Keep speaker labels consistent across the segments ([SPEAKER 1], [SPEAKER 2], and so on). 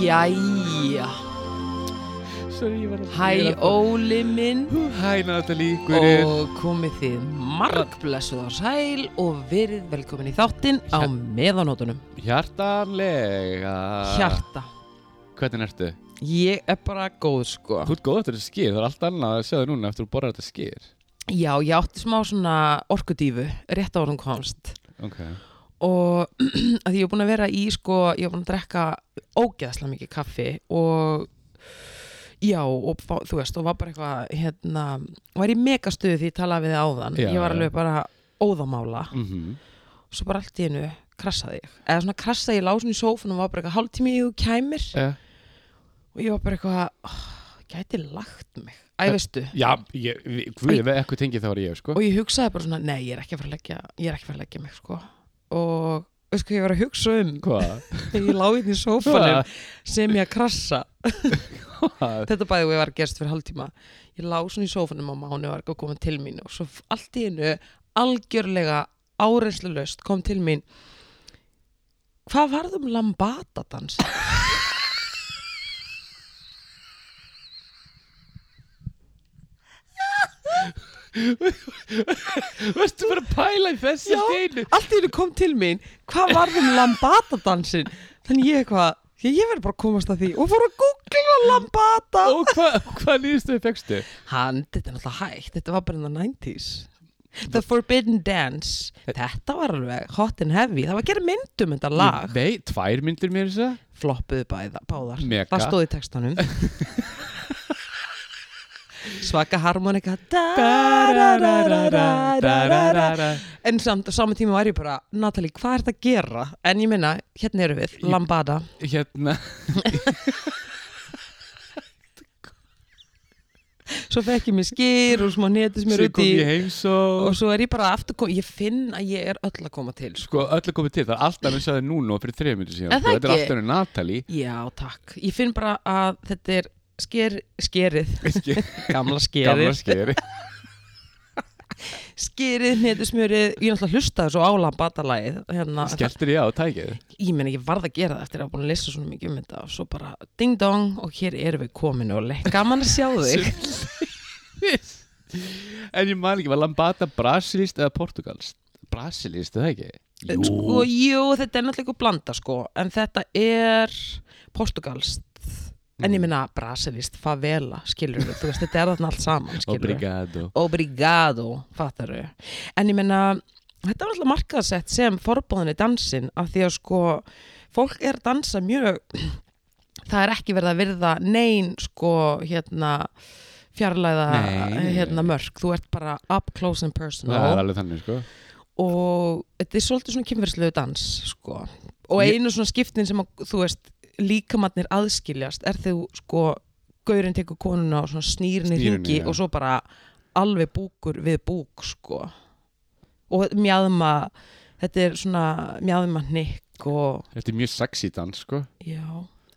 [SPEAKER 1] Jæja
[SPEAKER 2] Sorry, ég var að
[SPEAKER 1] Hæ Óli minn
[SPEAKER 2] Hæ Natalie, Guðrið
[SPEAKER 1] og komið þið margblessuð á sæl og verið velkomin í þáttinn á meðanótunum
[SPEAKER 2] Hjartanlega
[SPEAKER 1] Hjarta
[SPEAKER 2] Hvernig ertu?
[SPEAKER 1] Ég er bara góð sko
[SPEAKER 2] Þú ert góð eftir þessi skýr, það er allt annað að sjá þig núna eftir að borra þetta skýr
[SPEAKER 1] Já, ég átti smá svona orkudífu rétt á hún komst
[SPEAKER 2] Ok
[SPEAKER 1] og að því ég er búin að vera í sko, ég er búin að drekka ógeðslega mikið kaffi og já, og fá- þú veist, og var bara eitthvað hérna, var í megastuði því ég talaði við þig áðan,
[SPEAKER 2] Já,
[SPEAKER 1] ég var
[SPEAKER 2] já.
[SPEAKER 1] alveg bara óðamála,
[SPEAKER 2] mm -hmm.
[SPEAKER 1] svo bara allt í hennu krassaði ég, eða svona krassaði ég lásun í sófanum og var bara eitthvað hálftími í þú kæmir
[SPEAKER 2] Eh.
[SPEAKER 1] og ég var bara eitthvað oh, gæti lagt mig, æ veistu
[SPEAKER 2] Já, ég, við- guð, ef eitthvað tengið þá er ég, sko
[SPEAKER 1] og ég hugsaði bara svona, nei, ég er ekki að fara að leggja ég er ekki að fara að leggja mig, sko og, veistu hvað ég var að hugsa um
[SPEAKER 2] Hvað?
[SPEAKER 1] þegar ég láði í sófanum sem ég að krassa þetta bæði og ég var gerst fyrir hálftíma ég lág svona í sófanum á mánu var ekki að koma til mín og svo f- allt í einu algjörlega árenslu löst kom til mín hvað varð um lambatadans?
[SPEAKER 2] Varstu bara að pæla í þessu
[SPEAKER 1] Já.
[SPEAKER 2] steinu?
[SPEAKER 1] allt í einu kom til mín hvað varð um lambatadansinn? þannig ég eitthvað, ég, ég verði bara að komast að því og fór að googla lambata
[SPEAKER 2] Og hvað hva nýðstuðu fegstu?
[SPEAKER 1] hann, þetta er náttúrulega hægt, þetta var bara in the 90s The Forbidden Dance þetta var alveg hot and heavy það var að gera myndum þetta
[SPEAKER 2] Mm.
[SPEAKER 1] lag
[SPEAKER 2] Nei, tvær myndir mér þess að
[SPEAKER 1] floppuðu bæða, báðar
[SPEAKER 2] Mega.
[SPEAKER 1] það stóð í textanum svaka harmonika en samt á sama tíma var ég bara Natalie, hvað er þetta að gera? en ég minna, hérna eru við,
[SPEAKER 2] Ég-
[SPEAKER 1] Lambada
[SPEAKER 2] Hérna
[SPEAKER 1] svo fekk ég mér skýr og smá netis mér
[SPEAKER 2] Sér
[SPEAKER 1] út
[SPEAKER 2] kom
[SPEAKER 1] í
[SPEAKER 2] ég heims og
[SPEAKER 1] og svo er ég bara aftur kom, ég finn að ég er öll að koma til sko.
[SPEAKER 2] Sko, öllu komið til, það er allt annars að það núna og fyrir þrejum minnir síðan
[SPEAKER 1] Er
[SPEAKER 2] sko.
[SPEAKER 1] það
[SPEAKER 2] Þetta er
[SPEAKER 1] ekki?
[SPEAKER 2] allt annars Natalie
[SPEAKER 1] já, takk, ég finn bara að þetta er sker, skerið
[SPEAKER 2] Ekki,
[SPEAKER 1] gamla
[SPEAKER 2] Gamla
[SPEAKER 1] skerið,
[SPEAKER 2] skeri
[SPEAKER 1] skerið, netusmjörið ég náttúrulega hlustaði svo á lambatalagið hérna,
[SPEAKER 2] Skelltir ég á tækið
[SPEAKER 1] ég meina ég varð að gera það eftir að hafa búin að lesa svona mikið um þetta og svo bara ding dong og hér erum við komin og leik gaman að sjá þig
[SPEAKER 2] En ég man ekki, var Lambada brasilist eða portugalst? Brasilist, er það ekki?
[SPEAKER 1] En sko, jú, þetta er náttúrulega eitthvað blanda sko en þetta er portugalst en
[SPEAKER 2] Mm.
[SPEAKER 1] ég meina brasilist, favela, skilur við þú veist, þetta er þarna allt saman, skilur við
[SPEAKER 2] Obrigado
[SPEAKER 1] Obrigado, fattar við en ég meina, þetta var alltaf markaðsett sem forbóðinni dansinn af því að sko, fólk er að dansa mjög það er ekki verið að virða neyn sko, hérna fjarlæða
[SPEAKER 2] Nei, nei, nei.
[SPEAKER 1] hérna mörk, þú ert bara up close and personal
[SPEAKER 2] Það er alveg þannig, sko
[SPEAKER 1] og þetta er svolítið svona kynverðslegu dans sko. og
[SPEAKER 2] Ég-
[SPEAKER 1] einu svona skiptin sem að, þú veist, líkamannir aðskiljast er þegar sko gaurinn tekur konuna og svona snýrinni
[SPEAKER 2] Snýr henni,
[SPEAKER 1] ringi
[SPEAKER 2] já.
[SPEAKER 1] og svo bara alveg búkur við búk sko og mjadma þetta er svona mjadma hnykk og
[SPEAKER 2] Þetta er mjög sexy dans, sko
[SPEAKER 1] já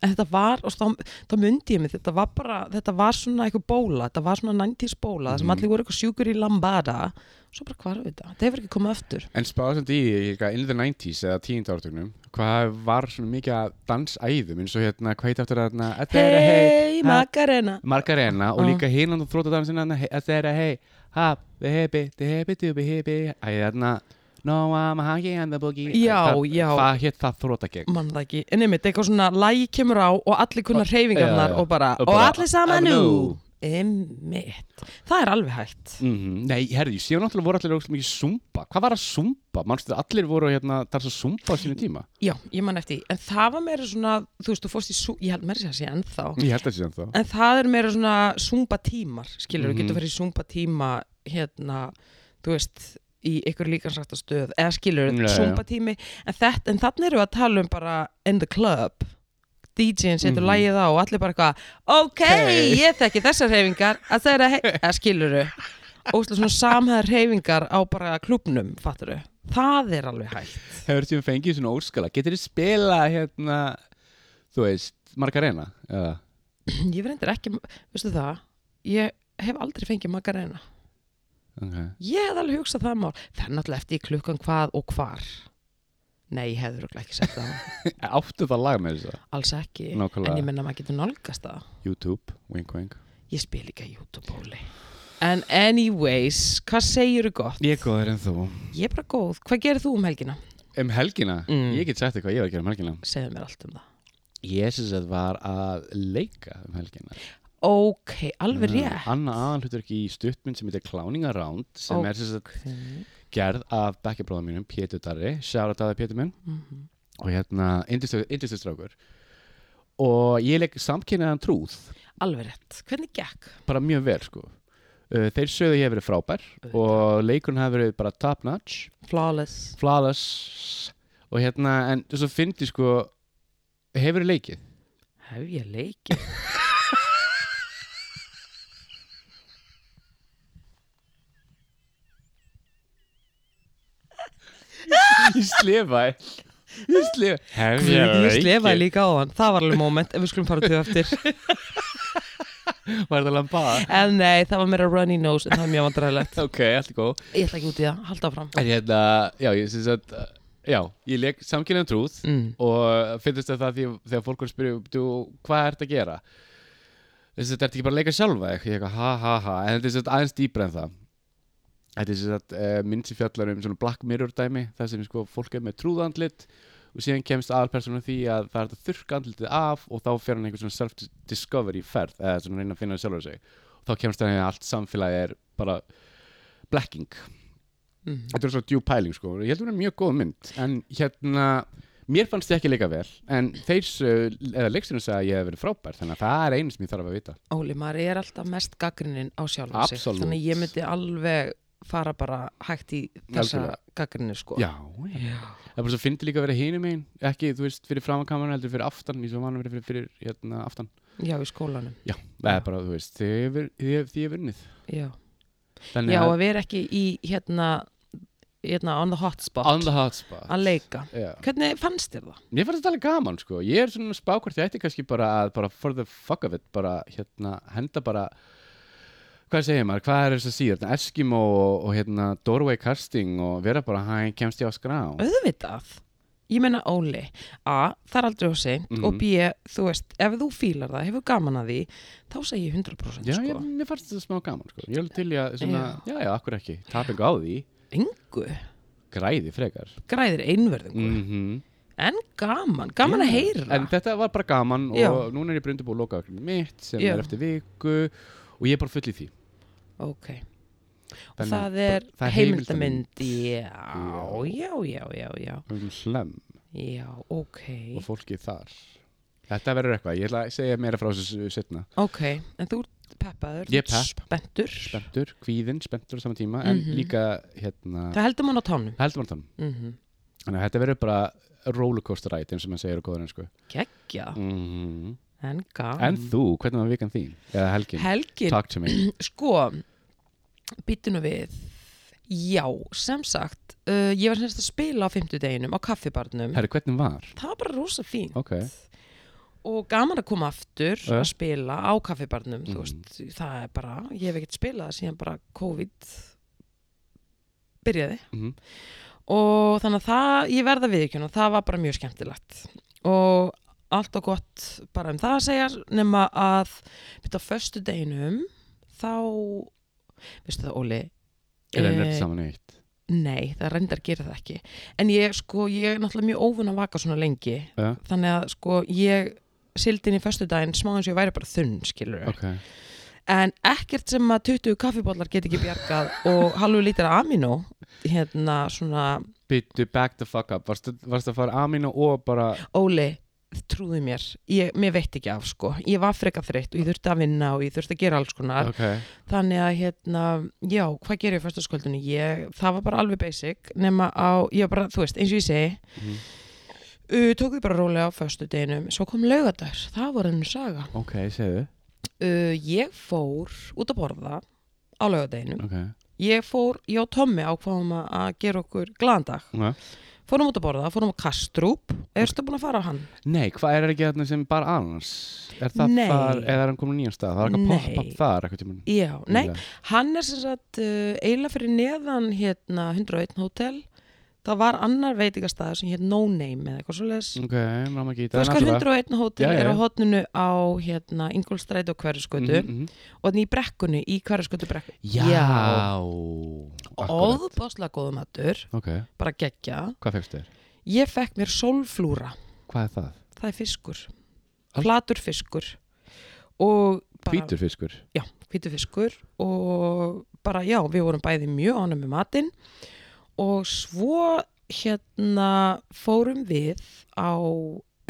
[SPEAKER 1] en þetta var, og þá, þá myndi ég mig þetta var bara, þetta var svona eitthvað bóla þetta var svona 90s bóla, þar sem
[SPEAKER 2] Mhm.
[SPEAKER 1] allir voru eitthvað sjúkur í lambada svo bara hvarf þetta, þetta hefur ekki komið aftur
[SPEAKER 2] En spáðsandi í því, líka in the 90s eða 10. áratugnum Hvað var svona mikið að dansæðum eins og hérna, hvað heit aftur að hérna Þetta er að hei
[SPEAKER 1] Hei, Macarena
[SPEAKER 2] Margarena og
[SPEAKER 1] Ah.
[SPEAKER 2] líka hinn hann þrótt að dansin hann Þetta er að hei Ha, the hippie, the hippie, the hippie Æ, þarna No, I'm a hangi and the boogie
[SPEAKER 1] Já,
[SPEAKER 2] Það-
[SPEAKER 1] já.
[SPEAKER 2] Hvað hétt það þrótt að gegn?
[SPEAKER 1] mann það ekki, en einmitt, eitthvað svona lægi kemur á og allir kunna hreyfingarnar
[SPEAKER 2] já, já.
[SPEAKER 1] og bara,
[SPEAKER 2] Og
[SPEAKER 1] og,
[SPEAKER 2] bara,
[SPEAKER 1] allir saman
[SPEAKER 2] "Alveg
[SPEAKER 1] nú
[SPEAKER 2] nú."
[SPEAKER 1] einmitt, það er alveg hægt
[SPEAKER 2] Mm Nei, herði, síðan náttúrulega voru allir ógst mikið sumba. Hvað var að sumba? Manstu þetta allir voru hérna, það er svo sumba á sínu tíma.
[SPEAKER 1] já, ég man eftir, því. en það var meira svona þú veist, þú fórst í, sú- ég held meira sér að sé ennþá
[SPEAKER 2] Ég held að síðan þá.
[SPEAKER 1] en það er meira svona zumba tímar skilur,
[SPEAKER 2] Mhm.
[SPEAKER 1] þú getur farið í zumba tíma hérna, þú veist í ykkur líkansrætta stöð, eða skilur
[SPEAKER 2] Já, já.
[SPEAKER 1] zumba tími, en, þetta, en þannig erum við að tala um bara in the club DJ-in setur
[SPEAKER 2] Mhm.
[SPEAKER 1] lagið á og allir bara eitthvað ok,
[SPEAKER 2] Hey.
[SPEAKER 1] ég þekki þessar hreyfingar að það er að, hei- eða skilur þú óslega svona samhæðar hreyfingar á bara klubnum, fattur þú það er alveg hægt
[SPEAKER 2] Hefur síðan fengið svona óskala. Getur þið spila hérna, þú veist, Margarena? Eða,
[SPEAKER 1] ég verður ekki, veistu það ég hef aldrei fengið makarena
[SPEAKER 2] okay.
[SPEAKER 1] ég hef alveg hugsað það mál það er náttúrulega eftir í klukkan hvað og hvar nei, ég hefði röglega ekki sagt það
[SPEAKER 2] Áttu það lag með þess að
[SPEAKER 1] alls ekki, en ég
[SPEAKER 2] Nákvæmlega
[SPEAKER 1] menna maður getur nálgast það
[SPEAKER 2] YouTube, wink wink
[SPEAKER 1] ég spil ekki að YouTube hóli en anyways, hvað segirðu gott?
[SPEAKER 2] Ég er góður en þú
[SPEAKER 1] ég er bara góð, hvað gerir þú um helgina?
[SPEAKER 2] Um helgina,
[SPEAKER 1] Mm.
[SPEAKER 2] ég get sagt þér hvað ég var að gera um helgina
[SPEAKER 1] segðu mér allt um það
[SPEAKER 2] Ég syns að var að leika um helgina
[SPEAKER 1] ok, alveg
[SPEAKER 2] Mm,
[SPEAKER 1] rétt
[SPEAKER 2] Anna aðanhlutur ekki í stuttmynd sem heitir Kláningaránd sem
[SPEAKER 1] Ó.
[SPEAKER 2] er syns að
[SPEAKER 1] okay.
[SPEAKER 2] gerð af bekkjabróðum mínum, Pétur Darri Sjárat aðeins Pétur minn
[SPEAKER 1] Mhm.
[SPEAKER 2] og hérna, yndistustrákur og ég leik samkynnaðan trúð
[SPEAKER 1] alveg rétt, hvernig gekk?
[SPEAKER 2] bara mjög vel sko Uh, þeir sögðu að ég hef verið frábær og leikurinn hef verið bara top notch
[SPEAKER 1] flawless
[SPEAKER 2] flawless og hérna, en þess að fyndi sko hefur leikið
[SPEAKER 1] hef ég leikið?
[SPEAKER 2] ég slefaði ég slefaði hef
[SPEAKER 1] ég slefaði líka á hann, það var alveg moment en við skulum fara til þau eftir
[SPEAKER 2] var það lambada
[SPEAKER 1] En nei, það var meira runny nose en það var mjög vandræðilegt
[SPEAKER 2] ok, allt er góð
[SPEAKER 1] Ég ætla ekki út í það, halda áfram
[SPEAKER 2] en hérna, já, ég syns að uh, já, ég leik samkynnaðan trúð
[SPEAKER 1] mm.
[SPEAKER 2] og finnst þetta því, þegar fólk voru að spyrja "Þú, hvað ertu að gera þess að þetta ertu ekki bara að leika sjálfa þig?" ég eitthvað ha ha ha en þetta er sem sagt aðeins dýbra en það þetta er sem sagt uh, mynd sem fjallar um svona black mirror dæmi þar sem sko fólk er með trúðandlit og síðan kemst aðalpersonum því að það er hægt að þurrka andlitið af og þá fer hann einhver svona self-discovery ferð eða svona reyna að finna sjálfur sig og þá kemst það að allt samfélagi er bara blacking
[SPEAKER 1] Mm.
[SPEAKER 2] þetta er svo djú pæling sko ég held að hún er mjög góð mynd en hérna mér fannst þið ekki leika vel en þeir sögðu- eða leikstunum sagði að ég hef verið frábær þannig að það er einu sem ég þarf að vita
[SPEAKER 1] Óli, maður er alltaf mest gaggrinnin á sjálfum sig
[SPEAKER 2] Absolút.
[SPEAKER 1] Þannig að ég myndi alveg fara bara hægt í þessa
[SPEAKER 2] Algjörlega.
[SPEAKER 1] gaggrinni sko
[SPEAKER 2] já, já. það er bara svo fyndi líka að vera hinum einn ekki þú veist fyrir framakamara heldur fyrir aftan eins og vanum verið fyrir, fyrir hérna aftan
[SPEAKER 1] Já, í skólanum
[SPEAKER 2] já, það er bara þú veist því ég hef- því ég- því ég hef vunnið
[SPEAKER 1] Já,
[SPEAKER 2] þannig
[SPEAKER 1] Já
[SPEAKER 2] að
[SPEAKER 1] að við erum ekki í hérna, hérna on the hot spot
[SPEAKER 2] on the hot spot
[SPEAKER 1] að leika
[SPEAKER 2] Já.
[SPEAKER 1] Hvernig fannst þér það?
[SPEAKER 2] Mér fannst þetta alveg gaman sko Ég er svona spákvart ég ætti kannski bara að bara for the fuck of it bara hérna henda bara hvað segir maður, hvað er þess að síða hérna, Eskimo og, og hérna Doorway Casting og vera bara hæ, kemst ég á skrá
[SPEAKER 1] Auðvitað Ég meina Óli, A, það er aldrei á seint
[SPEAKER 2] Mhm.
[SPEAKER 1] og B, þú veist, ef þú fílar það, hefur gaman að því, þá segi ég 100%
[SPEAKER 2] Já,
[SPEAKER 1] sko.
[SPEAKER 2] ég, mér fannst þetta smá gaman sko Ég er alveg til í að svona, já, já, akkur ekki tap ekki á því,
[SPEAKER 1] engu
[SPEAKER 2] græði frekar
[SPEAKER 1] græðir einverðingu
[SPEAKER 2] Mhm.
[SPEAKER 1] en gaman, gaman að heyra
[SPEAKER 2] En þetta var bara gaman og
[SPEAKER 1] Já.
[SPEAKER 2] núna er ég brundið búið að loka mitt sem
[SPEAKER 1] Já.
[SPEAKER 2] er eftir viku og ég er bara full í því
[SPEAKER 1] ok og það
[SPEAKER 2] Þannig bara-
[SPEAKER 1] er
[SPEAKER 2] það er
[SPEAKER 1] heimildamynd já, já, já, já, já
[SPEAKER 2] um hlem
[SPEAKER 1] já, ok
[SPEAKER 2] og fólkið þar Þetta verður eitthvað, ég ætla að segja meira frá þessu setna
[SPEAKER 1] ok, en þú ert peppaður
[SPEAKER 2] Ég
[SPEAKER 1] þú ert spenntur
[SPEAKER 2] Spendur, kvíðinn, spendur á sama tíma en
[SPEAKER 1] Mhm.
[SPEAKER 2] líka hérna
[SPEAKER 1] það heldur mann á tánum
[SPEAKER 2] heldur mann þann
[SPEAKER 1] mm
[SPEAKER 2] Þannig að þetta verður bara rollercoaster ride eins og maður segir á góður ennsku
[SPEAKER 1] geggja,
[SPEAKER 2] mm
[SPEAKER 1] en gaman
[SPEAKER 2] En þú, hvernig var vikan þín? Eða helgin?
[SPEAKER 1] helgin,
[SPEAKER 2] Talk to me
[SPEAKER 1] sko býtunum við já, sem sagt uh, ég var semst að spila á fimmtudeginum á kaffibarnum
[SPEAKER 2] Herri, hvernig var?
[SPEAKER 1] það var bara rosa fín
[SPEAKER 2] Ok,
[SPEAKER 1] og gaman að koma aftur
[SPEAKER 2] Ja.
[SPEAKER 1] að spila á kaffibarnum
[SPEAKER 2] Mhm.
[SPEAKER 1] þú veist, það er bara, ég hef ekkert spilað síðan bara COVID byrjaði
[SPEAKER 2] Mhm.
[SPEAKER 1] og þannig að það, ég verða viðkjöna það var bara mjög skemmtilegt og allt og gott bara um það að segja nema að byrja á föstu deginum þá veistu það Óli
[SPEAKER 2] er það
[SPEAKER 1] eh,
[SPEAKER 2] nefnt saman eitt?
[SPEAKER 1] Nei, það reyndar gera það ekki En ég, sko, ég er náttúrulega mjög óvun að vaka svona lengi
[SPEAKER 2] Ja.
[SPEAKER 1] Þannig að, sko, ég sildi inn í föstudaginn smá eins og ég væri bara þunn, skilur
[SPEAKER 2] Ok,
[SPEAKER 1] En ekkert sem að 20 kaffibóllar get ekki bjargað og halvu lítra amino hérna svona,
[SPEAKER 2] byttu back the fuck up Varstu, varstu að fara amino og bara
[SPEAKER 1] Óli trúðu mér, ég, mér veit ekki af sko ég var freka þreytt og ég þurfti að vinna og ég þurfti að gera alls konar
[SPEAKER 2] Ok,
[SPEAKER 1] þannig að hérna, já, hvað gerir ég fyrstaskvöldinu? Ég, það var bara alveg basic nema á, ég var bara, þú veist, eins og ég segi
[SPEAKER 2] Mhm.
[SPEAKER 1] uh, tók því bara rólega á föstudeginum svo kom laugardags, það var ennur saga
[SPEAKER 2] ok, segðu
[SPEAKER 1] uh, ég fór út að borða á laugardeginum
[SPEAKER 2] Ok,
[SPEAKER 1] ég fór, ég og Tommi ákváðum að- að gera okkur glandag
[SPEAKER 2] ok
[SPEAKER 1] fórum út að borða, fórum á Kastrup erstu búin að fara á hann?
[SPEAKER 2] Nei, hvað er ekki þarna sem er bara annars? Er það
[SPEAKER 1] Nei.
[SPEAKER 2] þar, eða er hann komin á nýjan stað? Það er eitthvað
[SPEAKER 1] Nei.
[SPEAKER 2] pop-up þar eitthvað tíma
[SPEAKER 1] Já, nei, hann er sem sagt uh, eiginlega fyrir neðan hérna 101 hótel það var annar veitingastæður sem hétt No Name eða eitthvað svoleiðis
[SPEAKER 2] Ok, náma ekki
[SPEAKER 1] Þú veist hvað 101 hótel
[SPEAKER 2] Já, já,
[SPEAKER 1] er á
[SPEAKER 2] já.
[SPEAKER 1] hotninu á hérna, Ingolstræti og Hverjuskötu og þannig í brekkunni, í Hverjuskötu brekku
[SPEAKER 2] Mhm, Já,
[SPEAKER 1] Já.
[SPEAKER 2] akkurat.
[SPEAKER 1] Óðbáslega góða matur,
[SPEAKER 2] Ok,
[SPEAKER 1] bara geggja
[SPEAKER 2] hvað fegst þér?
[SPEAKER 1] Ég fekk mér sólflúra,
[SPEAKER 2] Hvað er það?
[SPEAKER 1] það er fiskur
[SPEAKER 2] Al-
[SPEAKER 1] flatur fiskur og bara,
[SPEAKER 2] Hvítur fiskur
[SPEAKER 1] já, hvítur fiskur og bara já, við vorum bæði mjög ánum með matinn og svo hérna fórum við á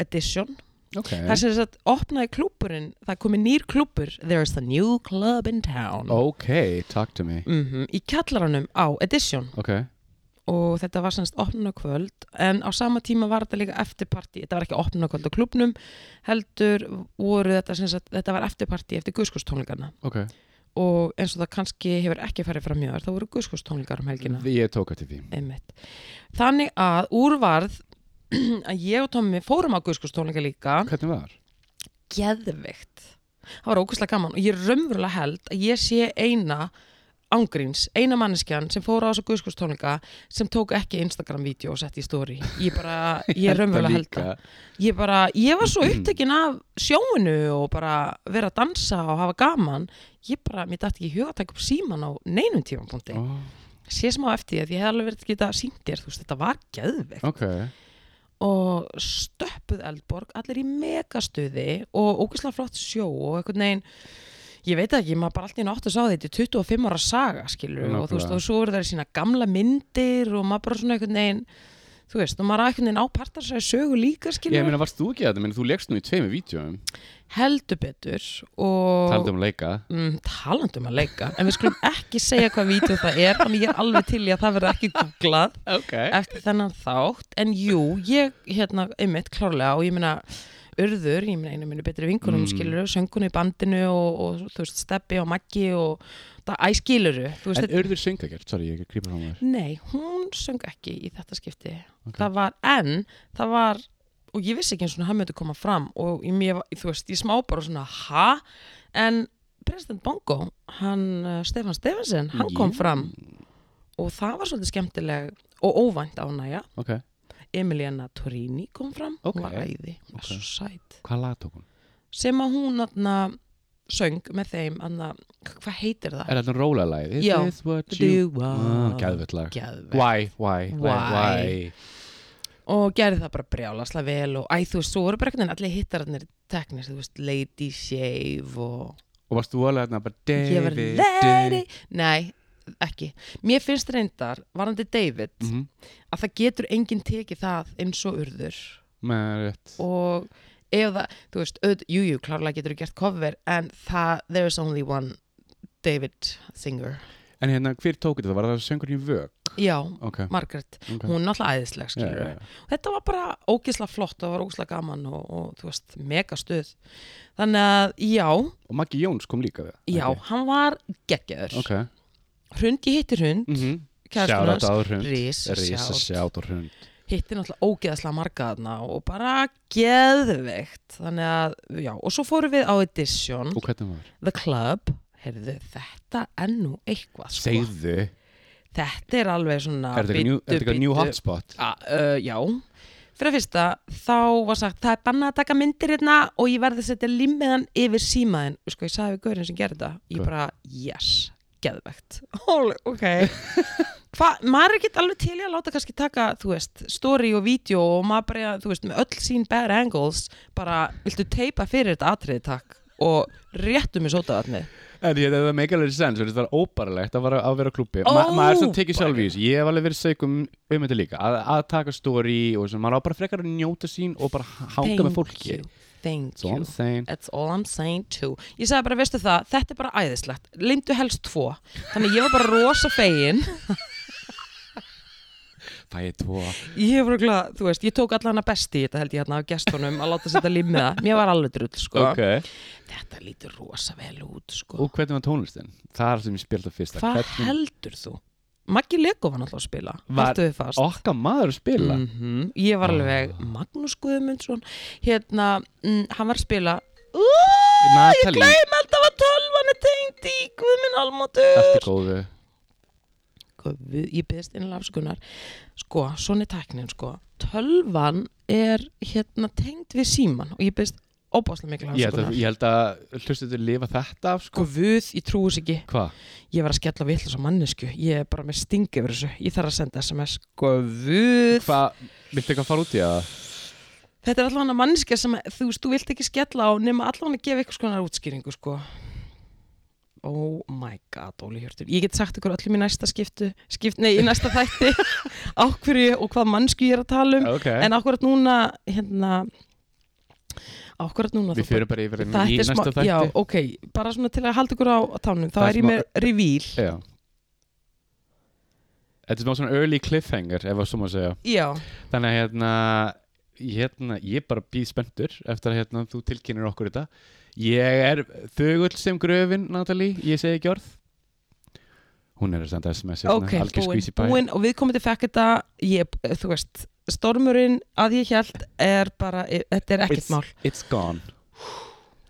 [SPEAKER 1] Edition
[SPEAKER 2] Ok,
[SPEAKER 1] það sem þess að opnaði klúpurinn það er komið nýr klúpur There's the new club in town
[SPEAKER 2] ok, talk to me
[SPEAKER 1] Mhm, í kjallaranum á Edition
[SPEAKER 2] Ok,
[SPEAKER 1] og þetta var semst opnunarkvöld en á sama tíma var þetta líka eftirparti þetta var ekki opnunarkvöld á klubnum heldur voru þetta semst þetta var eftirparti eftir guðskustónlingarna
[SPEAKER 2] ok
[SPEAKER 1] og eins og það kannski hefur ekki farið fram hjá þér þá voru guðskustónlingar um helgina
[SPEAKER 2] Ég tók eftir því
[SPEAKER 1] einmitt. þannig að úrvarð að ég og Tommi fórum á guðskustónlingar líka
[SPEAKER 2] Hvernig var?
[SPEAKER 1] geðvikt það var ókvæslega gaman og ég raunverulega held að ég sé eina ángríns, eina manneskjan sem fór á þessu guðskurstónleika sem tók ekki Instagram-vídeó og setti í story ég bara, ég raunverulega held það ég bara, ég var svo upptekin af sjóinu og bara vera að dansa og hafa gaman ég bara, mér dætti ekki í huga að taka upp síman á neinum tímanpunkti,
[SPEAKER 2] oh,
[SPEAKER 1] sé smá eftir því að ég hef alveg verið að geta sínt þér, þú veist, þetta var geðveikt
[SPEAKER 2] Ok,
[SPEAKER 1] og stöppuð eldborg allir í megastuði og ógeðslega flott sjó og einhvern veginn ég veit ekki, maður bara alltaf átti sá þetta er 25 ára saga skilur og þú veist
[SPEAKER 2] Nákvæmlega.
[SPEAKER 1] og svo eru það sína gamla myndir og maður bara svona einhvern veginn þú veist og maður á einhvern veginn ápartar sér sögu líka skilur
[SPEAKER 2] ég meina varst þú ekki að þetta, þú leikst nú í tveimur vídjóum
[SPEAKER 1] heldur betur og
[SPEAKER 2] Taldi um að leika
[SPEAKER 1] mm, talandum að leika en við skulum ekki segja hvað vítjóð það er þannig ég er alveg til í að það verður ekki googlað
[SPEAKER 2] Ok
[SPEAKER 1] eftir þennan þátt en jú, ég hérna einmitt klárlega og ég meina urður, ég meina einu minni betri vinkunum
[SPEAKER 2] Mm.
[SPEAKER 1] mm. skilur, söngun í bandinu og, og þú veist, steppi og maggi og það æ skiluru, þú veist
[SPEAKER 2] En
[SPEAKER 1] þetta
[SPEAKER 2] urður söngakert, sorry, ég krýpar á mér
[SPEAKER 1] Nei, hún söng ekki í þetta skipti
[SPEAKER 2] Ok.
[SPEAKER 1] það var, en það var og ég vissi ekki eins og hann myndi koma fram og ég, mér, var- þú veist, ég smá bara svona ha, en President Bongo, hann eh, Stefán Stefansson, hann kom
[SPEAKER 2] Jú.
[SPEAKER 1] fram og það var svolítið skemmtileg og óvænt ánægja
[SPEAKER 2] Ok,
[SPEAKER 1] Emiliana Torini kom fram
[SPEAKER 2] Ok.
[SPEAKER 1] hún var æði, hún var
[SPEAKER 2] Ok.
[SPEAKER 1] svo sæt
[SPEAKER 2] hvað lag tók hún?
[SPEAKER 1] sem að hún atna, söng með þeim atna, hvað heitir það?
[SPEAKER 2] Er þetta róla lagið? Is
[SPEAKER 1] Já.
[SPEAKER 2] this what you
[SPEAKER 1] Dua
[SPEAKER 2] Ah, Gæðvett lag
[SPEAKER 1] Geðvegt.
[SPEAKER 2] Why, why, why,
[SPEAKER 1] Why.
[SPEAKER 2] why
[SPEAKER 1] og gerði það bara brjálaslega vel og æ, þú veist, svo voru bara hvernig allir hittararnir teknir, þú veist, Lady Shave og
[SPEAKER 2] Og varst þú alveg þarna bara
[SPEAKER 1] ég var
[SPEAKER 2] David
[SPEAKER 1] Lady nei, ekki, mér finnst reyndar varandi David
[SPEAKER 2] Mhm.
[SPEAKER 1] að það getur enginn tekið það eins og urður
[SPEAKER 2] Með rétt
[SPEAKER 1] og ef það, þú veist, öð, jú, jú, klárlega getur þú gert cover en það, there is only one David singer
[SPEAKER 2] En hérna, hver tók þetta? Var það söngurinn í vög?
[SPEAKER 1] já,
[SPEAKER 2] Ok,
[SPEAKER 1] Margaret,
[SPEAKER 2] ok
[SPEAKER 1] hún er náttúrulega æðisleg
[SPEAKER 2] Já,
[SPEAKER 1] skilur
[SPEAKER 2] já, já.
[SPEAKER 1] þetta var bara ógisla flott og það var ógisla gaman og, og þú veist, mega stuð þannig að, já,
[SPEAKER 2] Og Maggi Jóns kom líka við
[SPEAKER 1] já, hann var geggjöður,
[SPEAKER 2] Ok, okay.
[SPEAKER 1] hund ég hitti hund
[SPEAKER 2] Mm
[SPEAKER 1] kærastan hans,
[SPEAKER 2] á hrund
[SPEAKER 1] rís,
[SPEAKER 2] Rísa sjátt á hrund
[SPEAKER 1] hitti náttúrulega ógeðaslega marga þarna og bara geðveikt þannig að, já, og svo fórum við á Edition
[SPEAKER 2] Og hvernig var?
[SPEAKER 1] The Club heyrðu, þetta er nú eitthvað sko.
[SPEAKER 2] Segðu
[SPEAKER 1] þetta er alveg svona
[SPEAKER 2] Er þetta
[SPEAKER 1] bíddu,
[SPEAKER 2] eitthvað new- er þetta eitthvað
[SPEAKER 1] bíddu.
[SPEAKER 2] new hotspot?
[SPEAKER 1] A, uh, já, fyrir að fyrsta þá var sagt, það er bannað að taka myndir hérna og ég verði að setja limmiðan yfir símaðin, sko ég sagði við gaurinn sem gerði þetta ég
[SPEAKER 2] Hvað?
[SPEAKER 1] bara, yes, geðvegt Hóli, ok Hva, maður er ekki alveg til í að láta kannski taka, þú veist, story og vídeo og maður bara, þú veist, með öll sín bad angles, bara, viltu teipa fyrir þetta atriði takk og réttu mér sótaðatnið
[SPEAKER 2] En ég, það make a little sense þú veist, Það er óbærilegt að, vera- að vera á klúbbi Ma, Maður er svo tekið sjálf í þessu Ég hef alveg verið segum um þetta líka Að, að taka story og sem Maður á bara frekar að njóta sín Og bara hanga með fólki
[SPEAKER 1] you, thank
[SPEAKER 2] So I'm
[SPEAKER 1] you
[SPEAKER 2] saying
[SPEAKER 1] That's all I'm saying too Ég sagði bara, veistu það, þetta er bara æðislegt Lindu helst tvo Þannig ég var bara rosa fegin
[SPEAKER 2] Fæ ég tvo
[SPEAKER 1] Ég hef röglega, þú veist, ég tók allan að besti í Þetta held ég hérna af gestunum að láta setja limmiða Mér var alveg drull, sko
[SPEAKER 2] Ok.
[SPEAKER 1] Þetta lítur rosa vel út, sko
[SPEAKER 2] Og hvernig var tónlistin? Það er sem ég spilta fyrst
[SPEAKER 1] Hvað
[SPEAKER 2] hvernig...
[SPEAKER 1] heldur þú? Maggi Lego var náttúrulega að spila
[SPEAKER 2] Var-
[SPEAKER 1] Haltu við fast
[SPEAKER 2] Okka maður að spila
[SPEAKER 1] Mhm. Ég var
[SPEAKER 2] Ah.
[SPEAKER 1] alveg Magnús Guðmundsson Hérna, mm, hann var að spila Ú, Ég
[SPEAKER 2] Natalie.
[SPEAKER 1] gleym alltaf að tölvan er tengd í Guðminn
[SPEAKER 2] Allt í
[SPEAKER 1] Almótur
[SPEAKER 2] góðu
[SPEAKER 1] Guð, Sko, Ég byggðist innlega afsökunar Sko, svona er tæknin sko Tölvan er hérna tengd við síman og ég byggðist óbáslega mikil
[SPEAKER 2] Ég held að,
[SPEAKER 1] afsökunar
[SPEAKER 2] ég held að hlustu til lifa þetta af sko
[SPEAKER 1] Guð, ég trúi þess ekki
[SPEAKER 2] Hvað?
[SPEAKER 1] Ég var að skella við þess að mannesku Ég er bara með sting yfir þessu Ég þarf að senda sms Sko, Guð
[SPEAKER 2] Hvað? Viltu eitthvað fara út í það?
[SPEAKER 1] Þetta er allavega manneskja sem þú veist, þú vilt ekki skella á nema allavega að gefa eitthvað skonar útskýringu sko. Oh my god, Óli Hjörtur. Ég get sagt ykkur öllum í næsta skiptu, skipt, nei, í næsta þætti á hverju og hvað mannsku ég er að tala um.
[SPEAKER 2] Ok
[SPEAKER 1] En ákvarðat núna, hérna, ákvarðat núna.
[SPEAKER 2] Við
[SPEAKER 1] þá-
[SPEAKER 2] fyrir bara yfir
[SPEAKER 1] Þetta
[SPEAKER 2] í
[SPEAKER 1] er
[SPEAKER 2] næsta
[SPEAKER 1] Já,
[SPEAKER 2] þætti
[SPEAKER 1] ok, bara svona til að halda ykkur á tánum. Þá
[SPEAKER 2] Það er
[SPEAKER 1] er ég
[SPEAKER 2] smá-
[SPEAKER 1] með revíl.
[SPEAKER 2] Já Þetta er smá svona early cliffhanger ef að svo má segja
[SPEAKER 1] Já,
[SPEAKER 2] Þannig að hérna, hérna ég bara býð spenntur eftir að hérna, þú tilkynir okkur þetta Ég er þögull sem gröfin, Natalie, ég segi ekki orð Hún er að senda sms hérna,
[SPEAKER 1] ok,
[SPEAKER 2] algjör
[SPEAKER 1] búin,
[SPEAKER 2] squeezy pie.
[SPEAKER 1] búin og við komum til fekk þetta, ég, þú veist, stormurinn að ég held er bara, e, þetta er ekkert
[SPEAKER 2] It's-
[SPEAKER 1] mál.
[SPEAKER 2] It's gone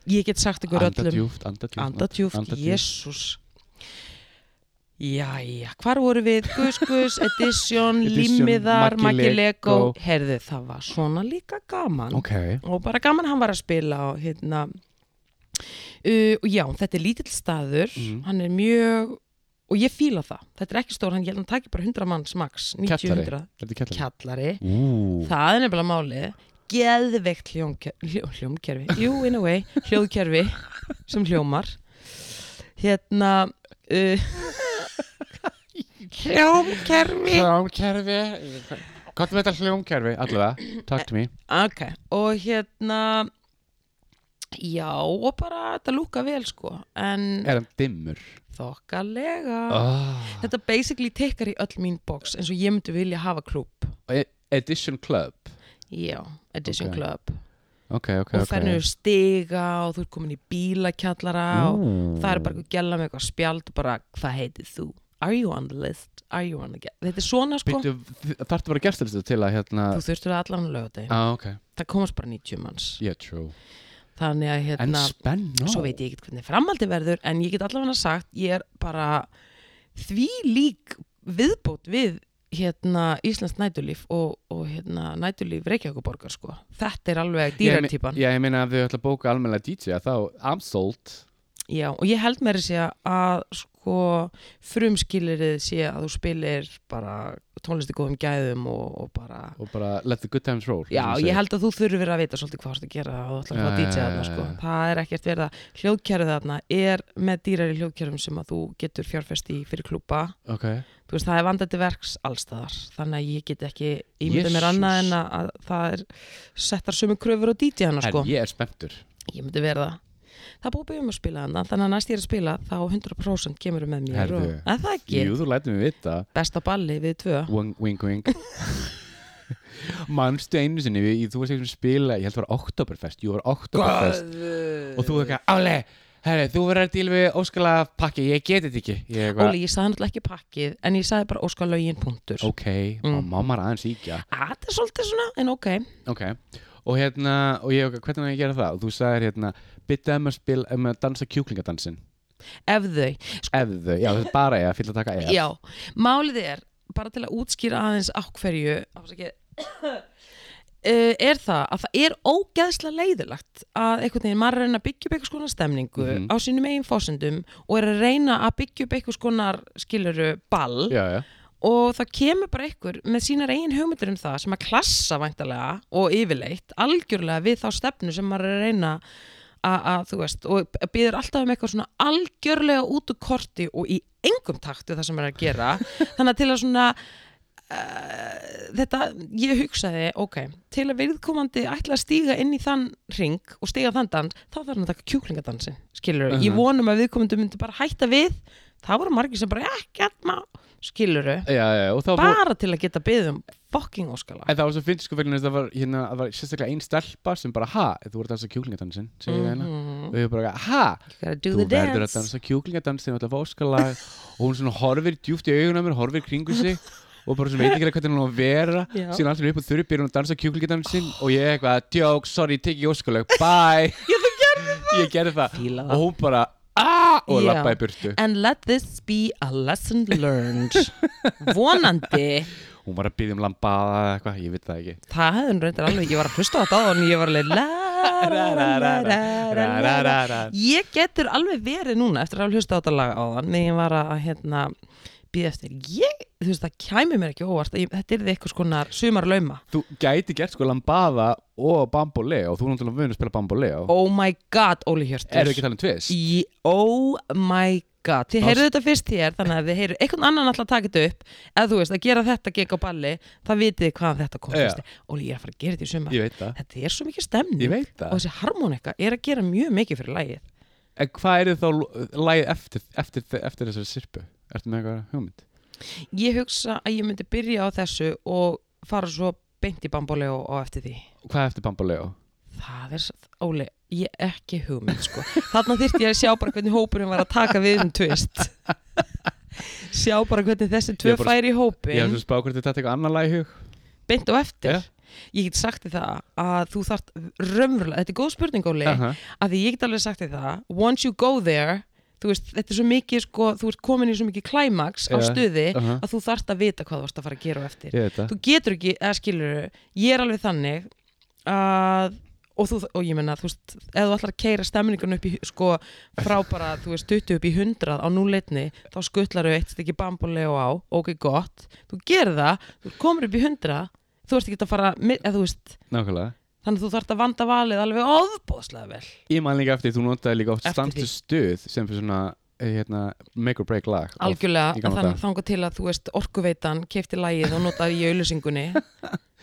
[SPEAKER 1] Ég get sagt ykkur öllum
[SPEAKER 2] Andatjúft, andatjúft
[SPEAKER 1] Andatjúft,
[SPEAKER 2] andatjúft.
[SPEAKER 1] jésús Jæja, hvar voru við? Gus Gus, Edition,
[SPEAKER 2] Edition,
[SPEAKER 1] Límiðar,
[SPEAKER 2] Maggi
[SPEAKER 1] Maggi Lego
[SPEAKER 2] Lego.
[SPEAKER 1] Herðu, það var svona líka gaman
[SPEAKER 2] Ok,
[SPEAKER 1] Og bara gaman hann var að spila og hérna uh, og Já, þetta er lítill staður
[SPEAKER 2] Mhm.
[SPEAKER 1] Hann er mjög Og ég fíla það, þetta er ekki stór, hann, ég held að hann taki bara 100 manns max, 90
[SPEAKER 2] Kjallari.
[SPEAKER 1] 100
[SPEAKER 2] þetta er kjallar
[SPEAKER 1] Kjallari,
[SPEAKER 2] Ú,
[SPEAKER 1] það er nefnilega málið geðveikt hljómker, hljó, hljómkerfi jú, in a way, hljóðkerfi sem hljómar hérna uh, hljómkerfi
[SPEAKER 2] Hljómkerfi Hvað er þetta hljómkerfi? Allavega, talk to me
[SPEAKER 1] ok, og hérna já, og bara þetta lúka vel sko, en
[SPEAKER 2] Er hann dimmur?
[SPEAKER 1] þokkalega
[SPEAKER 2] Oh.
[SPEAKER 1] þetta basically tekkar í öll mín box eins og ég myndi vilja hafa klúb
[SPEAKER 2] Ah. E- Edition Club
[SPEAKER 1] já, Edition
[SPEAKER 2] Ok.
[SPEAKER 1] Club
[SPEAKER 2] Ok, ok,
[SPEAKER 1] og
[SPEAKER 2] ok
[SPEAKER 1] þannig eru stiga og þú ert komin í bílakjallara og það er bara eitthvað gæla með eitthvað spjald og bara hvað heitir þú? Are you on the list? Are you on the get? Þetta er svona sko
[SPEAKER 2] Býttu, þarftu að vera gestalistu til að hérna
[SPEAKER 1] þú þurftur að allan lögðu
[SPEAKER 2] Á, ok,
[SPEAKER 1] það komast bara 90 manns
[SPEAKER 2] yeah, true
[SPEAKER 1] þannig að
[SPEAKER 2] En
[SPEAKER 1] hérna,
[SPEAKER 2] spennu
[SPEAKER 1] svo veit ég ekkert hvernig framhaldi verður en ég get allavega sagt, ég er bara því lík viðbót við hérna Íslands nætulíf og, og hérna nætulíf Reykjavíkuborgar sko þetta er alveg dýrartýpan
[SPEAKER 2] Já, ég meina að þau ætla að bóka almennilega DJ Þá, I'm sold
[SPEAKER 1] Já, og ég held mér að segja að sko frumskilirið sé að þú spilir bara tónlisti góðum gæðum og, og bara
[SPEAKER 2] Og bara let the good times roll
[SPEAKER 1] Já, ég held að þú þurfir að vita svolítið hvað þú ert að gera og þú ætlar að fá
[SPEAKER 2] Já,
[SPEAKER 1] DJ
[SPEAKER 2] já,
[SPEAKER 1] þarna
[SPEAKER 2] já,
[SPEAKER 1] sko.
[SPEAKER 2] já.
[SPEAKER 1] Það er ekkert verið að hljóðkerfið þarna er með dýrari hljóðkerfum sem að þú getur fjárfest í fyrir klúpa.
[SPEAKER 2] Ok,
[SPEAKER 1] Þú veist, það er vandandi verks allstaðar. Þannig að ég get ekki ímynda mér
[SPEAKER 2] Jesús.
[SPEAKER 1] annað en að að það er settar sömu kröfur á DJ hana sko.
[SPEAKER 2] en ég er spenntur
[SPEAKER 1] Ég myndi verða Það er búið að biðja um að spila hana, þannig að næst ég er að spila þá 100% kemur með mér
[SPEAKER 2] Herðu.
[SPEAKER 1] og, En það ekki,
[SPEAKER 2] Jú, þú lætur mig vita
[SPEAKER 1] besta balli við tvö
[SPEAKER 2] Wing, wing, wing Manstu einu sinni við, þú varst ekki að spila Ég held það var Oktoberfest, jú var Oktoberfest Og þú ekki, ále, herri, þú verður að díl við óskala pakki Ég get þetta ekki Ég eitthvað,
[SPEAKER 1] Óli, ég sagði náttúrulega ekki pakkið en ég sagði bara óskar lögin punktur
[SPEAKER 2] ok, mm. mamma er aðeins íkja
[SPEAKER 1] Að, Það er svolítið svona, en ok
[SPEAKER 2] ok, og hérna og ég, hvernig á ég að gera það, og þú sagðir hérna bytta um að spila, um að dansa kjúklingadansin
[SPEAKER 1] Ef þau,
[SPEAKER 2] ef þau, já þetta er bara ég að fylla að taka ég
[SPEAKER 1] já, málið er bara til að útskýra aðeins á hverju afsakið, eh, er það að það er ógeðslega leiðilagt að einhvern veginn maður er að reyna að byggja upp einhvers konar stemningu
[SPEAKER 2] Mhm.
[SPEAKER 1] á sínum eigin fósendum og er að reyna að byggja upp einhvers konar skiluru ball
[SPEAKER 2] já, já,
[SPEAKER 1] og það kemur bara einhver með sínar eigin hugmyndir um það sem að klassa væntalega og yfirleitt algjörlega við þá stefnu sem maður er að reyna að, að þú veist og býður alltaf um eitthvað svona algjörlega út úr korti og í engum taktu það sem maður er að gera þannig að til að svona uh, þetta, ég hugsaði ok, til að viðkomandi ætla að stíga inn í þann ring og stíga þann dans þá þarf hann að taka kjúklingadansin skilur, ég
[SPEAKER 2] Mhm.
[SPEAKER 1] vonum að viðkomandi myndi bara hætta við það voru margir sem bara ekkert má skiluru
[SPEAKER 2] já, já, og það var
[SPEAKER 1] bara til að geta beðið um fucking óskala
[SPEAKER 2] En það var svo fyndið sko vegna þess að það var, hérna, það var sérstaklega einn stelpa sem bara, ha, þú voru að dansa kjúklingadansin, segir mm
[SPEAKER 1] Mhm.
[SPEAKER 2] hérna. Og ég bara, ha,
[SPEAKER 1] Mm-hmm. You gotta do
[SPEAKER 2] þú
[SPEAKER 1] the
[SPEAKER 2] verður að
[SPEAKER 1] dance
[SPEAKER 2] dansa kjúklingadansin og ætla að fá óskalag. og hún svona horfir djúpt í augunum mér, horfir kringu sig og bara svona veit ekki alveg hvernig hún á að vera.
[SPEAKER 1] Já.
[SPEAKER 2] Síðan alltaf upp á þurru byrjun að dansa kjúklingadansin og ég eitthvað, djók, sorry, teki óskalag, bye. Já, þú gerði það. Ég gerði það.
[SPEAKER 1] Fíla það.
[SPEAKER 2] Og hún bara, aaaah, og
[SPEAKER 1] Já.
[SPEAKER 2] lappa í burtu.
[SPEAKER 1] And let this be a lesson learned Vonandi
[SPEAKER 2] Hún var að byggja um lambada eða eitthvað, ég veit það ekki.
[SPEAKER 1] Það hefði hún reyndar alveg, ég var að hlusta á þetta áðan og ég var alveg la, ra, ra, ra, ra, ra, ra, ra. Ég getur alveg verið núna eftir að hafa hlusta á þetta lag áðan þegar ég var að hérna býða eftir ég, þú veist það kæmi mér ekki á óvart að ég, þetta er því eitthvað skona sumarlauma
[SPEAKER 2] þú gæti gert sko lambada og bamboleo, þú er náttúrulega vunni að spila bamboleo
[SPEAKER 1] Oh my god, Óli Hjörtur
[SPEAKER 2] Erum við ekki að tala um tvist?
[SPEAKER 1] Í, oh my god Þið
[SPEAKER 2] Þá-
[SPEAKER 1] heyrðu þetta fyrst hér, þannig að þið heyrðu einhvern annan alltaf að taka þetta upp eða þú veist, að gera þetta gekk á balli það vitið þið hvaðan þetta kom
[SPEAKER 2] Já.
[SPEAKER 1] fyrst Óli, ég er að fara að gera þetta í sumar
[SPEAKER 2] Ég veit það,
[SPEAKER 1] Þetta er svo mikið stemning
[SPEAKER 2] ég veit
[SPEAKER 1] og
[SPEAKER 2] það
[SPEAKER 1] þessi harmonika er að gera mjög mikið fyrir lagið
[SPEAKER 2] En hvað er þá lagið eftir, eftir, eftir þessari sirpu? Ertu með eitthvað hugmynd?
[SPEAKER 1] Ég hugsa að ég myndi byrja á þessu og fara svo beint í bamboleo og eftir því
[SPEAKER 2] Hvað er eftir bamboleo?
[SPEAKER 1] Það er, s- Óli, ég ekki hugmynd sko. Þarna þyrfti ég að sjá bara hvernig hópurinn var að taka við um tvist Sjá bara hvernig þessi tvö
[SPEAKER 2] Ég bara-
[SPEAKER 1] færi í
[SPEAKER 2] Ég hef
[SPEAKER 1] hópin
[SPEAKER 2] svo spá hvort þið tætt eitthvað annað lag í hug
[SPEAKER 1] beint á eftir
[SPEAKER 2] Já.
[SPEAKER 1] Ég get sagt þér það að þú þarft raunverulega, þetta er góð spurning Óli uh
[SPEAKER 2] Aha.
[SPEAKER 1] að því ég get alveg sagt þér það once you go there, þú veist, þetta er svo mikið sko, þú ert komin í svo mikið klæmaks á
[SPEAKER 2] Já.
[SPEAKER 1] stuði
[SPEAKER 2] Aha.
[SPEAKER 1] að þú þarft að vita hvað þú ert að fara að gera á eftir
[SPEAKER 2] Ég veit það
[SPEAKER 1] þú getur ekki, eða skilur ég er alveg þannig að og, þú, og ég menna, þú veist, ef þú ætlar að keira stemningun upp í, sko, frá bara þú veist, tuttu upp í hundrað á núleitni þá skuttlar þau eitt stykki bamboleo á ok, gott, þú gerir það þú komur upp í hundrað, þú ert ekki að fara mi- eða þú veist,
[SPEAKER 2] Nákvæmlega
[SPEAKER 1] þannig að þú þarft að vanda valið alveg ofbóðslega vel
[SPEAKER 2] Ég man líka eftir, þú notaði líka oft
[SPEAKER 1] Eftir
[SPEAKER 2] standu
[SPEAKER 1] því.
[SPEAKER 2] stuð sem fyrir svona eh, hérna, make or break lag Oft.
[SPEAKER 1] algjörlega,
[SPEAKER 2] í
[SPEAKER 1] en
[SPEAKER 2] gamla
[SPEAKER 1] þannig
[SPEAKER 2] daga.
[SPEAKER 1] þanga til að þú veist orkuveitan keipti lagið og notaði í auðlýsingunni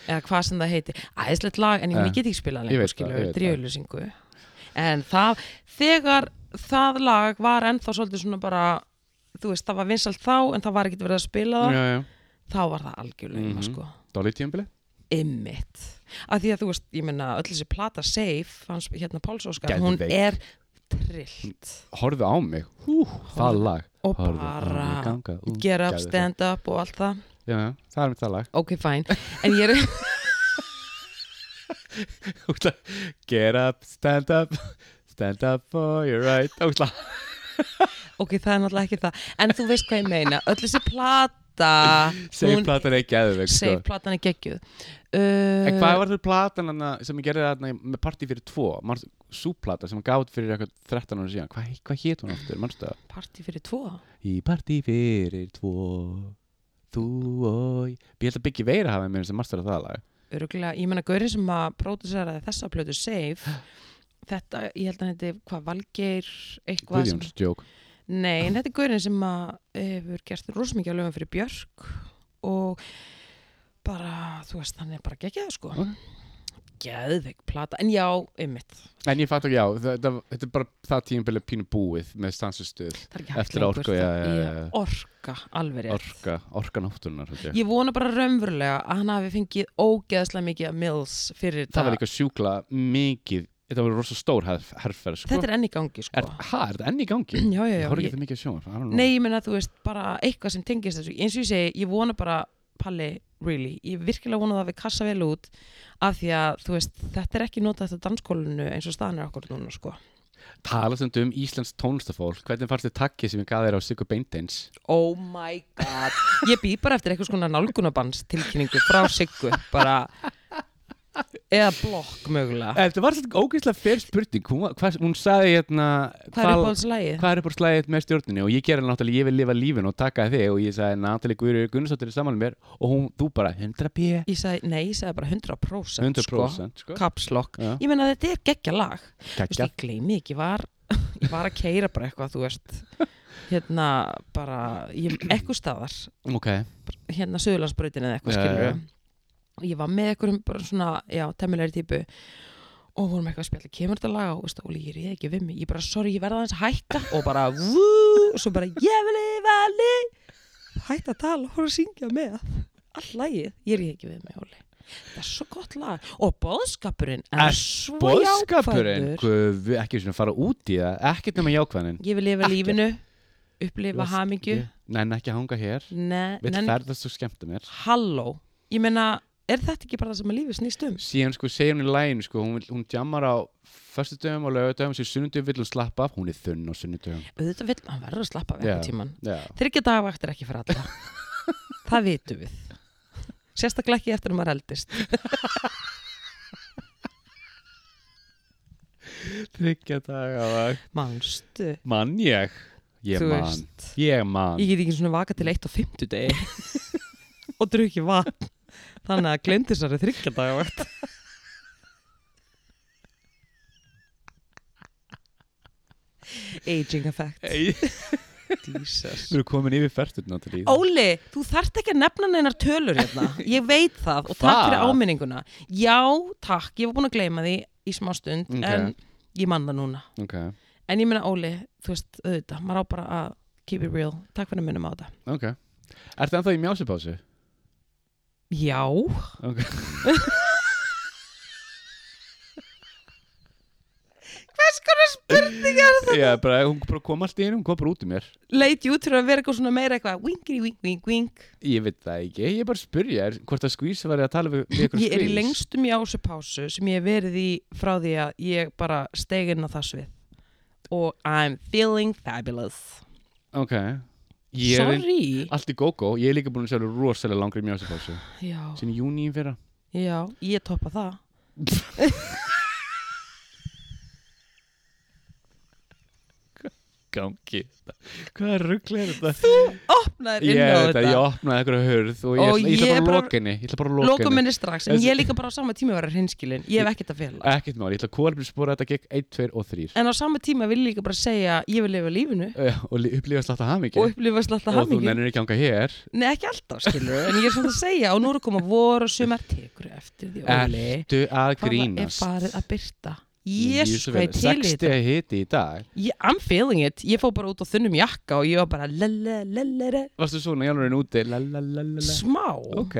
[SPEAKER 1] eða hvað sem það heiti æðislegt lag, en ég,
[SPEAKER 2] Já.
[SPEAKER 1] ég get ekki spilað
[SPEAKER 2] Ég veit
[SPEAKER 1] lengur
[SPEAKER 2] það,
[SPEAKER 1] skilur,
[SPEAKER 2] ég veit
[SPEAKER 1] þetta er í
[SPEAKER 2] það.
[SPEAKER 1] auðlýsingu en það, þegar það lag var ennþá svolítið svona bara þú veist, það var vinsalt þá en það var ekkert verið að spila það
[SPEAKER 2] Já, já,
[SPEAKER 1] þá var það algjörlega mm
[SPEAKER 2] Mhm.
[SPEAKER 1] sko,
[SPEAKER 2] dolly tímbili
[SPEAKER 1] ymmit af því að þú veist, ég menna, öll þessi plata Safe, hans hérna Páls Óskar,
[SPEAKER 2] Geðveik.
[SPEAKER 1] hún er trillt
[SPEAKER 2] Horfðu á mig, hú, það lag
[SPEAKER 1] og
[SPEAKER 2] Horfðu á mig
[SPEAKER 1] bara
[SPEAKER 2] ganga út,
[SPEAKER 1] get up,
[SPEAKER 2] geðveikt.
[SPEAKER 1] stand up og allt það
[SPEAKER 2] Já, já, það er mitt það lag
[SPEAKER 1] ok, fæn, en ég er
[SPEAKER 2] Óksla, Get up, stand up Stand up for your right Óksla,
[SPEAKER 1] ok, það er náttúrulega ekki það en þú veist hvað ég meina, öll þessi plata
[SPEAKER 2] Segir platan ekki aðeins sko.
[SPEAKER 1] save platan er geggjuð
[SPEAKER 2] En
[SPEAKER 1] uh,
[SPEAKER 2] hvað var þetta platan hana, sem ég gerði þarna í- með partí fyrir tvo manstu, Súplata sem hann gátt fyrir eitthvað 13 ára síðan Hvað hva hét hún aftur, manstu það?
[SPEAKER 1] party fyrir tvo
[SPEAKER 2] Í partí fyrir tvo Þú og ég Ég held að Biggi Veira hafa mér sem master af það lag
[SPEAKER 1] öruglega, ég meina gaurinn sem að próduseraði þessa plötu save þetta, ég held að þetta er hvað valgeir eitthvað sem,
[SPEAKER 2] Guðjóns, djók
[SPEAKER 1] nei, en þetta er gaurinn sem að hefur gert rosa mikið að lögum fyrir Björk og bara, þú veist, hann er bara geggjað sko
[SPEAKER 2] Ok.
[SPEAKER 1] geðveik plata, en já, einmitt
[SPEAKER 2] En ég fatt ekki, já, þetta, þetta er bara það tímabilið pínu búið með stansustuð
[SPEAKER 1] það er ekki hægt
[SPEAKER 2] Eftir orku,
[SPEAKER 1] lengur, það
[SPEAKER 2] já, já, já,
[SPEAKER 1] er
[SPEAKER 2] já.
[SPEAKER 1] orka, alveg rétt
[SPEAKER 2] Orka, orka náttúrunar held ég.
[SPEAKER 1] Ég vona bara raunverulega að hann hafi fengið ógeðslega mikið af Mills fyrir
[SPEAKER 2] Það var líka sjúkla mikið Þetta var rosa stór herf, herferð sko.
[SPEAKER 1] Þetta er enn í gangi sko
[SPEAKER 2] Er, ha, er þetta enn í gangi?
[SPEAKER 1] Já, já, já
[SPEAKER 2] ég horf ekki
[SPEAKER 1] ég,
[SPEAKER 2] það mikið að sjóma
[SPEAKER 1] Nei, ég meina þú veist bara eitthvað sem tengist þessu eins og ég segi, ég vona bara Palli, really, ég virkilega vona það við kassa vel út af því að þú veist þetta er ekki notað þetta danskólinu eins og staðan er okkur núna sko
[SPEAKER 2] Tala samt um Íslands tónlistafólk Hvernig fannst þið takkið sem ég gaf þér á Sigur Beinteins?
[SPEAKER 1] Oh my god Ég bý bara eftir eitthvað svona nálgunabans tilkynningu frá Siggu bara eða blokk mögulega
[SPEAKER 2] Eh, Þetta var svolítið ógeðslega fyrir spurning Hún, var- hvað, hún sagði hérna
[SPEAKER 1] Hvað er upp á þessu lægið?
[SPEAKER 2] Hvað er upp á slæðið með stjórninni og ég gerði náttúrulega ég vil lifa lífinu og taka þig og ég sagði Natalie Guðri Gunnarsdóttir er samanlega mér og hún, þú bara 100 p
[SPEAKER 1] Ég sagði, nei, ég sagði bara 100%,
[SPEAKER 2] 100% sko,
[SPEAKER 1] sko, kapslokk
[SPEAKER 2] Já.
[SPEAKER 1] Ég meina þetta er geggja lag Þú veist,
[SPEAKER 2] Geggjað.
[SPEAKER 1] Ég gleymi ekki, ég var, ég var að keira bara eitthvað, þú veist Hérna, bara, ég, eitthvað staðar
[SPEAKER 2] Ok,
[SPEAKER 1] Hérna, Suðurlandsbrautin eða eitthvað
[SPEAKER 2] Já,
[SPEAKER 1] skilur
[SPEAKER 2] já, já.
[SPEAKER 1] Og ég var með eitthvað bara svona, já, temmilegri típu Og vorum eitthvað að spjalla, kemur þetta lag á, veist, Óli, ég reyði ekki við mig Ég bara, sorry, ég verða aðeins að hækka Og bara, vú, og svo bara, ég vil lifa lí hætt að tala og fór að syngja með all lagið, ég er ekki við með Óli það er svo gott lag og boðskapurinn er svo
[SPEAKER 2] Boðskapurinn,
[SPEAKER 1] jákvæður
[SPEAKER 2] guð, ekki svona fara út í það Ekkert nema jákvæðin
[SPEAKER 1] ég vil lifa
[SPEAKER 2] Ekkert.
[SPEAKER 1] lífinu upplifa
[SPEAKER 2] Last
[SPEAKER 1] hamingju
[SPEAKER 2] Nenn ekki að hanga hér
[SPEAKER 1] Nei,
[SPEAKER 2] Við
[SPEAKER 1] nei,
[SPEAKER 2] ferðast og skemmta mér
[SPEAKER 1] halló ég meina, er þetta ekki bara það sem að lífi snýst um
[SPEAKER 2] Síðan sko segir hún í læginu sko Hún, vill- hún jammar á föstudöfum og lögudöfum Sér sunnudöfum vill hún slappa af Hún er þunn á sunnudöfum
[SPEAKER 1] auðvitað vil, hann verður að slappa af
[SPEAKER 2] Já.
[SPEAKER 1] yeah. tíman
[SPEAKER 2] Já,
[SPEAKER 1] þryggja dagavakt er ekki fyrir alla það vitum við sérstaklega ekki eftir að maður eldist
[SPEAKER 2] tryggja daga
[SPEAKER 1] manstu,
[SPEAKER 2] Mann ég Ég
[SPEAKER 1] þú
[SPEAKER 2] mann
[SPEAKER 1] veist
[SPEAKER 2] Ég mann
[SPEAKER 1] ég get ekki svona vaka til 1 og 50 degi og drukki vatn þannig að glemt þessari þryggja dagavakt aging effect
[SPEAKER 2] Hey,
[SPEAKER 1] Jesus
[SPEAKER 2] Við erum komin yfir færtur náttúrulega
[SPEAKER 1] Óli, þú þarft ekki að nefna neinar tölur hérna. Ég veit það og takk
[SPEAKER 2] Það?
[SPEAKER 1] fyrir áminninguna. Já, takk, ég var búin að gleyma því í smá stund
[SPEAKER 2] Ok.
[SPEAKER 1] en ég man það núna.
[SPEAKER 2] Ok,
[SPEAKER 1] En ég meina Óli, þú veist, auðvitað, maður á bara að keep it real. Takk fyrir að minnum á þetta.
[SPEAKER 2] ok Ertu ennþá í mjásipásu?
[SPEAKER 1] Já,
[SPEAKER 2] Ok
[SPEAKER 1] hvers konar spurningar það?
[SPEAKER 2] Já, bara, hún bara kom allt í henni, hún kom bara út um mér
[SPEAKER 1] Leit ég út fyrir að vera eitthvað svona meira eitthvað wingri, wing, wing, wing.
[SPEAKER 2] Ég veit það ekki, ég er bara að spurja þér hvort að skvís var að tala við, við ykkur um
[SPEAKER 1] Ég er í
[SPEAKER 2] skvís.
[SPEAKER 1] lengstum jásupásu sem ég hef verið í frá því að ég bara steig inn á það svið. Og I'm feeling fabulous.
[SPEAKER 2] Ok ég er,
[SPEAKER 1] Sorry.
[SPEAKER 2] Allt í gógó, ég er líka búin að sjálfur rosalega langri mjásipásu
[SPEAKER 1] Já.
[SPEAKER 2] Sýn í júni í fyrra
[SPEAKER 1] Já, ég toppa það
[SPEAKER 2] Gangi Hvaða ruggli er þetta?
[SPEAKER 1] Þú opnaðir
[SPEAKER 2] Ég
[SPEAKER 1] inn á
[SPEAKER 2] veit
[SPEAKER 1] þetta
[SPEAKER 2] að ég opnaði eitthvað hurð og ég,
[SPEAKER 1] Og
[SPEAKER 2] ætla, ég
[SPEAKER 1] ég
[SPEAKER 2] ætla bara
[SPEAKER 1] bara-
[SPEAKER 2] að loka henni Ég ætla bara að loka
[SPEAKER 1] Loka
[SPEAKER 2] henni
[SPEAKER 1] minni strax, en
[SPEAKER 2] Þessi-
[SPEAKER 1] ég er líka bara á sama tíma að vera hinskilin Ég hef ekkert að fela
[SPEAKER 2] Ekkert mál, ég ætla að kólbjörn spora þetta gekk 1, 2 og 3
[SPEAKER 1] En á sama tíma vil ég líka bara segja Ég vil lifa lífinu
[SPEAKER 2] Eh, Og li- upplifa slátt að hamingi
[SPEAKER 1] og upplifa slatta
[SPEAKER 2] Og þú
[SPEAKER 1] hamingi
[SPEAKER 2] nennir ekki að hanga hér
[SPEAKER 1] Nei, ekki alltaf, skilur En ég er svona að segja Og nú er að koma vor og sumar Tekur eftir því, Óli
[SPEAKER 2] Ertu
[SPEAKER 1] Hvað það er
[SPEAKER 2] að grínast?
[SPEAKER 1] farið að byrta Jésu, hvað
[SPEAKER 2] Jú, svo vel.
[SPEAKER 1] ég til í
[SPEAKER 2] 60
[SPEAKER 1] þetta
[SPEAKER 2] hiti í dag
[SPEAKER 1] Ég- I'm feeling it Ég fó bara út á þunnum jakka Og ég var bara lele, lele, lele
[SPEAKER 2] Varstu svona í alveg úti? La, la, la, la, la.
[SPEAKER 1] Smá
[SPEAKER 2] Ok,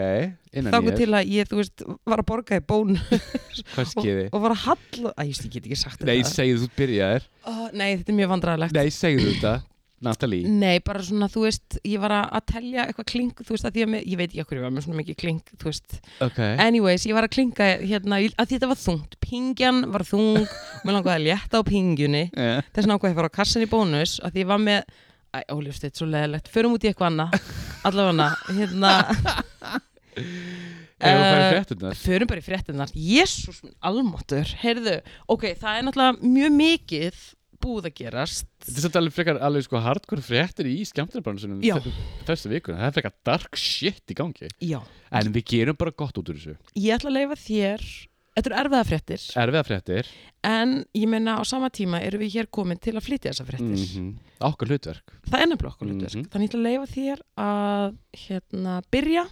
[SPEAKER 2] innan
[SPEAKER 1] Þá
[SPEAKER 2] ég
[SPEAKER 1] til að ég, þú veist, var að borga í bón
[SPEAKER 2] Hvað skeiði?
[SPEAKER 1] og var að halla Æ, ég get ekki sagt
[SPEAKER 2] Nei,
[SPEAKER 1] þetta
[SPEAKER 2] segðu þú byrjaðir
[SPEAKER 1] Ó, Nei, þetta er mjög vandræðilegt nei.
[SPEAKER 2] Nei, segðu þetta Natalie
[SPEAKER 1] bara svona, þú veist, ég var að- að telja eitthvað klink, þú veist, að því að mér, ég veit ekki okkur ég var með svona mikið klink, þú veist
[SPEAKER 2] Ok
[SPEAKER 1] Anyways, ég var að klinka hérna, í- að þetta var þungt, pingjan var þung og mér langaði að létta á pingjunni
[SPEAKER 2] Eh,
[SPEAKER 1] þess vegna ákvað ég að fara á kassan í bónus að því ég var með, æ, Ólífst, þetta er svo leðilegt förum út í eitthvað annað, allavega hérna
[SPEAKER 2] Ef þú færi
[SPEAKER 1] Eh,
[SPEAKER 2] fréttunar
[SPEAKER 1] Förum bara í fréttinnar, jésús minn almáttur, heyrðu, ok, það er náttúrulega mjög mikið búið að gerast
[SPEAKER 2] Þetta er svolítið alveg frekar alveg sko hardcore fréttir í skemmtarbrannsunum
[SPEAKER 1] Já.
[SPEAKER 2] Þessu vikuna, það er frekar dark shit í gangi
[SPEAKER 1] Já,
[SPEAKER 2] En við gerum bara gott út úr þessu
[SPEAKER 1] ég ætla að leifa þér, þetta eru erfiða fréttir,
[SPEAKER 2] Erfiða fréttir
[SPEAKER 1] en ég meina á sama tíma erum við hér komin til að flytja þessa fréttir.
[SPEAKER 2] Mhm. Okkar hlutverk
[SPEAKER 1] Það er nefnilega okkur hlutverk,
[SPEAKER 2] Mhm.
[SPEAKER 1] þannig ég ætla að leifa þér að hérna byrja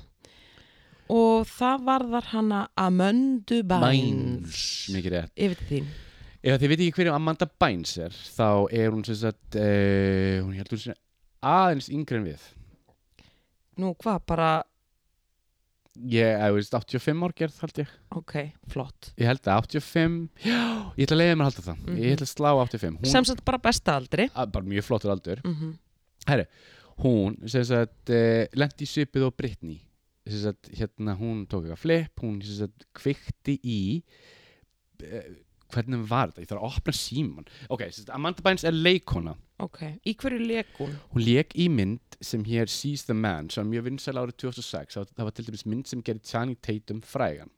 [SPEAKER 1] og það varðar hana Amöndu Bæns
[SPEAKER 2] Mikið rétt
[SPEAKER 1] yfir til þín.
[SPEAKER 2] Ef þið veit ekki hverju Amanda Bynes er þá er hún sem sagt uh, hún heldur sem aðeins yngri en við
[SPEAKER 1] Nú hvað, bara,
[SPEAKER 2] ég, eða þú veist, 85 ár gerð held ég
[SPEAKER 1] ok, flott.
[SPEAKER 2] ég held að 85, já, ég ætla að leiða mér að halda það ég ætla að slá 85 hún,
[SPEAKER 1] Mhm.
[SPEAKER 2] Mhm,
[SPEAKER 1] Sem sagt bara besta aldri.
[SPEAKER 2] að, bara mjög flottur aldur
[SPEAKER 1] Mm
[SPEAKER 2] hún sem sagt uh, lendi í svipið og Britney sem sagt, hérna hún tók eitthvað flip hún sem sagt kveikti í uh, hvernig var þetta ég þarf að opna síman ok, sem sagt, Amanda Bynes er leikona
[SPEAKER 1] Ok, í hverju lekun?
[SPEAKER 2] Hún leik í mynd sem hér Seize the Man sem var mjög vinsæl árið 2006 það það var til dæmis mynd sem gerði Channing Tatum frægan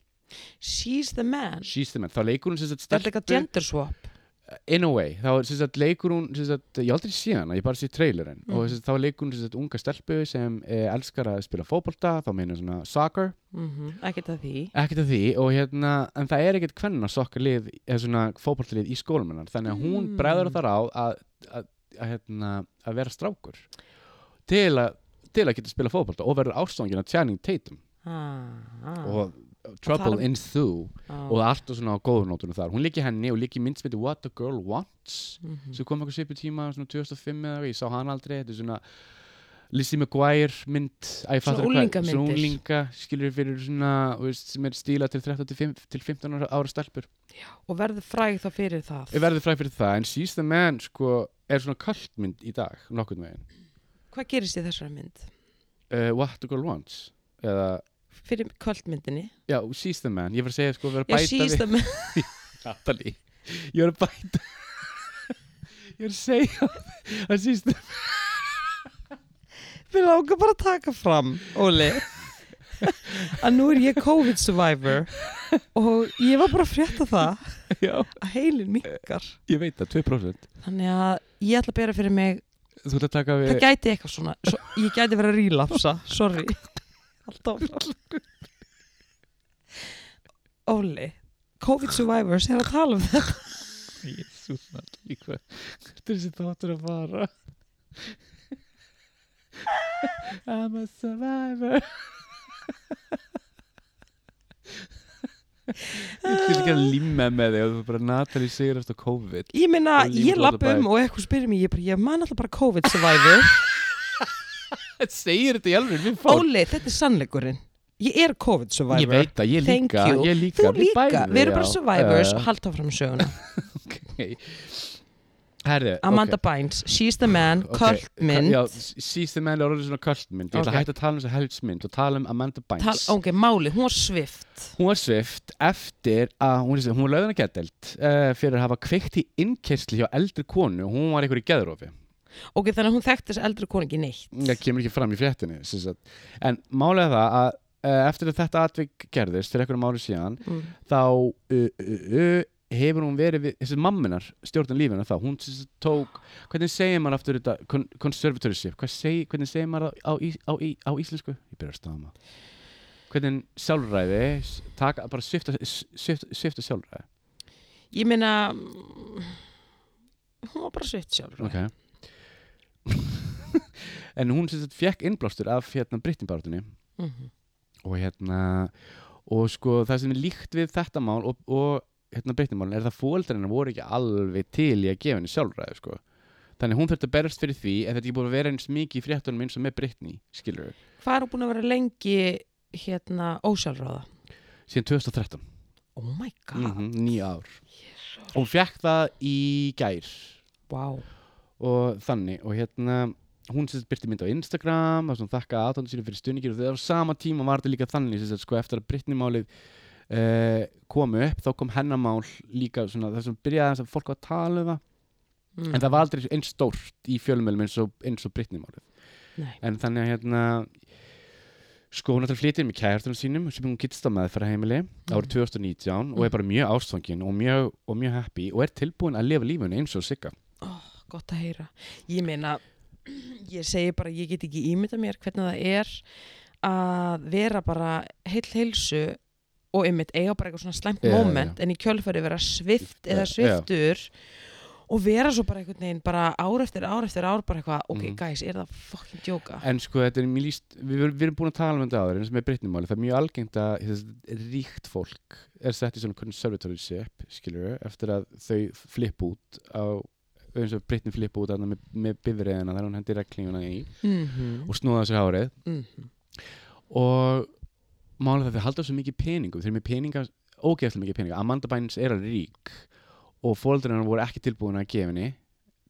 [SPEAKER 1] She's the man
[SPEAKER 2] Seize the Man, þá leikur hún sem sagt
[SPEAKER 1] Þetta er eitthvað
[SPEAKER 2] stelpu
[SPEAKER 1] gender swap
[SPEAKER 2] in a way, þá sem sagt leikur hún sem sagt, ég hef aldrei sé hana, ég bara sé trailerinn
[SPEAKER 1] Mm.
[SPEAKER 2] og sem sagt, þá leikur hún sem sagt unga stelpu sem eh, elskar að spila fótbolta, þá meina svona soccer,
[SPEAKER 1] mm Ekkert að því
[SPEAKER 2] ekkert af því og hérna, en það er ekkert hvernig soccer lið, eða svona fótboltalið í skólum hennar, þannig að hún
[SPEAKER 1] Mm.
[SPEAKER 2] bregður þar á að, að, að, hérna, að vera strákur til að til að geta að spila fótbolta og verður ástofangin að Channing Tatum
[SPEAKER 1] ah, um- ah,
[SPEAKER 2] og Trouble
[SPEAKER 1] þar-
[SPEAKER 2] in Thu
[SPEAKER 1] ah.
[SPEAKER 2] og allt og svona á góðurnótunum þar hún líki henni og líki mynd sem heitir What the Girl Wants
[SPEAKER 1] Mhm.
[SPEAKER 2] sem kom eitthvað svipu tíma svona 2005 eða eitthvað, ég sá hann aldrei þetta er svona Lizzie McGuire mynd æ, ég fattar hvað-
[SPEAKER 1] unglingamyndir.
[SPEAKER 2] svona unglinga skilur fyrir svona þú veist, sem er stíla til 13 til 5 til 15 ára, ára stelpur
[SPEAKER 1] og verður fræg þá fyrir það
[SPEAKER 2] ég verði fræg fyrir það en She's the Man sko er svona kaltmynd í dag nokkurn veginn
[SPEAKER 1] hvað gerist í þessari mynd?
[SPEAKER 2] uh, What the Girl Wants eða
[SPEAKER 1] fyrir kvöldmyndinni
[SPEAKER 2] já She's the Man ég var að segja sko verið
[SPEAKER 1] já,
[SPEAKER 2] að bæta
[SPEAKER 1] síðast að mynd
[SPEAKER 2] Natalie ég var að bæta ég var að segja að She's the
[SPEAKER 1] við lágum bara að taka fram, Óli að nú er ég COVID survivor og ég var bara að frétta það
[SPEAKER 2] já
[SPEAKER 1] að heilin minkar
[SPEAKER 2] ég veit það 2%
[SPEAKER 1] þannig að ég ætla að bera fyrir mig
[SPEAKER 2] þú ætla að taka við
[SPEAKER 1] það gæti eitthvað svona svo, ég gæti verið að rílapsa, sorry alltaf áfram. Óli COVID survivors er að tala um það
[SPEAKER 2] Jesús Natalie, hvað hvert er þessi þáttur að fara? I'm a survivor Ég vil ekki að limma með þig og þú bara Natalie sigurast á COVID
[SPEAKER 1] ég meina,
[SPEAKER 2] Og lífið
[SPEAKER 1] ég lapp
[SPEAKER 2] út á
[SPEAKER 1] um og eitthvað spyrir mér ég, bara, ég man alltaf bara COVID survivor
[SPEAKER 2] Segir þetta í alveg, við
[SPEAKER 1] Óli, þetta er sannleikurinn Ég er COVID survivor
[SPEAKER 2] Ég veit það, ég
[SPEAKER 1] Thank
[SPEAKER 2] líka,
[SPEAKER 1] you.
[SPEAKER 2] ég líka
[SPEAKER 1] Þú
[SPEAKER 2] við
[SPEAKER 1] líka,
[SPEAKER 2] bæði,
[SPEAKER 1] við erum bara
[SPEAKER 2] já.
[SPEAKER 1] survivors
[SPEAKER 2] Já,
[SPEAKER 1] uh, Haldt áfram söguna
[SPEAKER 2] okay. Herri,
[SPEAKER 1] Amanda Bynes, She's the Man,
[SPEAKER 2] Ok,
[SPEAKER 1] okay. Kultmynd
[SPEAKER 2] Já, She's the Man er orðið svona kultmynd Ég ætla að
[SPEAKER 1] Ok.
[SPEAKER 2] hætta að tala um þessa heldsmynd og tala um Amanda Bynes
[SPEAKER 1] Tal, Ok, máli, hún var svift
[SPEAKER 2] Hún var svift eftir að hún, hún var löðan að getdelt uh, fyrir að hafa kveikt í innkersli hjá eldri konu hún var einhver í geðrófi
[SPEAKER 1] Ok, þannig að hún þekkti þessi eldri koningi neitt
[SPEAKER 2] það kemur ekki fram í fréttinni sem sagt. en málega það að uh, eftir að þetta atvik gerðist fyrir einhverjum ári síðan
[SPEAKER 1] mm.
[SPEAKER 2] þá uh, uh, uh, hefur hún verið við, þessi mamminar stjórnum lífina þá, hún sem sagt tók hvernig segir maður aftur þetta kon- conservatorship, Hvað seg, hvernig segir maður á, á, í- á, í- á íslensku, ég byrja að stama hvernig sjálfræði s- taka, bara svifta, svifta, svifta sjálfræði
[SPEAKER 1] Ég meina mm, Hún var bara svift sjálf
[SPEAKER 2] Ok En hún sem sagt fekk innblástur af hérna Brittinbáratunni
[SPEAKER 1] mm
[SPEAKER 2] og hérna og sko það sem er líkt við þetta mál og, og hérna Brittinmálin er það fóldrennar voru ekki alveg til í að gefa henni sjálfræði sko Þannig hún þurfti að berast fyrir því en þetta er ekki búið að vera eins mikið í fréttunum eins og með Brittany, skilur við,
[SPEAKER 1] Hvað er hún búin að vera lengi hérna ósjálfráða?
[SPEAKER 2] síðan 2013,
[SPEAKER 1] Oh my god,
[SPEAKER 2] mm nýja ár. Og hún fekk það í gær,
[SPEAKER 1] wow
[SPEAKER 2] og þannig og hérna hún sem sagt byrti mynd á Instagram og svona þakka aðtöndu sínu fyrir stunningir og þegar á sama tíma var þetta líka þannig sem sagt sko eftir að Britney-málið uh, kom upp þá kom hennamál líka svona þar sem byrjaði aðeins að fólk var að tala um það
[SPEAKER 1] mm.
[SPEAKER 2] en það var aldrei eins stórt í fjölmjölum eins og, eins og Britney-málið
[SPEAKER 1] Nei.
[SPEAKER 2] en þannig að hérna sko hún ætlar að flytja inn með kærtunum sínum sem hún gittst á meðfæra heimili
[SPEAKER 1] Mm.
[SPEAKER 2] árið 2019 og er bara mjög ástfangin og mjög, og mjög happy og er tilbúin að lifa lífun eins og sigga
[SPEAKER 1] gott að heyra ég meina, ég segi bara ég get ekki ímynda mér hvernig það er að vera bara heill heilsu og einmitt eiga bara eitthvað svona slæmt
[SPEAKER 2] Já,
[SPEAKER 1] moment en í kjölfæri vera svift eða
[SPEAKER 2] Já, já.
[SPEAKER 1] sviftur og vera svo bara einhvern veginn bara ár eftir ár eftir ár bara eitthvað, ok
[SPEAKER 2] Mhm.
[SPEAKER 1] guys, er það fucking djóka
[SPEAKER 2] En sko þetta er mjög líst, við, við erum búin að tala um þetta áður eins og með brittnumáli, það er mjög algengt að þessi ríkt fólk er sett í svona conservatorship, skilur við, eftir að þau flipp út á eins og brittnum flipp út þarna með, með bifriðina þar hún hendi reglinguna í
[SPEAKER 1] mm
[SPEAKER 2] og snúða sér hárið
[SPEAKER 1] mm
[SPEAKER 2] og málega það þau halda svo mikið peningum, þau eru með peninga, ógeðslega mikið peninga, Amanda Bynes er alveg rík og fóldurinn hennar voru ekki tilbúin að gefa henni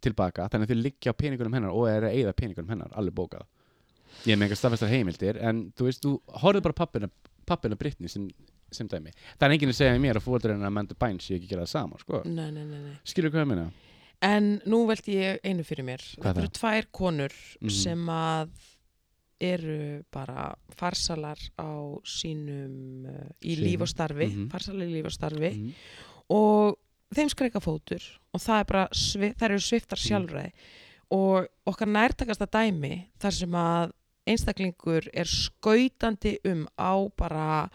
[SPEAKER 2] tilbaka, þannig að þau liggja á peningunum hennar og er að eigða peningunum hennar, alveg bókað ég er með eitthvað staðfestar heimildir en þú veist, þú horfðu bara á pappina pappina Brittany sem, sem dæmi það er enginn að segja mér að fóldurinn hennar Amanda Bynes sé ekki að gera það sama, sko,
[SPEAKER 1] Nei, nei, nei, nei.
[SPEAKER 2] skilur hvað ég meina
[SPEAKER 1] en nú velti ég einu fyrir mér
[SPEAKER 2] Hvað
[SPEAKER 1] þetta eru tvær konur
[SPEAKER 2] Mhm.
[SPEAKER 1] sem að eru bara farsalar á sínum uh, í
[SPEAKER 2] Sínum.
[SPEAKER 1] líf og starfi
[SPEAKER 2] Mhm.
[SPEAKER 1] farsalar í líf og starfi
[SPEAKER 2] Mhm.
[SPEAKER 1] og þeim skreika fótur og það er bara, svi- þær eru sviftar sjálfræði og okkar nærtakasta dæmi þar sem að einstaklingur er skautandi um á bara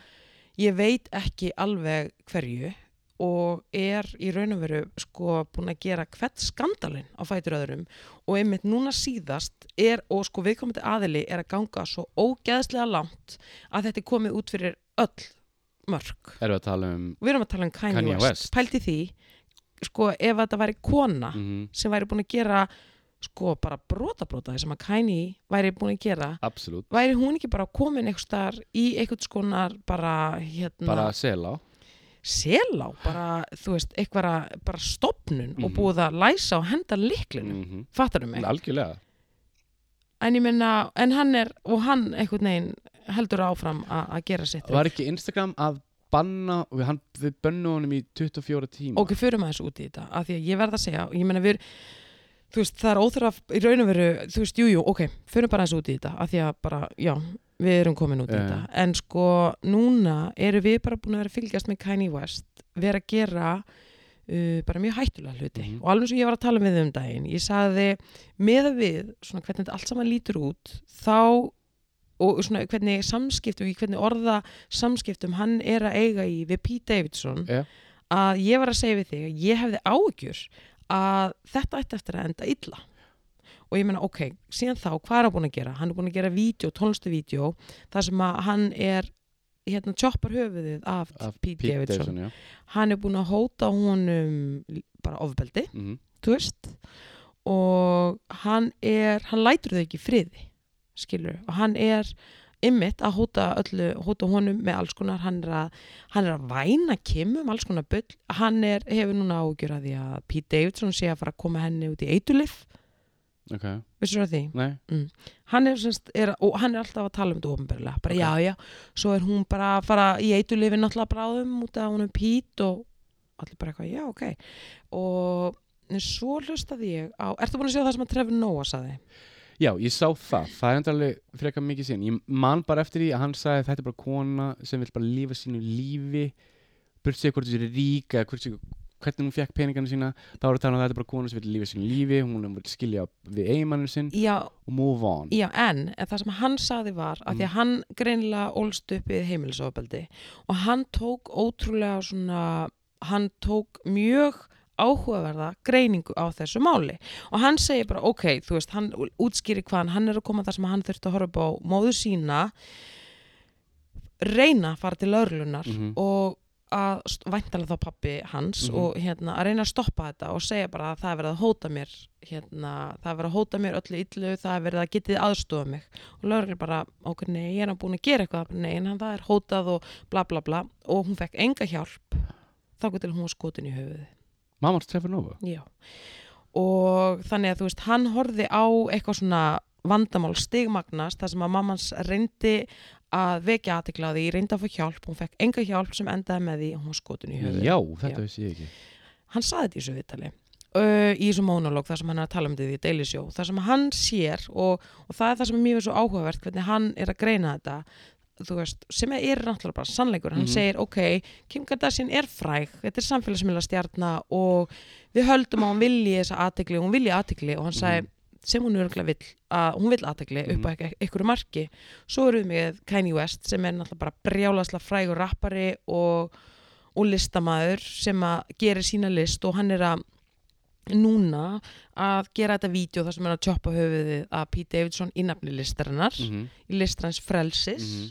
[SPEAKER 1] ég veit ekki alveg hverju og er í raun og veru sko búin að gera hvert skandalinn á fætur öðrum og einmitt núna síðast er og sko viðkomandi aðili er að ganga svo ógeðslega langt að þetta er komið út fyrir öll mörg.
[SPEAKER 2] erum við að tala um
[SPEAKER 1] Við erum að tala um Kanye,
[SPEAKER 2] Kanye
[SPEAKER 1] West.
[SPEAKER 2] West.
[SPEAKER 1] Pældi því, sko ef þetta væri kona
[SPEAKER 2] mm
[SPEAKER 1] sem væri búin að gera sko bara brotabrotaði sem að Kanye væri búin að gera
[SPEAKER 2] absolutt
[SPEAKER 1] væri hún ekki bara komin einhvers staðar í einhvers konar bara hérna
[SPEAKER 2] bara sela
[SPEAKER 1] selá, bara þú veist eitthvað bara stopnun og
[SPEAKER 2] Mhm.
[SPEAKER 1] búið að læsa og henda liklinu,
[SPEAKER 2] mm -hmm.
[SPEAKER 1] fattar mig
[SPEAKER 2] algjörlega
[SPEAKER 1] en ég minna, en hann er og hann einhvern veginn heldur áfram a- að gera sitt
[SPEAKER 2] var ekki Instagram að banna og hann, við bönnu honum í 24 tíma
[SPEAKER 1] ok, fyrir maður þessu út í þetta af því að ég verð að segja, og ég meina við þú veist, það er óþraf í raun og veru þú veist, jú, jú, ok, fyrir bara þessu út í þetta af því að bara, já, við erum komin út í
[SPEAKER 2] Já.
[SPEAKER 1] þetta en sko, núna eru við bara búin að vera að fylgjast með Kanye West vera að gera uh, bara mjög hættulega hluti
[SPEAKER 2] Mhm.
[SPEAKER 1] og alveg eins og ég var að tala með þau um daginn ég sagði, með að við svona hvernig þetta allt saman lítur út þá og svona hvernig samskiptum í hvernig orða samskiptum hann er að eiga í við Pete Davidson
[SPEAKER 2] Já.
[SPEAKER 1] að ég var að segja við þig að ég hefði áhyggjur að þetta ætti eftir að enda illa og ég meina ok, síðan þá hvað er hann búin að gera? Hann er búin að gera vídeo, tónlistu vídeo þar sem að hann er hérna tjoppar höfuðið af,
[SPEAKER 2] Af
[SPEAKER 1] Pete, Davidson.
[SPEAKER 2] já.
[SPEAKER 1] hann er búin að hóta honum bara ofbeldi,
[SPEAKER 2] Mm
[SPEAKER 1] þú veist og hann er hann lætur þau ekki í friði skilur, og hann er ymmit að hóta öllu, hóta honum með alls konar, hann er að, hann er að væna Kim um alls konar bull, hann er hefur núna ágjur að því að Pete Davidson sé að fara að koma henni út í eitulif
[SPEAKER 2] ok,
[SPEAKER 1] vissur það því?
[SPEAKER 2] nei
[SPEAKER 1] hann er, semst, er, og hann er alltaf að tala um þetta ofinberilega bara já, já, svo er hún bara að fara í eitulifin náttúrulega bráðum út af honum pít og allir bara eitthvað, já, ok og en svo hlustaði ég á, ertu búin að sjá það sem að Trevor Noah saði?
[SPEAKER 2] Já, ég sá það, það er enda alveg frekar mikið síðan Ég man bara eftir því að hann sagði þetta er bara kona sem vil bara lifa sínu lífi Burt segja hvort þessi er rík eða hvort þessi hvernig hún fekk peningana sína þá er það að þetta er bara kona sem vil lifa sínu lífi hún vil skilja við eiginmannu sinn
[SPEAKER 1] Já,
[SPEAKER 2] og move on
[SPEAKER 1] já, en, en það sem hann saði var að því að hann greinilega ólst upp við heimilisofabeldi og hann tók ótrúlega svona hann tók mjög áhugaverða greiningu á þessu máli og hann segir bara ok, þú veist hann útskýri hvaðan, hann er að koma þar sem hann þurfti að horfa upp á móðu sína reyna að fara til örlunar
[SPEAKER 2] Mhm.
[SPEAKER 1] og að væntalega þá pappi hans
[SPEAKER 2] Mhm.
[SPEAKER 1] og hérna að reyna að stoppa þetta og segja bara að það er verið að hóta mér hérna, það er verið að hóta mér öllu illu það er verið að getið aðstofa mig og lögreglir bara, ok, nei, ég er að búin að gera eitthvað nei, en hann það er hótað og bla bla bla og hún fekk enga hjálp þá til hún var skotin í höfuði
[SPEAKER 2] Mamma hans trefur nógu
[SPEAKER 1] Já. Og þannig að þú veist, hann horfði á eitthvað svona vandamál stigmagnast þar sem að mammans reyndi að vekja aðtekla því, reyndi að fá hjálp, hún fekk enga hjálp sem endaði með því að hún var skotin í höfuð.
[SPEAKER 2] Já, þetta
[SPEAKER 1] Já.
[SPEAKER 2] vissi ég ekki
[SPEAKER 1] Hann saði þetta í þessu viðtali, uh, í þessu monolog þar sem hann er að tala um þetta í Daily Show, þar sem hann sér og, og það er það sem er mjög svo áhugavert hvernig hann er að greina þetta þú veist, sem er náttúrulega bara sannleikur hann
[SPEAKER 2] Mhm.
[SPEAKER 1] segir, ok, Kim Kardashian er fræg þetta er samfélagsmiðla og við höldum að hún vilji þessa aðtegli og hún vilji aðtegli og hann sagði sem hún örgulega vill, að hún vill aðtegli upp á ekk- einhverju marki, svo erum við með Kanye West sem er náttúrulega bara brjálasla frægur rappari og og listamaður sem að gerir sína list og hann er að núna að gera þetta vídeo þar sem hann er að tjoppa höfuðið að Pete Davidson í nafni listarinnar
[SPEAKER 2] mm
[SPEAKER 1] í listrans frelsis
[SPEAKER 2] Mhm.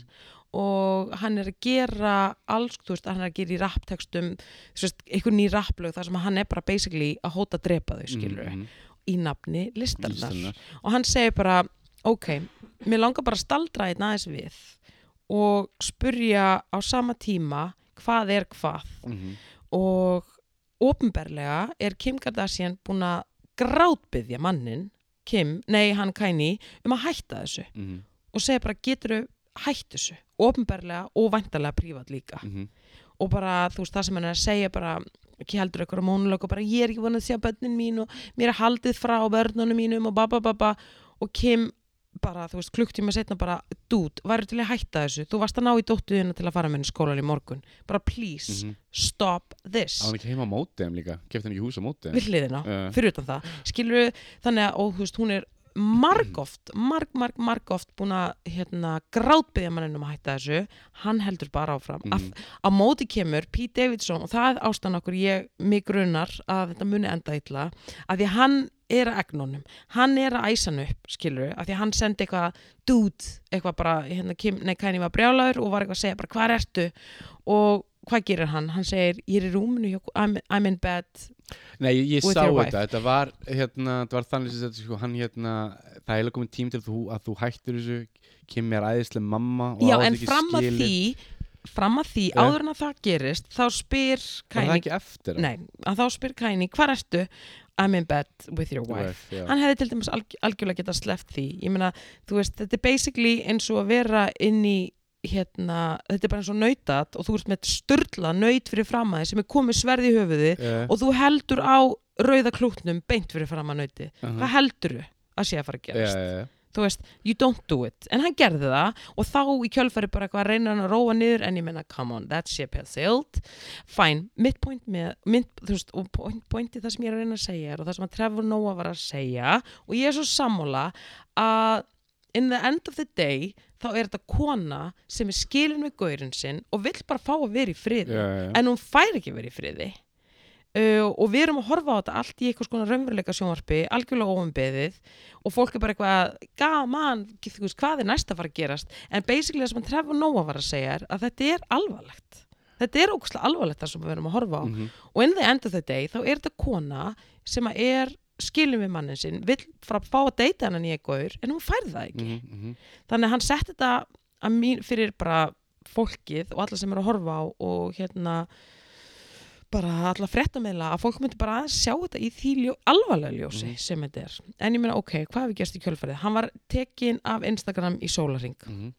[SPEAKER 1] og hann er að gera alls, þú veist, hann er að gera í rapptekstum þú veist, einhver ný rapplög þar sem hann er bara basically að hóta að drepa þau skilur
[SPEAKER 2] Mhm.
[SPEAKER 1] í nafni listarnar og hann segir bara, ok mér langar bara að staldra einn aðeins við og spurja á sama tíma hvað er hvað
[SPEAKER 2] Mhm,
[SPEAKER 1] og ofinberlega er Kim Kardashian búin að grátbyðja mannin Kim, nei hann Kanye um að hætta þessu
[SPEAKER 2] mhm,
[SPEAKER 1] og segja bara getur þau hætt þessu ofinbarlega og vantarlega prívat líka
[SPEAKER 2] Mm. mhm.
[SPEAKER 1] og bara þú veist það sem hann er að segja bara ekki heldur ykkur á mónuleg og bara ég er ekki búin að sjá börnin mín og mér er haldið frá börnunum mínum og babababa og Kim bara þú veist klukktíma setna bara dút, væru til að hætta þessu þú varst að ná í dóttuðina til að fara með henni í skólan í morgun bara please, stop this
[SPEAKER 2] Hann ekki heima Mhm. á móti þeim líka Kefti hann ekki hús á móti þeim
[SPEAKER 1] við hliðina,
[SPEAKER 2] Já.
[SPEAKER 1] fyrir utan það skilur við, þannig að, og þú veist, hún er margoft, marg, marg, margoft búin að, hérna, grátbyðja manninn um að hætta þessu, hann heldur bara áfram mm
[SPEAKER 2] Mhm.
[SPEAKER 1] að, að móti kemur Pete Davidson og það er ástan okkur ég mig grunar að þetta muni enda illa að því að hann er að egnunum hann er að æsa hann upp, skilur við að því að hann sendi eitthvað dude eitthvað bara, hérna, Kim, nei, Kanye var brjálaður og var eitthvað að segja bara, hvar ertu og hvað gerir hann? Hann segir, ég er í rúminu hjá, I'm, I'm in bed
[SPEAKER 2] Nei, ég, ég
[SPEAKER 1] With
[SPEAKER 2] sá
[SPEAKER 1] your wife.
[SPEAKER 2] þetta, þetta var, hérna, þetta var þannig sem þetta, sko, hann hérna, það er eiginlega komið tím til þú, að þú hættir þessu, kemur æðislega mamma og
[SPEAKER 1] Já,
[SPEAKER 2] á þetta
[SPEAKER 1] en
[SPEAKER 2] ekki
[SPEAKER 1] fram að
[SPEAKER 2] skilið.
[SPEAKER 1] því fram að því,
[SPEAKER 2] Já.
[SPEAKER 1] áður en að það gerist þá spyr
[SPEAKER 2] Var það
[SPEAKER 1] Kæni
[SPEAKER 2] ekki eftir
[SPEAKER 1] Nei, að þá spyr Kæni, hvað ertu? I'm in bed with your wife
[SPEAKER 2] já.
[SPEAKER 1] hann hefði til dæmis alg algjörlega getað sleppt því ég meina, þú veist, þetta er basically eins og að vera inn í hérna, þetta er bara eins og nautat og þú ert með störla naut fyrir framæði sem er komið sverði í höfuði
[SPEAKER 2] Eh,
[SPEAKER 1] og þú heldur á rauða klútnum beint fyrir framæði nauti
[SPEAKER 2] aha.
[SPEAKER 1] hvað heldur þú að sé að fara að
[SPEAKER 2] Mhm. Já,
[SPEAKER 1] gerast
[SPEAKER 2] já, já.
[SPEAKER 1] þú veist, you don't do it en hann gerði það og þá í kjölfæri bara eitthvað reynir hann að róa niður en ég meina, come on, that ship has sailed fine, mitt point með mitt, þú veist, og point, pointi það sem ég er að reyna að segja er og það sem að Trevor Noah var að segja og ég er svo sammála að in the end of the day þá er þetta kona sem er skilin við gaurinn sinn og vill bara fá að vera í friði
[SPEAKER 2] Já, já, já.
[SPEAKER 1] en hún fær ekki verið í friði uh, og við erum að horfa á þetta allt í eitthvað skona raunveruleika sjónvarpi algjörlega óumbeðið og fólk er bara eitthvað gaman, þú veist hvað er næst að fara að gerast en basically það sem að Trevor Noah var að segja er að þetta er alvarlegt þetta er ógustlega alvarlegt það sem við erum að horfa á
[SPEAKER 2] Mhm.
[SPEAKER 1] og in the end of the day þá er þetta kona sem að er skilin við mannin sinn, vill frá að fá að deyta hennan í eitthvað en hún færði það ekki
[SPEAKER 2] Mhm, mhm.
[SPEAKER 1] þannig að hann sett þetta að mín, fyrir bara fólkið og alla sem eru að horfa á og hérna bara alla fréttameila að fólk myndi bara aðeins sjá þetta í því ljó, alvarlega ljósi
[SPEAKER 2] Mhm.
[SPEAKER 1] sem þetta er en ég meina ok, hvað hefur gerst í kjölfarið hann var tekin af Instagram í sólaring
[SPEAKER 2] Mhm.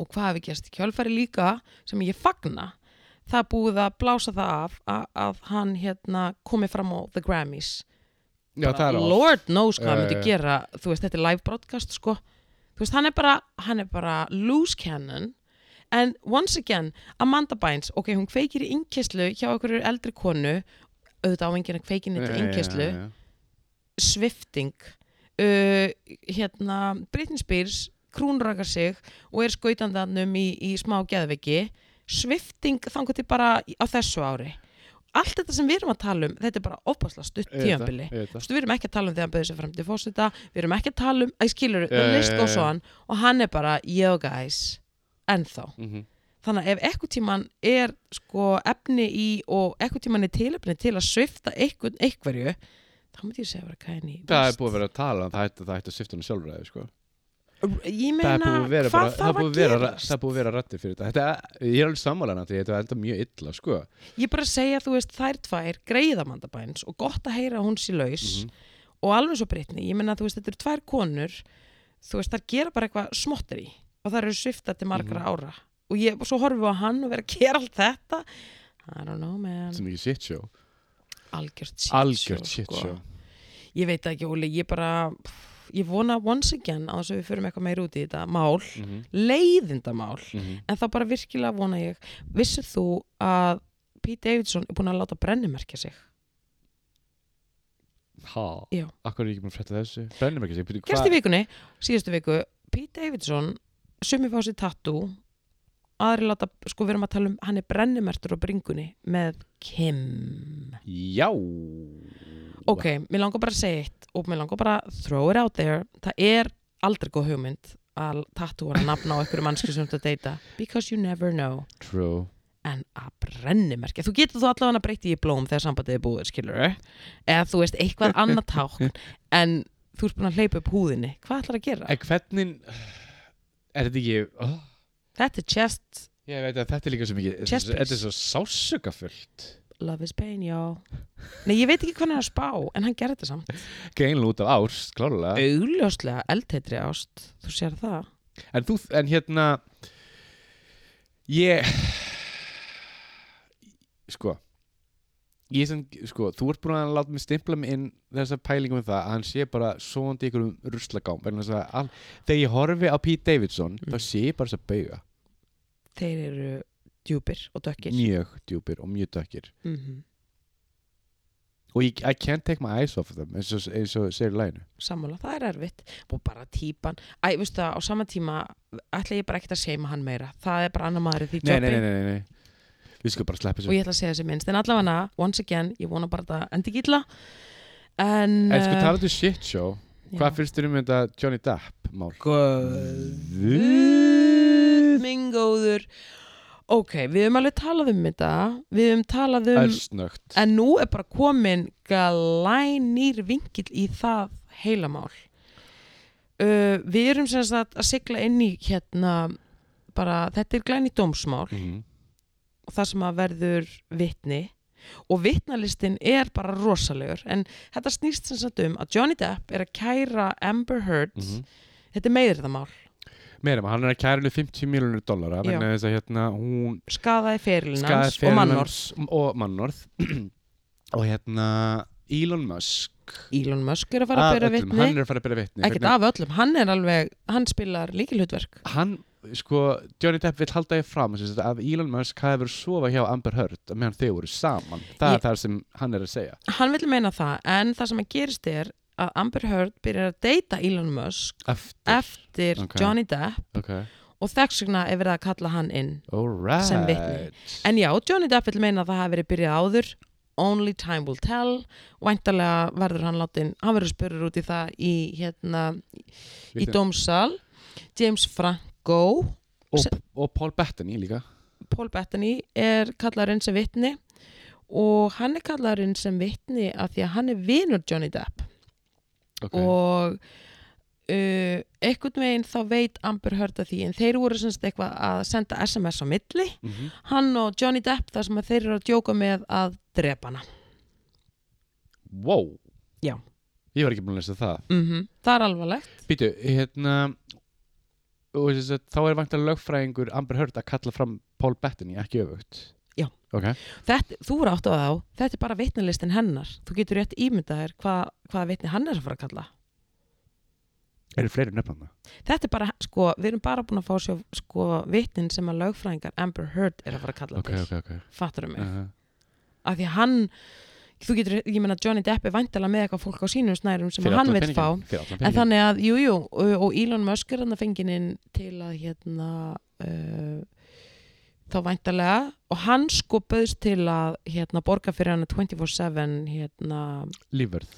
[SPEAKER 1] og hvað hefur gerst í kjölfæri líka sem ég fagna það er búið að blása það af að, að hann hérna komi fram á The Grammys
[SPEAKER 2] Já, það er oft.
[SPEAKER 1] Lord knows hvað
[SPEAKER 2] Já,
[SPEAKER 1] hann
[SPEAKER 2] já, já.
[SPEAKER 1] myndi gera þú veist, þetta er live broadcast sko þú veist, hann er bara, hann er bara loose cannon en once again, Amanda Bynes ok, hún kveikir í innkyslu hjá einhverju eldri konu auðvitað á enginn að kveikin
[SPEAKER 2] Já,
[SPEAKER 1] þetta
[SPEAKER 2] já, já,
[SPEAKER 1] innkyslu
[SPEAKER 2] já, já.
[SPEAKER 1] svifting uh, hérna Britney Spears krúnrakar sig og er skautandanum í, í smá geðveiki svifting þangur til bara í- á þessu ári allt þetta sem við erum að tala um þetta er bara opasla stutt
[SPEAKER 2] Ég veit það,
[SPEAKER 1] tíðanbili
[SPEAKER 2] ég veit það.
[SPEAKER 1] við erum ekki að tala um þegar hann bauði sér fram til fósita við erum ekki að tala um, að skilur
[SPEAKER 2] Já, já,
[SPEAKER 1] yeah, list
[SPEAKER 2] já,
[SPEAKER 1] og
[SPEAKER 2] já.
[SPEAKER 1] svo hann og hann er bara, yo guys ennþá,
[SPEAKER 2] Mhm.
[SPEAKER 1] þannig að ef eitthvað tíman er sko efni í og eitthvað tíman er tilefni til að svifta eitthvað, eitthverju þá myndi ég segja að vera kæni
[SPEAKER 2] Það er búið að vera að tala um það ætti- það ætti að sifta hann sjálfræði sko.
[SPEAKER 1] Ég
[SPEAKER 2] Það er
[SPEAKER 1] meina,
[SPEAKER 2] búið að vera bara
[SPEAKER 1] hvað
[SPEAKER 2] það er
[SPEAKER 1] þarf
[SPEAKER 2] búið
[SPEAKER 1] að
[SPEAKER 2] að vera-
[SPEAKER 1] gerast?
[SPEAKER 2] það er búið að vera rættir fyrir þetta Þetta- Ég er alveg sammálan að þetta er enda mjög illa sko.
[SPEAKER 1] Ég bara segja, þú veist, þær tvær greiðamandabæns og gott að heyra að hún sé laus
[SPEAKER 2] Mhm.
[SPEAKER 1] og alveg svo breytni, ég meina, þú veist, þetta eru tvær konur þú veist, þær gera bara eitthvað smottir í og þær eru sviftar til margra
[SPEAKER 2] Mhm.
[SPEAKER 1] ára og ég, og svo horfum við á hann og vera að gera allt þetta I don't know, man
[SPEAKER 2] sem ekki shit show
[SPEAKER 1] Algjört shit
[SPEAKER 2] algjört
[SPEAKER 1] show, sko.
[SPEAKER 2] shit show
[SPEAKER 1] Ég veit það ekki, Óli, ég bara pff, ég vona once again á þess að við förum eitthvað meir út í þetta mál,
[SPEAKER 2] Mhm,
[SPEAKER 1] leiðindamál
[SPEAKER 2] mhm.
[SPEAKER 1] en þá bara virkilega vona ég vissið þú að Pete Davidson er búin að láta brennimerkja sig
[SPEAKER 2] Ha,
[SPEAKER 1] Já.
[SPEAKER 2] akkur er ég ekki búin að frétta þessu brennum ekki sig,
[SPEAKER 1] gerst í vikunni, síðustu viku Pete Davidson, sumi fá sér tattoo aðri láta sko við erum að tala um, hann er brennimertur á bringunni með Kim
[SPEAKER 2] já
[SPEAKER 1] ok, mér langar bara að segja eitt og mér langar bara að throw it out there það er aldrei góð hugmynd að tattooa að nafna á einhverju mannski sem þú ert að deyta because you never know
[SPEAKER 2] true
[SPEAKER 1] en að brennimerkja þú getur þú allavega að breyti í blóm þegar sambandið er búið skilur eða þú veist eitthvað annað tákn en þú ert búin að hleypa upp húðinni hvað ætlar að gera?
[SPEAKER 2] en hvernig er þetta ekki oh,
[SPEAKER 1] Þetta er chest
[SPEAKER 2] ég veit að þetta er líka svo mikið
[SPEAKER 1] Chest
[SPEAKER 2] þetta er
[SPEAKER 1] piece.
[SPEAKER 2] svo sásukafullt
[SPEAKER 1] love is pain, já Nei, ég veit ekki hvað hann er að spá en hann gerði þetta samt
[SPEAKER 2] greinlega út af árs, klálega
[SPEAKER 1] augljóslega eldheitri ást þú sér það
[SPEAKER 2] En þú, en hérna Ég Sko Ég sem, sko, þú ert búin að láta mig stimpla mig inn þessa pælingu með það að hann sé bara svoandi ykkur um ruslagám vegna þess að all, þegar ég horfi á Pete Davidson
[SPEAKER 1] Mm.
[SPEAKER 2] þá sé ég bara þess að bauga
[SPEAKER 1] þeir eru djúpir og dökkir
[SPEAKER 2] mjög djúpir og mjög dökkir
[SPEAKER 1] mm
[SPEAKER 2] og ég, I can't take my eyes off them eins og, eins og segir í læginu
[SPEAKER 1] sammála, það er erfitt og bara típan, æ, veistu það, á sama tíma ætla ég bara ekkert að seima hann meira það er bara annar maður í því
[SPEAKER 2] nei, nei,
[SPEAKER 1] jobbi.
[SPEAKER 2] nei, nei, nei, nei Við sko bara sleppa
[SPEAKER 1] og
[SPEAKER 2] þessu
[SPEAKER 1] ég ætla að segja þessi minnst en allavega once again, ég vona bara að það endi ekki illa en, eh,
[SPEAKER 2] En sko talaðu shit show Hvað finnst þér um þetta Johnny Depp mál?
[SPEAKER 1] fyrir
[SPEAKER 2] Guð
[SPEAKER 1] mingóður ok, við höfum alveg talað um þetta við höfum talað um
[SPEAKER 2] Örsnögt
[SPEAKER 1] en nú er bara komin galænir vingill í það heilamál uh, við erum sem sagt að sigla inn í hérna bara, þetta er glæni dómsmál
[SPEAKER 2] Mhm.
[SPEAKER 1] og það sem að verður vitni og vitnalistin er bara rosalegur en þetta snýst sem sagt um að Johnny Depp er að kæra Amber Heard
[SPEAKER 2] Mhm.
[SPEAKER 1] þetta er meðirðamál,
[SPEAKER 2] Meira maður, hann er að kæra henni 50 miljonur dollara vegna þess að hérna hún
[SPEAKER 1] skaðaði ferilinn
[SPEAKER 2] skaðaði
[SPEAKER 1] hans og
[SPEAKER 2] ferilinn
[SPEAKER 1] mannorð
[SPEAKER 2] hans og mannorð og hérna Elon Musk
[SPEAKER 1] Elon Musk er að fara að
[SPEAKER 2] að
[SPEAKER 1] byrja
[SPEAKER 2] öllum,
[SPEAKER 1] vitni
[SPEAKER 2] hann er að fara að byrja vitni Hérna,
[SPEAKER 1] ekkert
[SPEAKER 2] vegna-
[SPEAKER 1] af öllum, hann er alveg hann spilar líkilhutverk
[SPEAKER 2] hann, sko, Johnny Depp vill halda því fram sem sagt, að Elon Musk hafi verið að sofa hjá Amber Heard meðan þau voru saman
[SPEAKER 1] Ég-
[SPEAKER 2] það er það sem hann er að segja
[SPEAKER 1] hann vil meina það, en það sem að gerist er að Amber Heard byrjar að deyta Elon Musk
[SPEAKER 2] eftir,
[SPEAKER 1] eftir
[SPEAKER 2] Ok.
[SPEAKER 1] Johnny Depp
[SPEAKER 2] ok,
[SPEAKER 1] og þess vegna er verið að kalla hann inn
[SPEAKER 2] alright
[SPEAKER 1] Sem vitni. En já, Johnny Depp vil meina að það hafi verið byrjað áður Only time will tell Væntalega verður hann látin Hann verður spurður út í það í, hérna, í
[SPEAKER 2] Vitni.
[SPEAKER 1] dómsal James Franco
[SPEAKER 2] og, og Paul Bettany líka
[SPEAKER 1] Paul Bettany er kallarinn sem vitni og hann er kallarinn sem vitni af því að hann er vinur Johnny Depp
[SPEAKER 2] okay.
[SPEAKER 1] og uh, einhvern veginn þá veit Amber Heard að því en þeir voru semst eitthvað að senda SMS á milli
[SPEAKER 2] mm -hmm.
[SPEAKER 1] hann og Johnny Depp þar sem að þeir eru að djóka með að drepa hana
[SPEAKER 2] wow
[SPEAKER 1] Já.
[SPEAKER 2] ég var ekki búin að lesa það
[SPEAKER 1] mm það er alvarlegt
[SPEAKER 2] býtu, hérna og, sem sagt, þá er vangt að lögfræðingur Amber Heard að kalla fram Paul Bettany ekki öfugt
[SPEAKER 1] Já.
[SPEAKER 2] ok,
[SPEAKER 1] þetta, þú eru átt á þá, þetta er bara vitnalistin hennar þú getur rétt ímyndað þér hvað hvaða vitni hann er að fara að kalla
[SPEAKER 2] eru fleiri nefnum það
[SPEAKER 1] þetta er bara, sko, við erum bara búin að fá sér sko, vitnin sem að lögfræðingar Amber Heard er að fara að kalla
[SPEAKER 2] ok,
[SPEAKER 1] til
[SPEAKER 2] ok, ok
[SPEAKER 1] fattarum mig,
[SPEAKER 2] uh,
[SPEAKER 1] af því að hann þú getur, ég meina Johnny Depp er vantala með eitthvað fólk á sínum snærum sem að hann vil fá En þannig að, jú, jú, og- og Elon Musk er hann að fengin inn til að hérna uh, þá væntalega og hann sko bauðst til að hérna borga fyrir hann 24-7 hérna
[SPEAKER 2] lífverð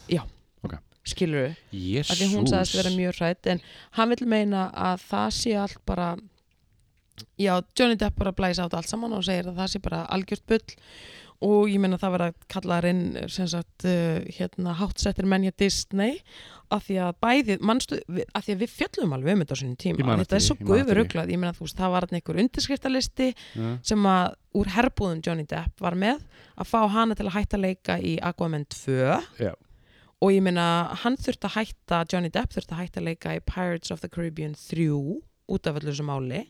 [SPEAKER 1] skilur
[SPEAKER 2] Jésús
[SPEAKER 1] af því hún sagðist vera mjög hrætt en hann vil meina að það sé allt bara já, Johnny Depp bara blæs á þetta allt saman og segir að það sé bara algjört bull og ég meina það verða kallaðar inn sem sagt, uh, hérna, hátsettir menn hjá Disney af því að bæði, manstu, við- af því að við fjöllum alveg um þetta á sinni
[SPEAKER 2] Ég
[SPEAKER 1] tíma,
[SPEAKER 2] man
[SPEAKER 1] þetta
[SPEAKER 2] eftir
[SPEAKER 1] er svo
[SPEAKER 2] því, ég man eftir því.
[SPEAKER 1] guðuruglað ég meina þú veist, það var hann einhver undirskriftalisti
[SPEAKER 2] Já.
[SPEAKER 1] sem að úr herbúðum Johnny Depp var með að fá hana til að hætta að leika í Aquaman 2
[SPEAKER 2] Já.
[SPEAKER 1] og ég meina hann þurft að hætta Johnny Depp þurft að hætta að leika í Pirates of the Caribbean 3 út af öllu þessu máli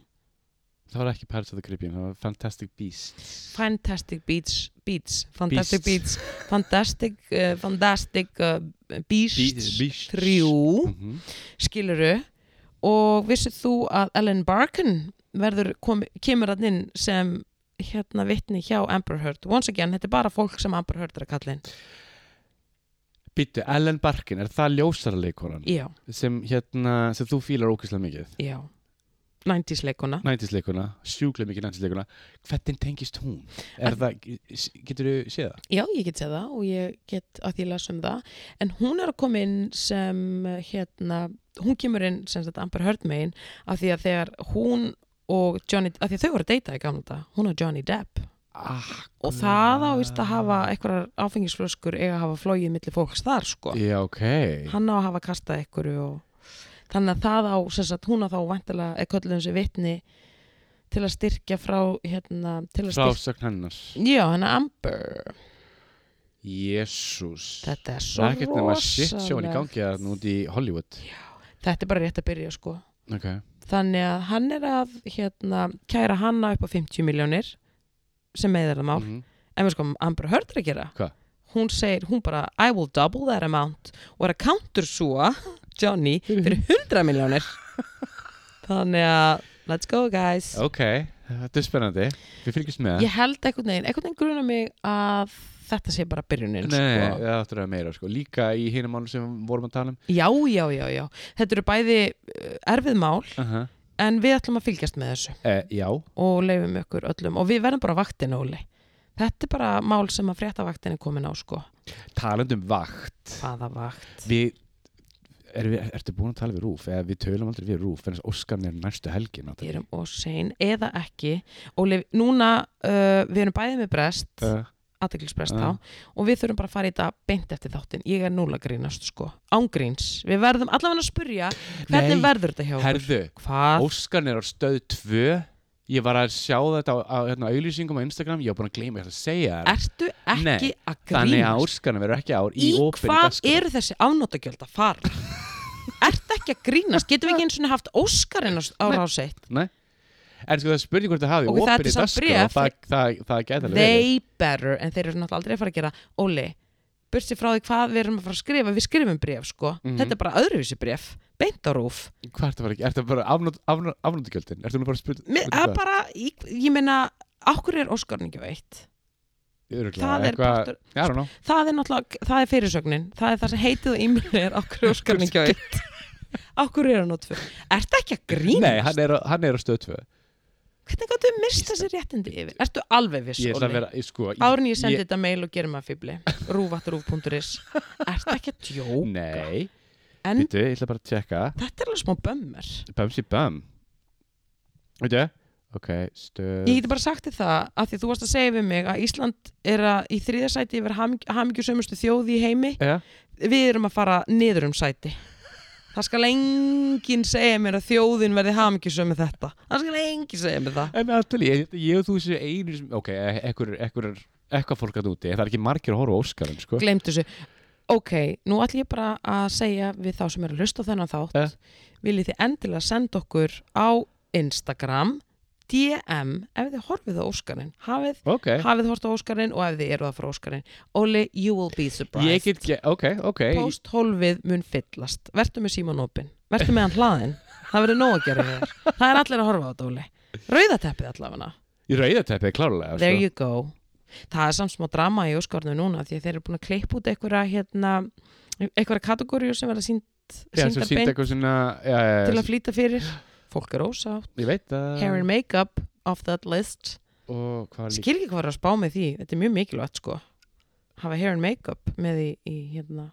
[SPEAKER 2] Það var ekki Pirates of the Caribbean, það var Fantastic Beasts
[SPEAKER 1] Fantastic Beats, Beats Fantastic Beats,
[SPEAKER 2] Beasts.
[SPEAKER 1] Fantastic uh, Fantastic uh, Beasts
[SPEAKER 2] Beasts.
[SPEAKER 1] 3
[SPEAKER 2] Mhm.
[SPEAKER 1] skiluru og vissið þú að Ellen Barkin verður kom, kemur hann inn sem hérna vitni hjá Amber Heard once again, þetta er bara fólk sem Amber Heard er að kalla inn
[SPEAKER 2] Býttu, Ellen Barkin, er það ljósaraleikonan
[SPEAKER 1] já,
[SPEAKER 2] sem, hérna, sem þú fílar ókvæslega mikið
[SPEAKER 1] já 90s leikuna
[SPEAKER 2] 90s leikuna, sjúklega mikið 90s leikuna Hvernig tengist hún? Er
[SPEAKER 1] Að-
[SPEAKER 2] það, getur þú séð það?
[SPEAKER 1] Já, ég get séð það og ég get að því las um það en hún er að koma inn sem eh, hérna, hún kemur inn sem þetta Amber Heard megin af því að þegar hún og Johnny, af því að þau voru að deyta í gamla þetta, hún og Johnny Depp Ah. og það ávist að hafa einhverjar áfengisflöskur eiga að hafa flóið milli fólks þar sko,
[SPEAKER 2] Já, ok
[SPEAKER 1] hann á að hafa kastað einhverju og þannig að það á sem sagt, hún á þá vantilega er köllum sem vitni til að styrkja frá hérna, til að styrkja
[SPEAKER 2] Frásögn hennar
[SPEAKER 1] Já, hann er Amber
[SPEAKER 2] Jésús
[SPEAKER 1] Þetta er svo
[SPEAKER 2] Það er ekkert nema shit sjón í
[SPEAKER 1] rosalegt.
[SPEAKER 2] gangi að núti í Hollywood
[SPEAKER 1] Þetta er bara rétt að byrja sko.
[SPEAKER 2] Ok,
[SPEAKER 1] Þannig að hann er að hérna, kæra hanna upp á 50 miljónir sem meðar það mál.
[SPEAKER 2] Mhm.
[SPEAKER 1] En við sko, Amber Heard er að gera.
[SPEAKER 2] Hvað?
[SPEAKER 1] Hún segir, hún bara, I will double that amount og er að countersúa Johnny fyrir 100 miljónir. Þannig að, let's go guys.
[SPEAKER 2] ok, þetta er spennandi Við fylgjumst með
[SPEAKER 1] Ég held einhvern veginn, einhvern veginn grunar mig að þetta sé bara byrjunin.
[SPEAKER 2] Nei,
[SPEAKER 1] sko.
[SPEAKER 2] það áttur að vera meira sko. Líka í hinum málum sem við vorum að tala um
[SPEAKER 1] Já, já, já, já. Þetta eru bæði uh, erfið mál
[SPEAKER 2] uh -huh.
[SPEAKER 1] en við ætlum að fylgjast með þessu.
[SPEAKER 2] Eh, Já,
[SPEAKER 1] og leifum ykkur öllum og við verðum bara á vaktin Óli þetta er bara mál sem að fréttavaktin er komin á sko
[SPEAKER 2] talandi um vakt
[SPEAKER 1] hvaða vakt
[SPEAKER 2] Við er við, ertu búin að tala við Rúf eða við tölum aldrei við Rúf fyrir þess að Óskarn er næstu helgi
[SPEAKER 1] Við erum ósein eða ekki Óli, núna uh, við erum bæðið með brest uh.
[SPEAKER 2] uh,
[SPEAKER 1] aðdeklisbrest
[SPEAKER 2] Já.
[SPEAKER 1] þá og við þurfum bara að fara í þetta beint eftir þáttin, ég er núla grínast sko, ángríns, við verðum allavega að spurja hvernig
[SPEAKER 2] Nei.
[SPEAKER 1] verður þetta hjá okkur
[SPEAKER 2] Herðu,
[SPEAKER 1] hvað,
[SPEAKER 2] Óskarn er á stöð 2 Ég var að sjá þetta á, á hérna, auðlýsingum á Instagram Ég var búin að gleyma þess að segja þér
[SPEAKER 1] ertu ekki
[SPEAKER 2] Nei,
[SPEAKER 1] að
[SPEAKER 2] Þannig
[SPEAKER 1] grínast
[SPEAKER 2] að Óskarn verður ekki ár
[SPEAKER 1] í
[SPEAKER 2] í óperi
[SPEAKER 1] hvað
[SPEAKER 2] dagskrá.
[SPEAKER 1] eru þessi afnótagjöld að fara ertu ekki að grínast getum við ekki eins og haft Óskarinn á, á
[SPEAKER 2] Nei.
[SPEAKER 1] ráseitt
[SPEAKER 2] En sko það spurning hvort það hafi
[SPEAKER 1] Ok, þetta er
[SPEAKER 2] óperi
[SPEAKER 1] samt
[SPEAKER 2] dagskrá,
[SPEAKER 1] bréf.
[SPEAKER 2] Það, það, það gæti alveg verið.
[SPEAKER 1] they better, en þeir eru náttúrulega aldrei að fara að gera Óli, bursi frá því hvað við erum að fara að skrifa, við skrifum bréf sko
[SPEAKER 2] Mhm.
[SPEAKER 1] þetta er bara öðruvísi bréf, beint á rúf
[SPEAKER 2] Hvað ertu bara ekki? Ertu bara afnót- afnó- afnótagjöldin? Ertu nú bara um að spurning?
[SPEAKER 1] Mér, að bara, ég, ég meina okkur er Óskarinn ekki veitt það er partur-
[SPEAKER 2] Já, nú
[SPEAKER 1] það er náttúrulega, það er fyrirsögnin það er það sem heitið og ímur er okkur er Óskarinn ekki veitt okkur er hann á tvö, ertu ekki að grínast
[SPEAKER 2] Nei, hann er, á- hann er á stöð 2
[SPEAKER 1] Hvernig gáttu við mista þessi réttindi yfir? Ertu alveg viss,
[SPEAKER 2] Ég ætla að
[SPEAKER 1] Óli?
[SPEAKER 2] vera, ég sko
[SPEAKER 1] Árun ég sendi þetta mail og gerum að fýbli rúvatrúf.is Ertu ekki að djó?
[SPEAKER 2] Nei,
[SPEAKER 1] En
[SPEAKER 2] býttu, ég ætla bara að tjekka
[SPEAKER 1] þetta er alveg smá bömmar
[SPEAKER 2] Bömsi böm Veitu, ok, stöð
[SPEAKER 1] Ég geti bara sagt þér það að því þú varst að segja við mig að Ísland er að í þriðja sæti yfir hamingjusömmustu þjóði í heimi
[SPEAKER 2] Já,
[SPEAKER 1] Við erum að fara niður um sæti Það skal enginn segja mér að þjóðin verði hamingjusömmu þetta Það skal enginn segja mér það
[SPEAKER 2] en aðtali, ég, ég og þú séu einu sem, ok, e, ekkur, ekkur, ekkur fólk að úti, það er ekki margir að horfa á Óskarinn, sko
[SPEAKER 1] Glemt þessu Ok, nú ætlum ég bara að segja við þá sem eru að hlusta á þennan þátt
[SPEAKER 2] Eh.
[SPEAKER 1] viljið þið endilega senda okkur á Instagram DM ef þið horfið á Óskarinn hafið,
[SPEAKER 2] Ok,
[SPEAKER 1] hafið hort á Óskarinn og ef þið eruð að fara á Óskarinn Oli, you will be surprised
[SPEAKER 2] ég get, ge- ok, ok
[SPEAKER 1] Post hólfið mun fyllast Vertu með síman opinn, vertu með hann hlaðinn Það verður nóg að gera við þér Það er allir að horfa á þetta, Oli Rauðateppið allavega
[SPEAKER 2] Í rauðateppið, klárlega,
[SPEAKER 1] There
[SPEAKER 2] sko
[SPEAKER 1] you go Það er samt smá drama í Óskarnu núna því að þeir eru búin að klippa út einhverja hérna, einhverja kategóriu sem verða sínd,
[SPEAKER 2] Þegar sem
[SPEAKER 1] síndar
[SPEAKER 2] sýndi
[SPEAKER 1] beint
[SPEAKER 2] eitthvað svona, já, já,
[SPEAKER 1] til
[SPEAKER 2] já,
[SPEAKER 1] að flýta fyrir Fólk er ósátt,
[SPEAKER 2] ég veit það
[SPEAKER 1] hair and makeup off that list
[SPEAKER 2] Og hvað var líka
[SPEAKER 1] Skil ekki hvað er að spá með því, þetta er mjög mikilvægt sko hafa hair and makeup með í, í hérna,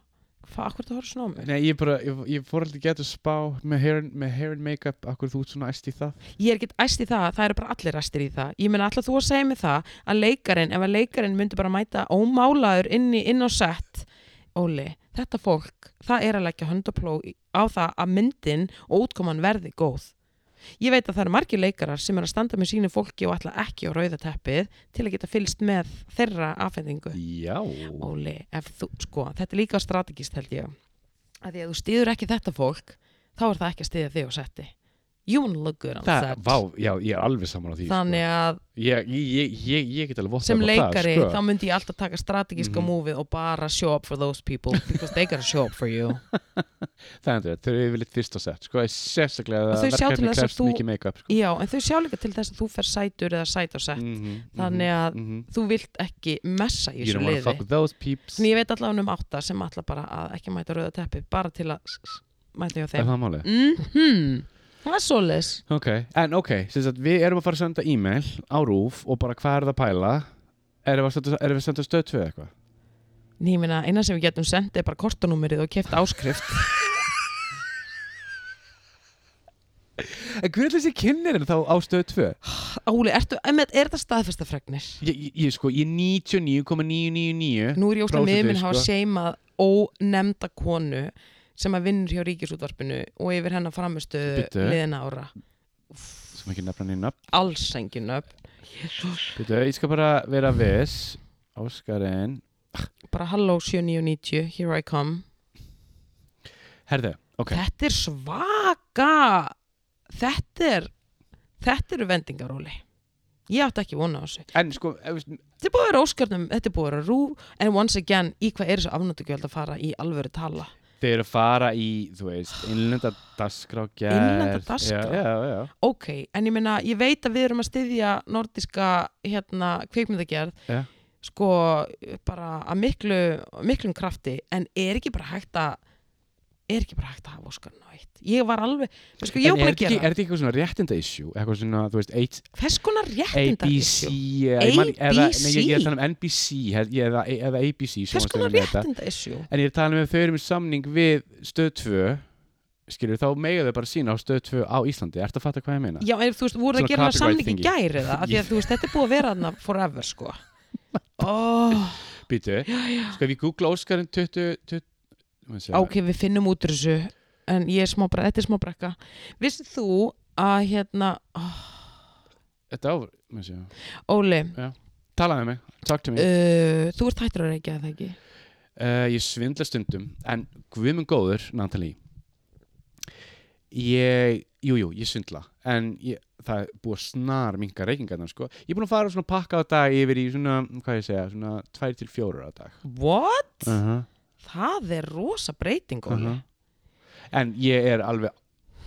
[SPEAKER 1] hvað, hvað er það að horfa svona á mig?
[SPEAKER 2] Nei, ég bara, ég, ég fór aldrei geta spá með hair, and- með hair and make-up, akkur þú ert svona æst í það
[SPEAKER 1] Ég er ekkert æst í það, það eru bara allir æstir í það. Ég meina alltaf þú að segja mig það að leikarinn, ef að leikarinn myndi bara mæta ómálaður inn, í, inn á sett, Óli, þetta fólk, það er að leggja höndapló á það að myndin og útkoman verði góð. Ég veit að það eru margir leikarar sem er að standa með sínu fólki og ætla ekki á rauða teppið til að geta fylst með þeirra afhendingu.
[SPEAKER 2] Já
[SPEAKER 1] Óli, ef þú, sko, þetta er líka strategist held ég að því að þú stýður ekki þetta fólk þá er það ekki að stýða þig á setti You wanna look good on
[SPEAKER 2] Það,
[SPEAKER 1] set
[SPEAKER 2] vá, já, ég er alveg saman á því
[SPEAKER 1] þannig að
[SPEAKER 2] sko. ég, ég, ég, ég, ég get alveg vottað
[SPEAKER 1] sem leikari
[SPEAKER 2] það, sko.
[SPEAKER 1] þá myndi ég alltaf taka strategíska mm
[SPEAKER 2] Mhm.
[SPEAKER 1] múfið og bara show up for those people because they gotta show up for you
[SPEAKER 2] Það er þetta, þau eru yfirleitt fyrst á sett Sko, ég sérstaklega
[SPEAKER 1] Og
[SPEAKER 2] að
[SPEAKER 1] þau sjá til
[SPEAKER 2] verkefni
[SPEAKER 1] þess að
[SPEAKER 2] krefst
[SPEAKER 1] þú-
[SPEAKER 2] mikið make-up sko.
[SPEAKER 1] já, en þau sjá líka til þess að þú fer sætur eða sæt á sett
[SPEAKER 2] -hmm,
[SPEAKER 1] þannig að
[SPEAKER 2] mm -hmm.
[SPEAKER 1] þú vilt ekki messa í
[SPEAKER 2] Mhm. You
[SPEAKER 1] þessu
[SPEAKER 2] don't wanna fuck
[SPEAKER 1] liði
[SPEAKER 2] with those peeps
[SPEAKER 1] en ég veit allavega um átta sem ætla bara að ekki mæta rauða teppi bara til að s- s- mæta hjá
[SPEAKER 2] Er
[SPEAKER 1] þeim
[SPEAKER 2] það málið?
[SPEAKER 1] Mhm. það er svoleiðis
[SPEAKER 2] Ok, en ok, sem sagt, við erum að fara að senda e-mail á rúf og bara hvað er það að pæla Erum við að senda- erum við að senda stöð 2 eitthvað?
[SPEAKER 1] en ég meina, eina sem við getum sendið er bara kortanúmerið og keft áskrift
[SPEAKER 2] En hvernig þessi kynnirinn þá á stöð 2?
[SPEAKER 1] Óli, ertu, emmitt, er þetta staðfestafregnir?
[SPEAKER 2] Ég, ég- ég sko, ég 99,999
[SPEAKER 1] Nú er ég óslega
[SPEAKER 2] Prósentu,
[SPEAKER 1] með minn hafa
[SPEAKER 2] sko.
[SPEAKER 1] seimað ónemnda konu sem að vinnur hjá ríkisútvarpinu og yfir hennar framistöðu
[SPEAKER 2] Bíddu.
[SPEAKER 1] liðina ára.
[SPEAKER 2] sem ekki nefna neina nöfn
[SPEAKER 1] Alls engin upp.
[SPEAKER 2] Bíddu, ég skal bara vera viss Óskarinn
[SPEAKER 1] Bara halló 7990, here I come.
[SPEAKER 2] herðu, ok,
[SPEAKER 1] Þetta er svaka. Þetta er, þetta eru vendingaróli. Ég átti ekki vona á þessu.
[SPEAKER 2] en sko ef við-
[SPEAKER 1] Þetta er búið að vera óskarnum, þetta er búið að vera rú, en once again, í hvað er þessu afnöndugjöld að fara í alvöru tala?
[SPEAKER 2] þeir eru að fara í, þú veist innlenda dagskrá gerð
[SPEAKER 1] Innlenda dagskrá?
[SPEAKER 2] já, já, já,
[SPEAKER 1] ok, en ég meina, ég veit að við erum að styðja nordiska hérna, kveikmyndagerð
[SPEAKER 2] Já.
[SPEAKER 1] sko, bara að miklu miklum krafti, en er ekki bara hægt að er ekki bara hægt að hafa Óskar nátt ég var alveg, sko, ég
[SPEAKER 2] En
[SPEAKER 1] var búin
[SPEAKER 2] er
[SPEAKER 1] að
[SPEAKER 2] þetta ekki,
[SPEAKER 1] gera
[SPEAKER 2] er þetta ekki eitthvað svona réttinda issue eitthvað svona, þú veist, H-
[SPEAKER 1] hvers konar réttinda
[SPEAKER 2] ABC eh, ég man- eða- nei, ég- ég er að
[SPEAKER 1] ABC?
[SPEAKER 2] tala um NBC hel- ég- eða eða ABC
[SPEAKER 1] hvers konar
[SPEAKER 2] sjónvarpsstöðin með þetta.
[SPEAKER 1] réttinda issue
[SPEAKER 2] en ég er að tala um að þau eru með samning við stöð 2 skilur, þá mega þau bara sína á stöð 2 á Íslandi, ertu að fatta hvað ég meina?
[SPEAKER 1] Já, en þú veist, voru það að
[SPEAKER 2] Svona
[SPEAKER 1] gera það
[SPEAKER 2] copyright
[SPEAKER 1] samning í
[SPEAKER 2] thingy.
[SPEAKER 1] gær eða? Af Því að þú veist, þetta er búið að vera þarna forever, sko. Oh,
[SPEAKER 2] Býtu, sko ef ég googla Óskarinn 20, 20 maður segja,
[SPEAKER 1] ok, við finnum út úr þessu, en ég er smá brekka, þetta er smá brekka. Vissið þú að, hérna, oh,
[SPEAKER 2] Þetta á, maður segja,
[SPEAKER 1] Óli,
[SPEAKER 2] talaði mig, talk to me
[SPEAKER 1] uh, þú ert hættur að reykja það ekki?
[SPEAKER 2] uh, Ég svindla stundum, en guðmund góður, Natalie Ég, jú, jú, ég svindla En ég, það er búið að snar minka reykingarnar, sko Ég er búin að fara svona pakka á dag yfir í svona, hvað ég segja, svona 2 til 4 á dag
[SPEAKER 1] What?
[SPEAKER 2] uh -huh.
[SPEAKER 1] Það er rosa breyting, Óli.
[SPEAKER 2] Mhm. En ég er alveg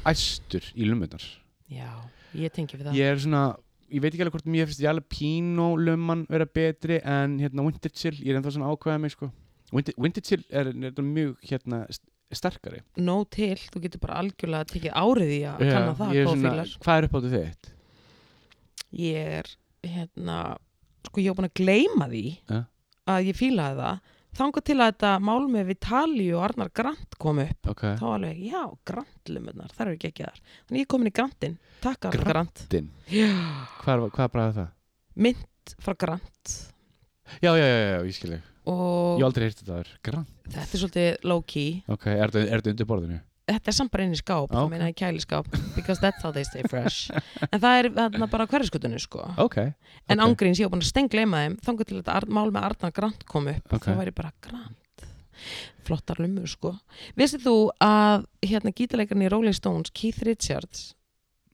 [SPEAKER 2] æstur í lumunar
[SPEAKER 1] Já, ég tengi við það.
[SPEAKER 2] Ég er svona, ég veit ekki alveg hvort mér finnst Jalapeno luman vera betri en hérna Winter Chill, ég er ennþá svona ákveða mig sko Winter, Winter Chill er, er þetta mjög hérna st- sterkari
[SPEAKER 1] Nó til, þú getur bara algjörlega tekið árið í að kanna það,
[SPEAKER 2] Ég er svona,
[SPEAKER 1] kófílar.
[SPEAKER 2] Hvað er upp áttu þitt?
[SPEAKER 1] ég er hérna, sko ég var búin að gleyma því
[SPEAKER 2] Ja.
[SPEAKER 1] að ég fílaði það þangað til að þetta mál með Vitali og Arnar Grant kom upp
[SPEAKER 2] Ok
[SPEAKER 1] þá alveg, já, Grantlumunar, það eru ekki ekki þar þannig ég er komin í Grantin, takk Arnar Grant
[SPEAKER 2] Din,
[SPEAKER 1] já,
[SPEAKER 2] hvað, var- hvað bræði það?
[SPEAKER 1] mynd frá Grant
[SPEAKER 2] Já, já, já, já, já, ég skil ég
[SPEAKER 1] og
[SPEAKER 2] Ég hef aldrei heyrti þetta þar Grant,
[SPEAKER 1] þetta er svolítið low-key
[SPEAKER 2] ok, er þetta- er þetta undir borðinu?
[SPEAKER 1] þetta er samt bara inn í skáp,
[SPEAKER 2] Ok.
[SPEAKER 1] það meina í kæliskáp because that's how they stay fresh en það er þarna bara hverjaskutunni sko
[SPEAKER 2] Ok
[SPEAKER 1] en
[SPEAKER 2] ok.
[SPEAKER 1] ángríns ég var búin að stengleima þeim þangað til þetta Arn- mál með Arnar Grant kom upp
[SPEAKER 2] Ok.
[SPEAKER 1] þá var ég bara Grant flottar lumur sko vissið þú að hérna gítarleikarinn í Rolling Stones Keith Richards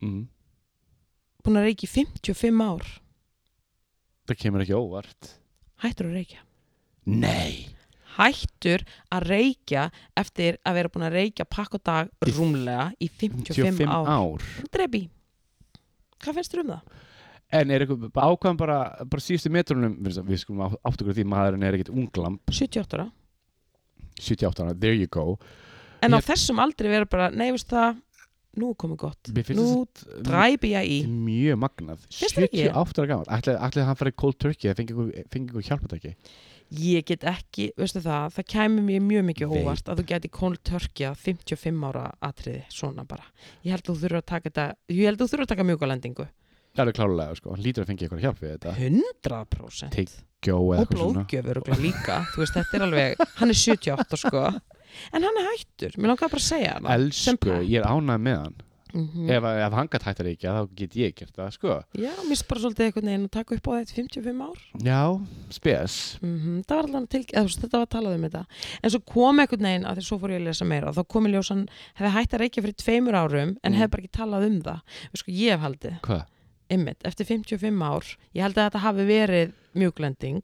[SPEAKER 2] mm.
[SPEAKER 1] búin að reykja í 55 ár
[SPEAKER 2] Það kemur ekki óvart
[SPEAKER 1] hættur að reykja
[SPEAKER 2] Nei
[SPEAKER 1] hættur að reykja eftir að vera búin að reykja pakk og dag
[SPEAKER 2] Í
[SPEAKER 1] rúmlega í 55 ár,
[SPEAKER 2] ár.
[SPEAKER 1] drebi hvað finnst þér um það?
[SPEAKER 2] En er eitthvað ákvæðan bara, bara síðustu metrunum, við, við skulum á- átta okkur á því maðurinn er ekkert unglam,
[SPEAKER 1] 78 ára
[SPEAKER 2] 78 ára, there you go.
[SPEAKER 1] en á
[SPEAKER 2] Ég-
[SPEAKER 1] þessum aldrei vera bara, nei veist það nú er komið gott,
[SPEAKER 2] Mér finnst
[SPEAKER 1] nú
[SPEAKER 2] þetta
[SPEAKER 1] dræpi ég í
[SPEAKER 2] mjög magnað,
[SPEAKER 1] Finnst þér ekki?
[SPEAKER 2] 78 ára gammal, ætlaði ætlaði að hann farið cold turkey eða fengi ykkur- fengi ykkur hjálpatæki.
[SPEAKER 1] ég get ekki, veistu það, það kæmi mér mjög mikið
[SPEAKER 2] Veit.
[SPEAKER 1] óvart að þú geti kónl törkja 55 ára atriði, svona bara. Ég held að þú þurfur að taka þetta, ég held að þú þurfur að taka mjúkalendingu.
[SPEAKER 2] Það er alveg klálega, sko, hann lítur að fengi ykkur hjálp við þetta.
[SPEAKER 1] 100%.
[SPEAKER 2] Take Gjó eða
[SPEAKER 1] og
[SPEAKER 2] eitthvað svona.
[SPEAKER 1] blóðgjöfur og líka, þú veist, þetta er alveg, hann er 78 sko, en hann er hættur, mér langar bara að segja hana. sem
[SPEAKER 2] Elsku,
[SPEAKER 1] pæ.
[SPEAKER 2] ég er ánægð með hann.
[SPEAKER 1] Mhm.
[SPEAKER 2] Ef, ef hann gætt hættar ekki, þá get ég gert það, sko.
[SPEAKER 1] Já, mér finnst bara svolítið einhvern veginn að taka upp á þetta í 55 ár.
[SPEAKER 2] Já, spes.
[SPEAKER 1] Mm Það var allan til, eða, þú veist, þetta var talað um þetta. En svo kom einhvern veginn, að því svo fór ég að lesa meira, þá kom í ljós hann hefði hætt að reykja fyrir tveimur árum, en
[SPEAKER 2] Mm.
[SPEAKER 1] hefði bara ekki talað um það. Þú Sko, ég hef haldið,
[SPEAKER 2] Hvað?
[SPEAKER 1] ymmit, eftir 55 ár, ég held að þetta hafi verið mjúklending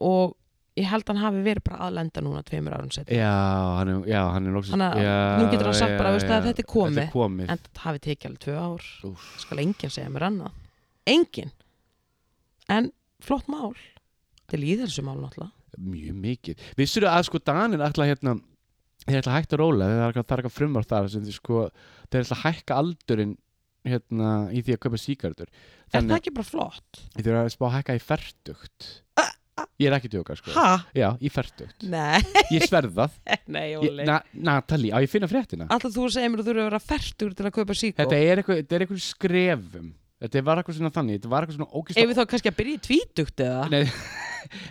[SPEAKER 1] og ég held að hann hafi verið bara að lenda núna tveimur árum setna.
[SPEAKER 2] Já, hann er, já, hann er loksist.
[SPEAKER 1] Þannig að
[SPEAKER 2] já,
[SPEAKER 1] nú getur hann sagt
[SPEAKER 2] já,
[SPEAKER 1] bara, veistu,
[SPEAKER 2] já.
[SPEAKER 1] að þetta er komið.
[SPEAKER 2] Þetta er komið.
[SPEAKER 1] En þetta hafi tekið alveg tvö ár.
[SPEAKER 2] Úff.
[SPEAKER 1] Skal enginn segja mér annað. Enginn. En flott mál. Þetta er líðhelsumál náttúrulega.
[SPEAKER 2] mjög mikið vissur þú að sko Danin ætla hérna þeir ætla að hækka róla þeir ætla að eitthvað frumvarf þar sem þeir sko þeir ætla að hækka aldurinn hérna í því að kaupa síkardur
[SPEAKER 1] Er það
[SPEAKER 2] þannig
[SPEAKER 1] ekki bara flott?
[SPEAKER 2] þeir eru að spá að hækka í ferdugt ég er ekki tjóka sko
[SPEAKER 1] Ha?
[SPEAKER 2] já, í ferdugt
[SPEAKER 1] Nei,
[SPEAKER 2] ég sverða það
[SPEAKER 1] nei,
[SPEAKER 2] Ég-
[SPEAKER 1] Óli.
[SPEAKER 2] Na- Natalie á ég að finna fréttina
[SPEAKER 1] Alltaf þú segir mér að þú eru að vera fertur til að kaupa síkó
[SPEAKER 2] þetta er eitthvað þetta er eitthvað skrefum þetta var eitthvað svona þannig þetta var eitthvað svona
[SPEAKER 1] Ef
[SPEAKER 2] ógislega
[SPEAKER 1] við þá kannski að byrja í tvítugt eða
[SPEAKER 2] Nei,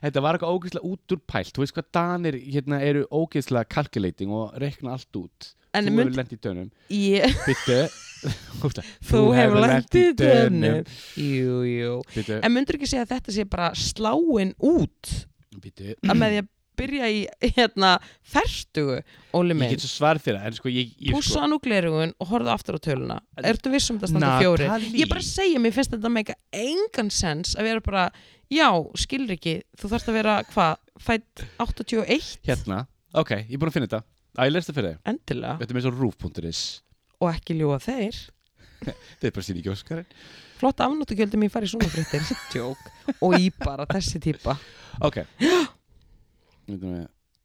[SPEAKER 2] þetta var eitthvað ógislega útúrpælt þú veist hvað Danir hérna eru ógislega calculating og rekna allt út
[SPEAKER 1] En
[SPEAKER 2] þú
[SPEAKER 1] mynd-
[SPEAKER 2] hefur lent í tönum
[SPEAKER 1] ég,
[SPEAKER 2] Bittu Þú,
[SPEAKER 1] þú hefur lent í
[SPEAKER 2] dönum.
[SPEAKER 1] dönum Jú, jú
[SPEAKER 2] Bittu,
[SPEAKER 1] En myndur ekki segja að þetta sé bara sláin út
[SPEAKER 2] bittu
[SPEAKER 1] að með því að byrja í hérna fertugu, Óli
[SPEAKER 2] Ég
[SPEAKER 1] minn
[SPEAKER 2] get svo svar þér En sko ég, ég sko,
[SPEAKER 1] Pússa nú glerugun og horfðu aftur á töluna Ertu vissum þetta standa
[SPEAKER 2] Natalie.
[SPEAKER 1] fjóri? Ég bara segja, mér finnst þetta meika engan sens að vera bara, já, skilur ekki þú þarft að vera, hvað, fætt 81
[SPEAKER 2] Hérna Ok, ég er búin að finna þetta Æ, ég lest það fyrir þig
[SPEAKER 1] endilega
[SPEAKER 2] Þetta er með svo roof.is
[SPEAKER 1] og ekki ljóða þeir
[SPEAKER 2] Þetta er bara síðan í gjóskarinn
[SPEAKER 1] flott afnóttugjöldum ég fari í svona fréttir Jók. og í bara þessi típa
[SPEAKER 2] Ok Veitum við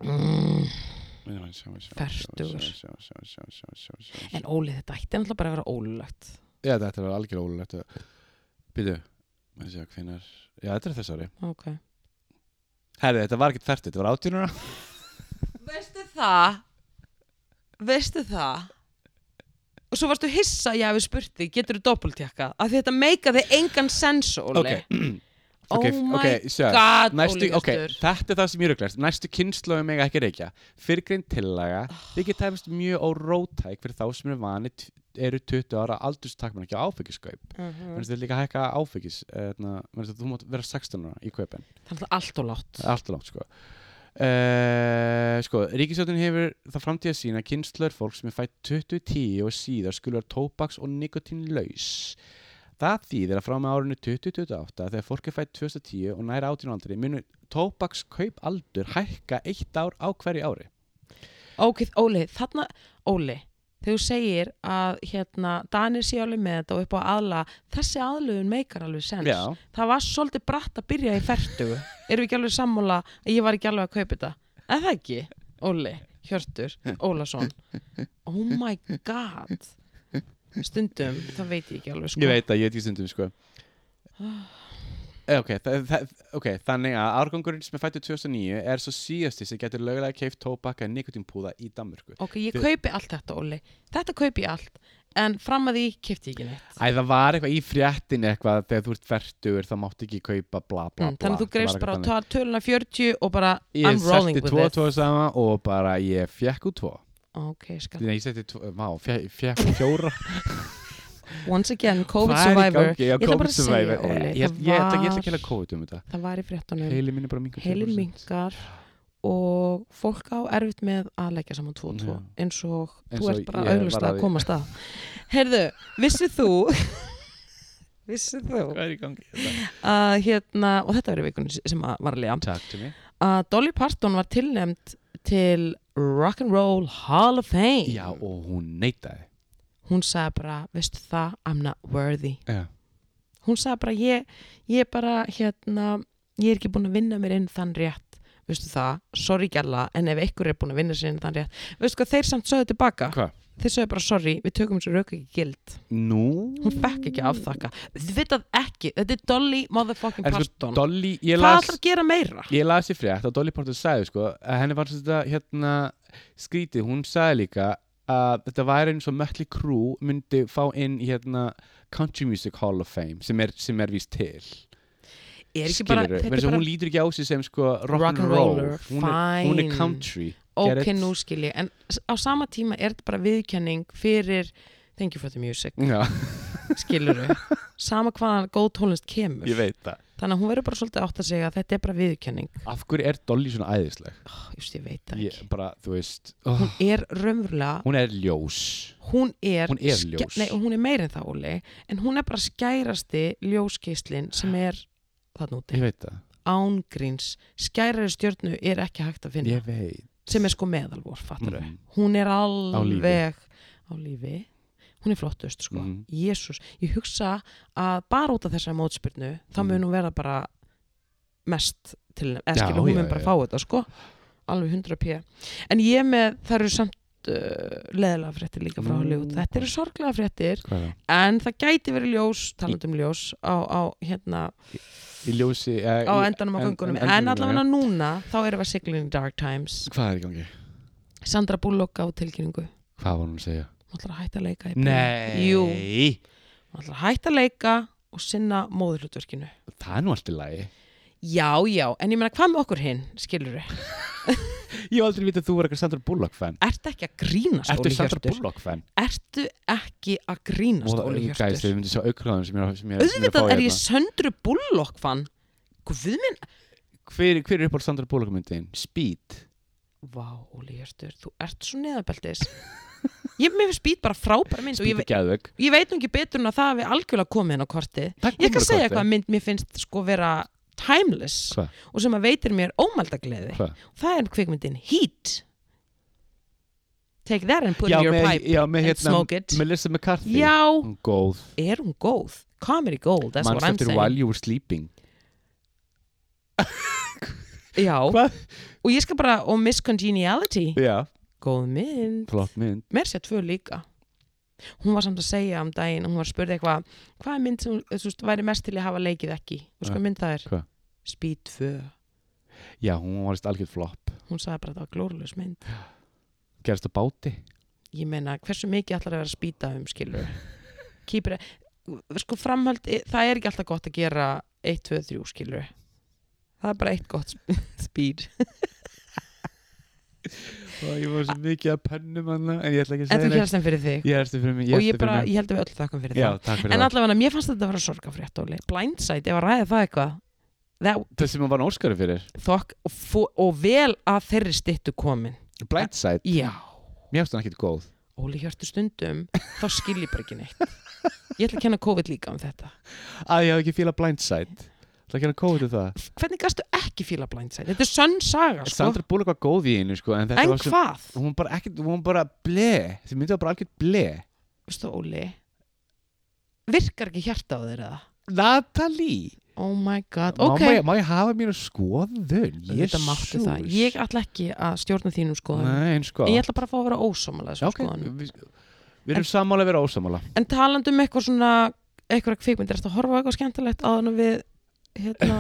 [SPEAKER 1] mm.
[SPEAKER 2] veitum við, sjá, sjá, sjá,
[SPEAKER 1] Fertugur.
[SPEAKER 2] sjá, sjá, sjá, sjá, sjá, sjá, sjá, sjá.
[SPEAKER 1] en Óli þetta ætti náttúrulega bara að vera ólulegt
[SPEAKER 2] Já, þetta er algjör ólulegt Bittu Hvinnar Já, þetta er þessari
[SPEAKER 1] ok
[SPEAKER 2] Herri, þetta var ekkert fertu Þetta var átjörnuna
[SPEAKER 1] veistu það veistu það og svo varstu hissa að ég hafi spurt þig getur þú doppeltjakka að þetta meikaði engan sens Óli
[SPEAKER 2] Ok.
[SPEAKER 1] oh
[SPEAKER 2] Ok,
[SPEAKER 1] my
[SPEAKER 2] ok, sure.
[SPEAKER 1] god
[SPEAKER 2] Næstu,
[SPEAKER 1] Óli
[SPEAKER 2] ok,
[SPEAKER 1] Gestur.
[SPEAKER 2] þetta er það sem ég röglast Næstu kynnslóðum mega ekki reykja Fyrgrein tillaga
[SPEAKER 1] Ah.
[SPEAKER 2] Þykir tæfist mjög órótæk fyrir þá sem eru vani t- eru 20 ára aldurstakman ekki áfengiskaup
[SPEAKER 1] Mhm.
[SPEAKER 2] Mér finnst þetta líka að hækka áfengis eðna, Þú mátt vera 16 ára í kaupin
[SPEAKER 1] Það er allt og látt
[SPEAKER 2] Allt og langt sko Uh, sko, ríkisjóttin hefur það framtíða sína að kynslur fólk sem er fætt 2010 og síðar skulle vera tóbaks og nikotínlaus það þýðir að frá með árinu 2028 þegar fólk er fætt 2010 og næra 18 aldri munur tóbakskaup aldur hækka eitt ár á hverju ári
[SPEAKER 1] Ok, Óli, þarna, Óli þegar þú segir að hérna Danir sé alveg með þetta og upp á aðla þessi aðlöfun meikar alveg sens
[SPEAKER 2] Já,
[SPEAKER 1] það var svolítið bratt að byrja í fertugu erum við ekki alveg sammála að ég var ekki alveg að kaupa þetta en það ekki, Óli, Hjörtur Ólason oh my god stundum, það veit ég ekki alveg sko.
[SPEAKER 2] ég veit að ég veit ekki stundum sko Eh, Ok, það, það, ok, þannig að árgangurinn sem er fættur 2009 er svo síðasti sem getur lögulega keift tóbaka en nikotínpúða í Danmörku
[SPEAKER 1] ok, ég
[SPEAKER 2] Þið-
[SPEAKER 1] kaupi allt þetta Óli þetta kaupi ég allt, en fram að því kefti ég ekki neitt
[SPEAKER 2] Æ, það var eitthvað í fréttin eitthvað þegar þú ert færtur þá mátt ekki kaupa bla bla bla
[SPEAKER 1] Mm, þannig að þú greifst bara á
[SPEAKER 2] á
[SPEAKER 1] ta- töluna 40 og bara I'm
[SPEAKER 2] Ég
[SPEAKER 1] rolling
[SPEAKER 2] setti
[SPEAKER 1] with it
[SPEAKER 2] tvo og tvo saman og bara ég fekk úr tvo
[SPEAKER 1] ok, skal
[SPEAKER 2] Nei, ég setti tvo, vá, fekk, fekk úr fjóra
[SPEAKER 1] Once again, COVID
[SPEAKER 2] Hvað er í
[SPEAKER 1] survivor
[SPEAKER 2] gangi? Já,
[SPEAKER 1] Ég ætla bara
[SPEAKER 2] COVID
[SPEAKER 1] að
[SPEAKER 2] survivor
[SPEAKER 1] segja, Óli,
[SPEAKER 2] Ég- Ég
[SPEAKER 1] það
[SPEAKER 2] ég ætla ég ætla
[SPEAKER 1] var-
[SPEAKER 2] ekki að kóta um þetta
[SPEAKER 1] Það var í fréttunum
[SPEAKER 2] Heili minn er bara mingur
[SPEAKER 1] Heilin mingar og fólk á erfitt með að leggja saman 2 og 2
[SPEAKER 2] Já.
[SPEAKER 1] eins og
[SPEAKER 2] Eins
[SPEAKER 1] þú
[SPEAKER 2] og
[SPEAKER 1] ert bara
[SPEAKER 2] ég
[SPEAKER 1] auðlust
[SPEAKER 2] var að
[SPEAKER 1] að
[SPEAKER 2] því.
[SPEAKER 1] komast að Heyrðu, vissið þú vissið þú
[SPEAKER 2] er í gangi?
[SPEAKER 1] að hérna, og þetta verið vikunni sem að var að lega
[SPEAKER 2] Takk til mig
[SPEAKER 1] að Dolly Parton var tilnefnd til Rock'n'Roll Hall of Fame
[SPEAKER 2] Já, og hún neitaði
[SPEAKER 1] hún sagði bara, veistu það, I'm not worthy
[SPEAKER 2] Já,
[SPEAKER 1] hún sagði bara ég, ég bara hérna ég er ekki búin að vinna mér inn þann rétt veistu það, sorry gæla en ef einhver er búin að vinna sér inn þann rétt veistu hvað þeir samt sögðu tilbaka
[SPEAKER 2] Hvað?
[SPEAKER 1] þeir sögðu bara sorry, við tökum þessu rauk ekki gild
[SPEAKER 2] Nú
[SPEAKER 1] hún fekk ekki að afþakka þið vitað ekki, þetta er Dolly motherfucking
[SPEAKER 2] En sko,
[SPEAKER 1] Parton
[SPEAKER 2] Dolly, ég
[SPEAKER 1] hvað
[SPEAKER 2] las
[SPEAKER 1] ætlar að gera meira?
[SPEAKER 2] Ég las í frétt að Dolly Parton sagði sko að henni fannst þetta hérna skrítið, hún sagði líka að þetta væri eins og Mötli Crew myndi fá inn í hérna Country Music Hall of Fame sem er, sem er víst til
[SPEAKER 1] er ekki bara,
[SPEAKER 2] Skilurðu?
[SPEAKER 1] þetta er
[SPEAKER 2] Vegna þess að
[SPEAKER 1] bara
[SPEAKER 2] hún lítur ekki á sig sem sko
[SPEAKER 1] Rock and
[SPEAKER 2] rock'n'roll
[SPEAKER 1] roller,
[SPEAKER 2] hún, er- hún er
[SPEAKER 1] fine.
[SPEAKER 2] country
[SPEAKER 1] ok,
[SPEAKER 2] Gerrit.
[SPEAKER 1] nú skil ég, en s- á sama tíma er þetta bara viðkenning fyrir thank you for the music,
[SPEAKER 2] Já,
[SPEAKER 1] skilur sama hvaðan góð tónlist kemur
[SPEAKER 2] veit það
[SPEAKER 1] Þannig að hún verður bara svolítið átt að segja að þetta er bara viðurkenning.
[SPEAKER 2] Af hverju er Dolly svona æðisleg?
[SPEAKER 1] Oh, just ég veit það
[SPEAKER 2] Ég,
[SPEAKER 1] ekki.
[SPEAKER 2] bara, þú veist oh,
[SPEAKER 1] Hún er raunverulega,
[SPEAKER 2] Hún er ljós
[SPEAKER 1] hún er...
[SPEAKER 2] Hún er
[SPEAKER 1] ske-
[SPEAKER 2] ljós.
[SPEAKER 1] Nei, hún er meir en það, Óli. En hún er bara skærasti ljóskeislin sem er þarna úti.
[SPEAKER 2] Ég veit það,
[SPEAKER 1] Ángríns. Skærari stjörnu er ekki hægt að finna.
[SPEAKER 2] ég veit
[SPEAKER 1] Sem er sko meðalvor, fattur þau.
[SPEAKER 2] Mhm.
[SPEAKER 1] Hún er alveg á lífi. Hún er flottust, sko.
[SPEAKER 2] Mhm.
[SPEAKER 1] Jésús. Ég hugsa að bara út af þessari mótspyrnu, þá
[SPEAKER 2] Mhm.
[SPEAKER 1] mun hún vera bara mest til henni.
[SPEAKER 2] Já,
[SPEAKER 1] Eða skilur, hún
[SPEAKER 2] já,
[SPEAKER 1] mun bara
[SPEAKER 2] já.
[SPEAKER 1] fá þetta, sko. Alveg 100 p. En ég með, það eru samt uh, leðilega fréttir líka frá
[SPEAKER 2] Nú.
[SPEAKER 1] Hollywood. Þetta eru sorglega fréttir,
[SPEAKER 2] Hvað er það?
[SPEAKER 1] en það gæti verið ljós, talandum ljós, á, á hérna,
[SPEAKER 2] Í ljósi eh,
[SPEAKER 1] á
[SPEAKER 2] í-
[SPEAKER 1] endanum á
[SPEAKER 2] en-
[SPEAKER 1] göngunum.
[SPEAKER 2] en-
[SPEAKER 1] En
[SPEAKER 2] endinum,
[SPEAKER 1] allavega
[SPEAKER 2] já.
[SPEAKER 1] núna, þá erum við að sigla inn í Dark Times.
[SPEAKER 2] Hvað er í gangi?
[SPEAKER 1] Sandra Bullock á tilkynningu.
[SPEAKER 2] Hvað var hún að segja?
[SPEAKER 1] Hún ætlar að hætta að leika í bíó.
[SPEAKER 2] Nei
[SPEAKER 1] Jú, hún ætlar að hætta að leika og sinna móðurhlutverkinu.
[SPEAKER 2] Það er nú allt í lagi
[SPEAKER 1] Já, já, en ég meina hvað með okkur hinn, skilur við?
[SPEAKER 2] Ég hef aldrei vitað að þú var eitthvað Sandra Bullock fan
[SPEAKER 1] Ertu ekki að grínast,
[SPEAKER 2] Ertu
[SPEAKER 1] Óli
[SPEAKER 2] Sandra
[SPEAKER 1] Hjörtur?
[SPEAKER 2] Bullock fan?
[SPEAKER 1] Ertu ekki að grínast, Óli
[SPEAKER 2] gæs,
[SPEAKER 1] Hjörtur?
[SPEAKER 2] þau myndi sjá aukráðum sem ég sem ég- sem ég er að fá
[SPEAKER 1] Auðvitað er ég
[SPEAKER 2] hérna.
[SPEAKER 1] söndru bullock fann. Guð minn,
[SPEAKER 2] hver, hver er uppáld Sandra Bullock myndin? Speed
[SPEAKER 1] vá, Óli Hjörtur, þú ert svo neðabeltis. Ég mér finnst být bara frábæra mynd og ég,
[SPEAKER 2] Speed er
[SPEAKER 1] ve-
[SPEAKER 2] gæðvögg
[SPEAKER 1] ég veit nú ekki betur en að það hafi algjörlega komið inn á kortið. Ég kann segja hvað mynd mér finnst sko vera timeless
[SPEAKER 2] Hvað?
[SPEAKER 1] og sem að veitir mér ómaldagleði.
[SPEAKER 2] Hvað?
[SPEAKER 1] það er kvikmyndin Heat Take that and put it
[SPEAKER 2] Já,
[SPEAKER 1] in your
[SPEAKER 2] með,
[SPEAKER 1] pipe
[SPEAKER 2] já, með
[SPEAKER 1] and
[SPEAKER 2] hérna
[SPEAKER 1] smoke it
[SPEAKER 2] Melissa McCarthy
[SPEAKER 1] Já,
[SPEAKER 2] Hún góð
[SPEAKER 1] er hún góð? Comedy gold, that's what
[SPEAKER 2] Manstu
[SPEAKER 1] I'm
[SPEAKER 2] eftir
[SPEAKER 1] saying
[SPEAKER 2] While You Were Sleeping
[SPEAKER 1] Já,
[SPEAKER 2] Hvað?
[SPEAKER 1] og ég skal bara og Miss Congeniality
[SPEAKER 2] Já,
[SPEAKER 1] Góð mynd,
[SPEAKER 2] flott mynd
[SPEAKER 1] mér sé tvö líka Hún var samt að segja um daginn hún var að spurði eitthvað, hvað er mynd sem eh, þú veist, væri mest til að hafa leikið ekki? Þú veist
[SPEAKER 2] Ja,
[SPEAKER 1] hvað mynd það er?
[SPEAKER 2] hvað?
[SPEAKER 1] Speed 2
[SPEAKER 2] Já, hún var veist algjörð flop
[SPEAKER 1] Hún sagði bara að það var glórulegs mynd
[SPEAKER 2] Gerist á báti
[SPEAKER 1] ég meina, hversu mikið ætlar að vera að spýta um skilur Keeper, sko framhald, það er ekki alltaf gott að gera 1, 2, 3 skilur það er bara eitt gott speed
[SPEAKER 2] og ég var svo mikið að pennum hana en ég ætla ekki að
[SPEAKER 1] en þú
[SPEAKER 2] segja
[SPEAKER 1] gerast þeim fyrir þig
[SPEAKER 2] ég er eftir fyrir mig
[SPEAKER 1] og ég, bara, ég held að við öll þakkum fyrir
[SPEAKER 2] já,
[SPEAKER 1] það
[SPEAKER 2] takk fyrir
[SPEAKER 1] en
[SPEAKER 2] það
[SPEAKER 1] allavega, mér fannst þetta að vera sorgafrétt Óli. blindside, ef að ræða það eitthvað það,
[SPEAKER 2] það sem hann var óskari fyrir
[SPEAKER 1] þokk, og, fó- og vel að þeirri styttu komin
[SPEAKER 2] Blindside,
[SPEAKER 1] já,
[SPEAKER 2] mér finnst hann ekkit góð
[SPEAKER 1] Óli hjörtu stundum þá skil ég bara ekki neitt ég ætla að kenna COVID líka um þetta
[SPEAKER 2] að ég hafði ekki fíla Blindside það er ekki hann kóðu það
[SPEAKER 1] hvernig gastu ekki fíla blindside? Þetta er sönn saga, sko
[SPEAKER 2] Sandra Bullock var góð í einu sko en þetta
[SPEAKER 1] en
[SPEAKER 2] var svo
[SPEAKER 1] hvað?
[SPEAKER 2] hún bara ekkert, hún bara ble þið myndið var bara algjört ble
[SPEAKER 1] Vistu, Óli virkar ekki hjarta á þér eða?
[SPEAKER 2] Natalie
[SPEAKER 1] Oh my god,
[SPEAKER 2] má,
[SPEAKER 1] ok
[SPEAKER 2] má, ég, má ég hafa mínu skoðun
[SPEAKER 1] Þetta máttu það, ég ætla ekki að stjórna þínum skoðum
[SPEAKER 2] Nei, en sko
[SPEAKER 1] Ég ætla bara að fá að vera ósámála
[SPEAKER 2] Já,
[SPEAKER 1] þessum
[SPEAKER 2] ok,
[SPEAKER 1] skoðunum
[SPEAKER 2] við, við erum sammála að vera ósammála
[SPEAKER 1] En talandi um eitthvað svona eitthvað kvikmyndir, ertu að horfa á eitthvað skemmtilegt áður en við hérna,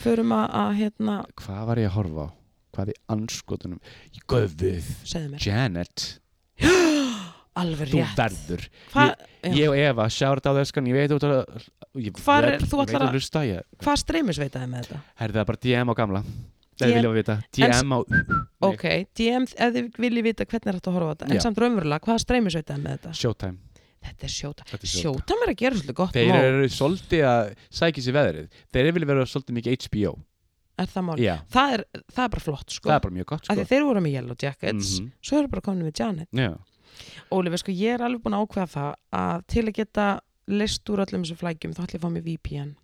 [SPEAKER 1] förum að, að hérna,
[SPEAKER 2] Hvað var ég að horfa á? Hvað í anskotunum? Ég göfuð
[SPEAKER 1] segðu mér
[SPEAKER 2] Janet,
[SPEAKER 1] alveg
[SPEAKER 2] þú
[SPEAKER 1] rétt
[SPEAKER 2] verður
[SPEAKER 1] Hva- já.
[SPEAKER 2] Ég og Eva, sjárat á þesskan Ég veit út að ég,
[SPEAKER 1] Hvar er-
[SPEAKER 2] ég,
[SPEAKER 1] þú ætlar
[SPEAKER 2] veit
[SPEAKER 1] að-
[SPEAKER 2] að hlusta ég
[SPEAKER 1] Hvað streymisveitaði með þetta?
[SPEAKER 2] Herði það er bara DM á gamla
[SPEAKER 1] DM
[SPEAKER 2] Það viljum við vita DM á Nei.
[SPEAKER 1] Ok, DM, ef þið viljið vita hvernig er þetta að horfa á þetta, en
[SPEAKER 2] Já.
[SPEAKER 1] samt raunverulega, hvaða streymisveitaði með þetta?
[SPEAKER 2] Showtime
[SPEAKER 1] Þetta er sjóta.
[SPEAKER 2] Þetta er Showtime.
[SPEAKER 1] Sjótam er að gera svolítið gott
[SPEAKER 2] Þeir
[SPEAKER 1] mál.
[SPEAKER 2] eru svolítið að sækja sér veðrið Þeir vilja vera svolítið mikið HBO
[SPEAKER 1] Er það mál?
[SPEAKER 2] Já,
[SPEAKER 1] Það er, það er bara flott, sko.
[SPEAKER 2] það er bara mjög gott
[SPEAKER 1] Af
[SPEAKER 2] sko.
[SPEAKER 1] því þeir voru með Yellow Jackets,
[SPEAKER 2] Mhm.
[SPEAKER 1] svo eru bara komin með Janet.
[SPEAKER 2] Já,
[SPEAKER 1] Ólífi, sko, ég er alveg búin að ákveða það að til að geta list úr öllum þessum flækjum, þá ætlum ég að fá mér VPN.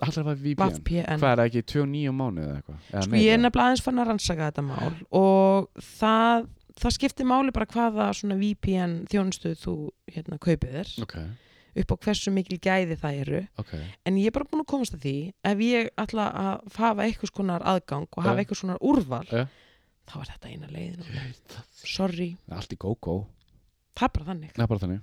[SPEAKER 2] allar var VPN
[SPEAKER 1] VPN.
[SPEAKER 2] Hvað er það ekki, 29 mánuð eða eitthvað? Eða
[SPEAKER 1] Sko,
[SPEAKER 2] meira?
[SPEAKER 1] ég er nefnilega aðeins fann að rannsaka þetta mál og það, það skiptir máli bara hvaða svona VPN þjónustu þú hérna kaupið þér
[SPEAKER 2] Ok,
[SPEAKER 1] upp á hversu mikil gæði það eru
[SPEAKER 2] ok
[SPEAKER 1] en ég er bara búin að komast að því ef ég ætla að f- hafa eitthvað konar aðgang og hafa
[SPEAKER 2] Já.
[SPEAKER 1] eitthvað svona úrval
[SPEAKER 2] Já.
[SPEAKER 1] þá er þetta eina leiðin sorry,
[SPEAKER 2] Allt í gókó
[SPEAKER 1] það er bara þannig
[SPEAKER 2] Það er bara þannig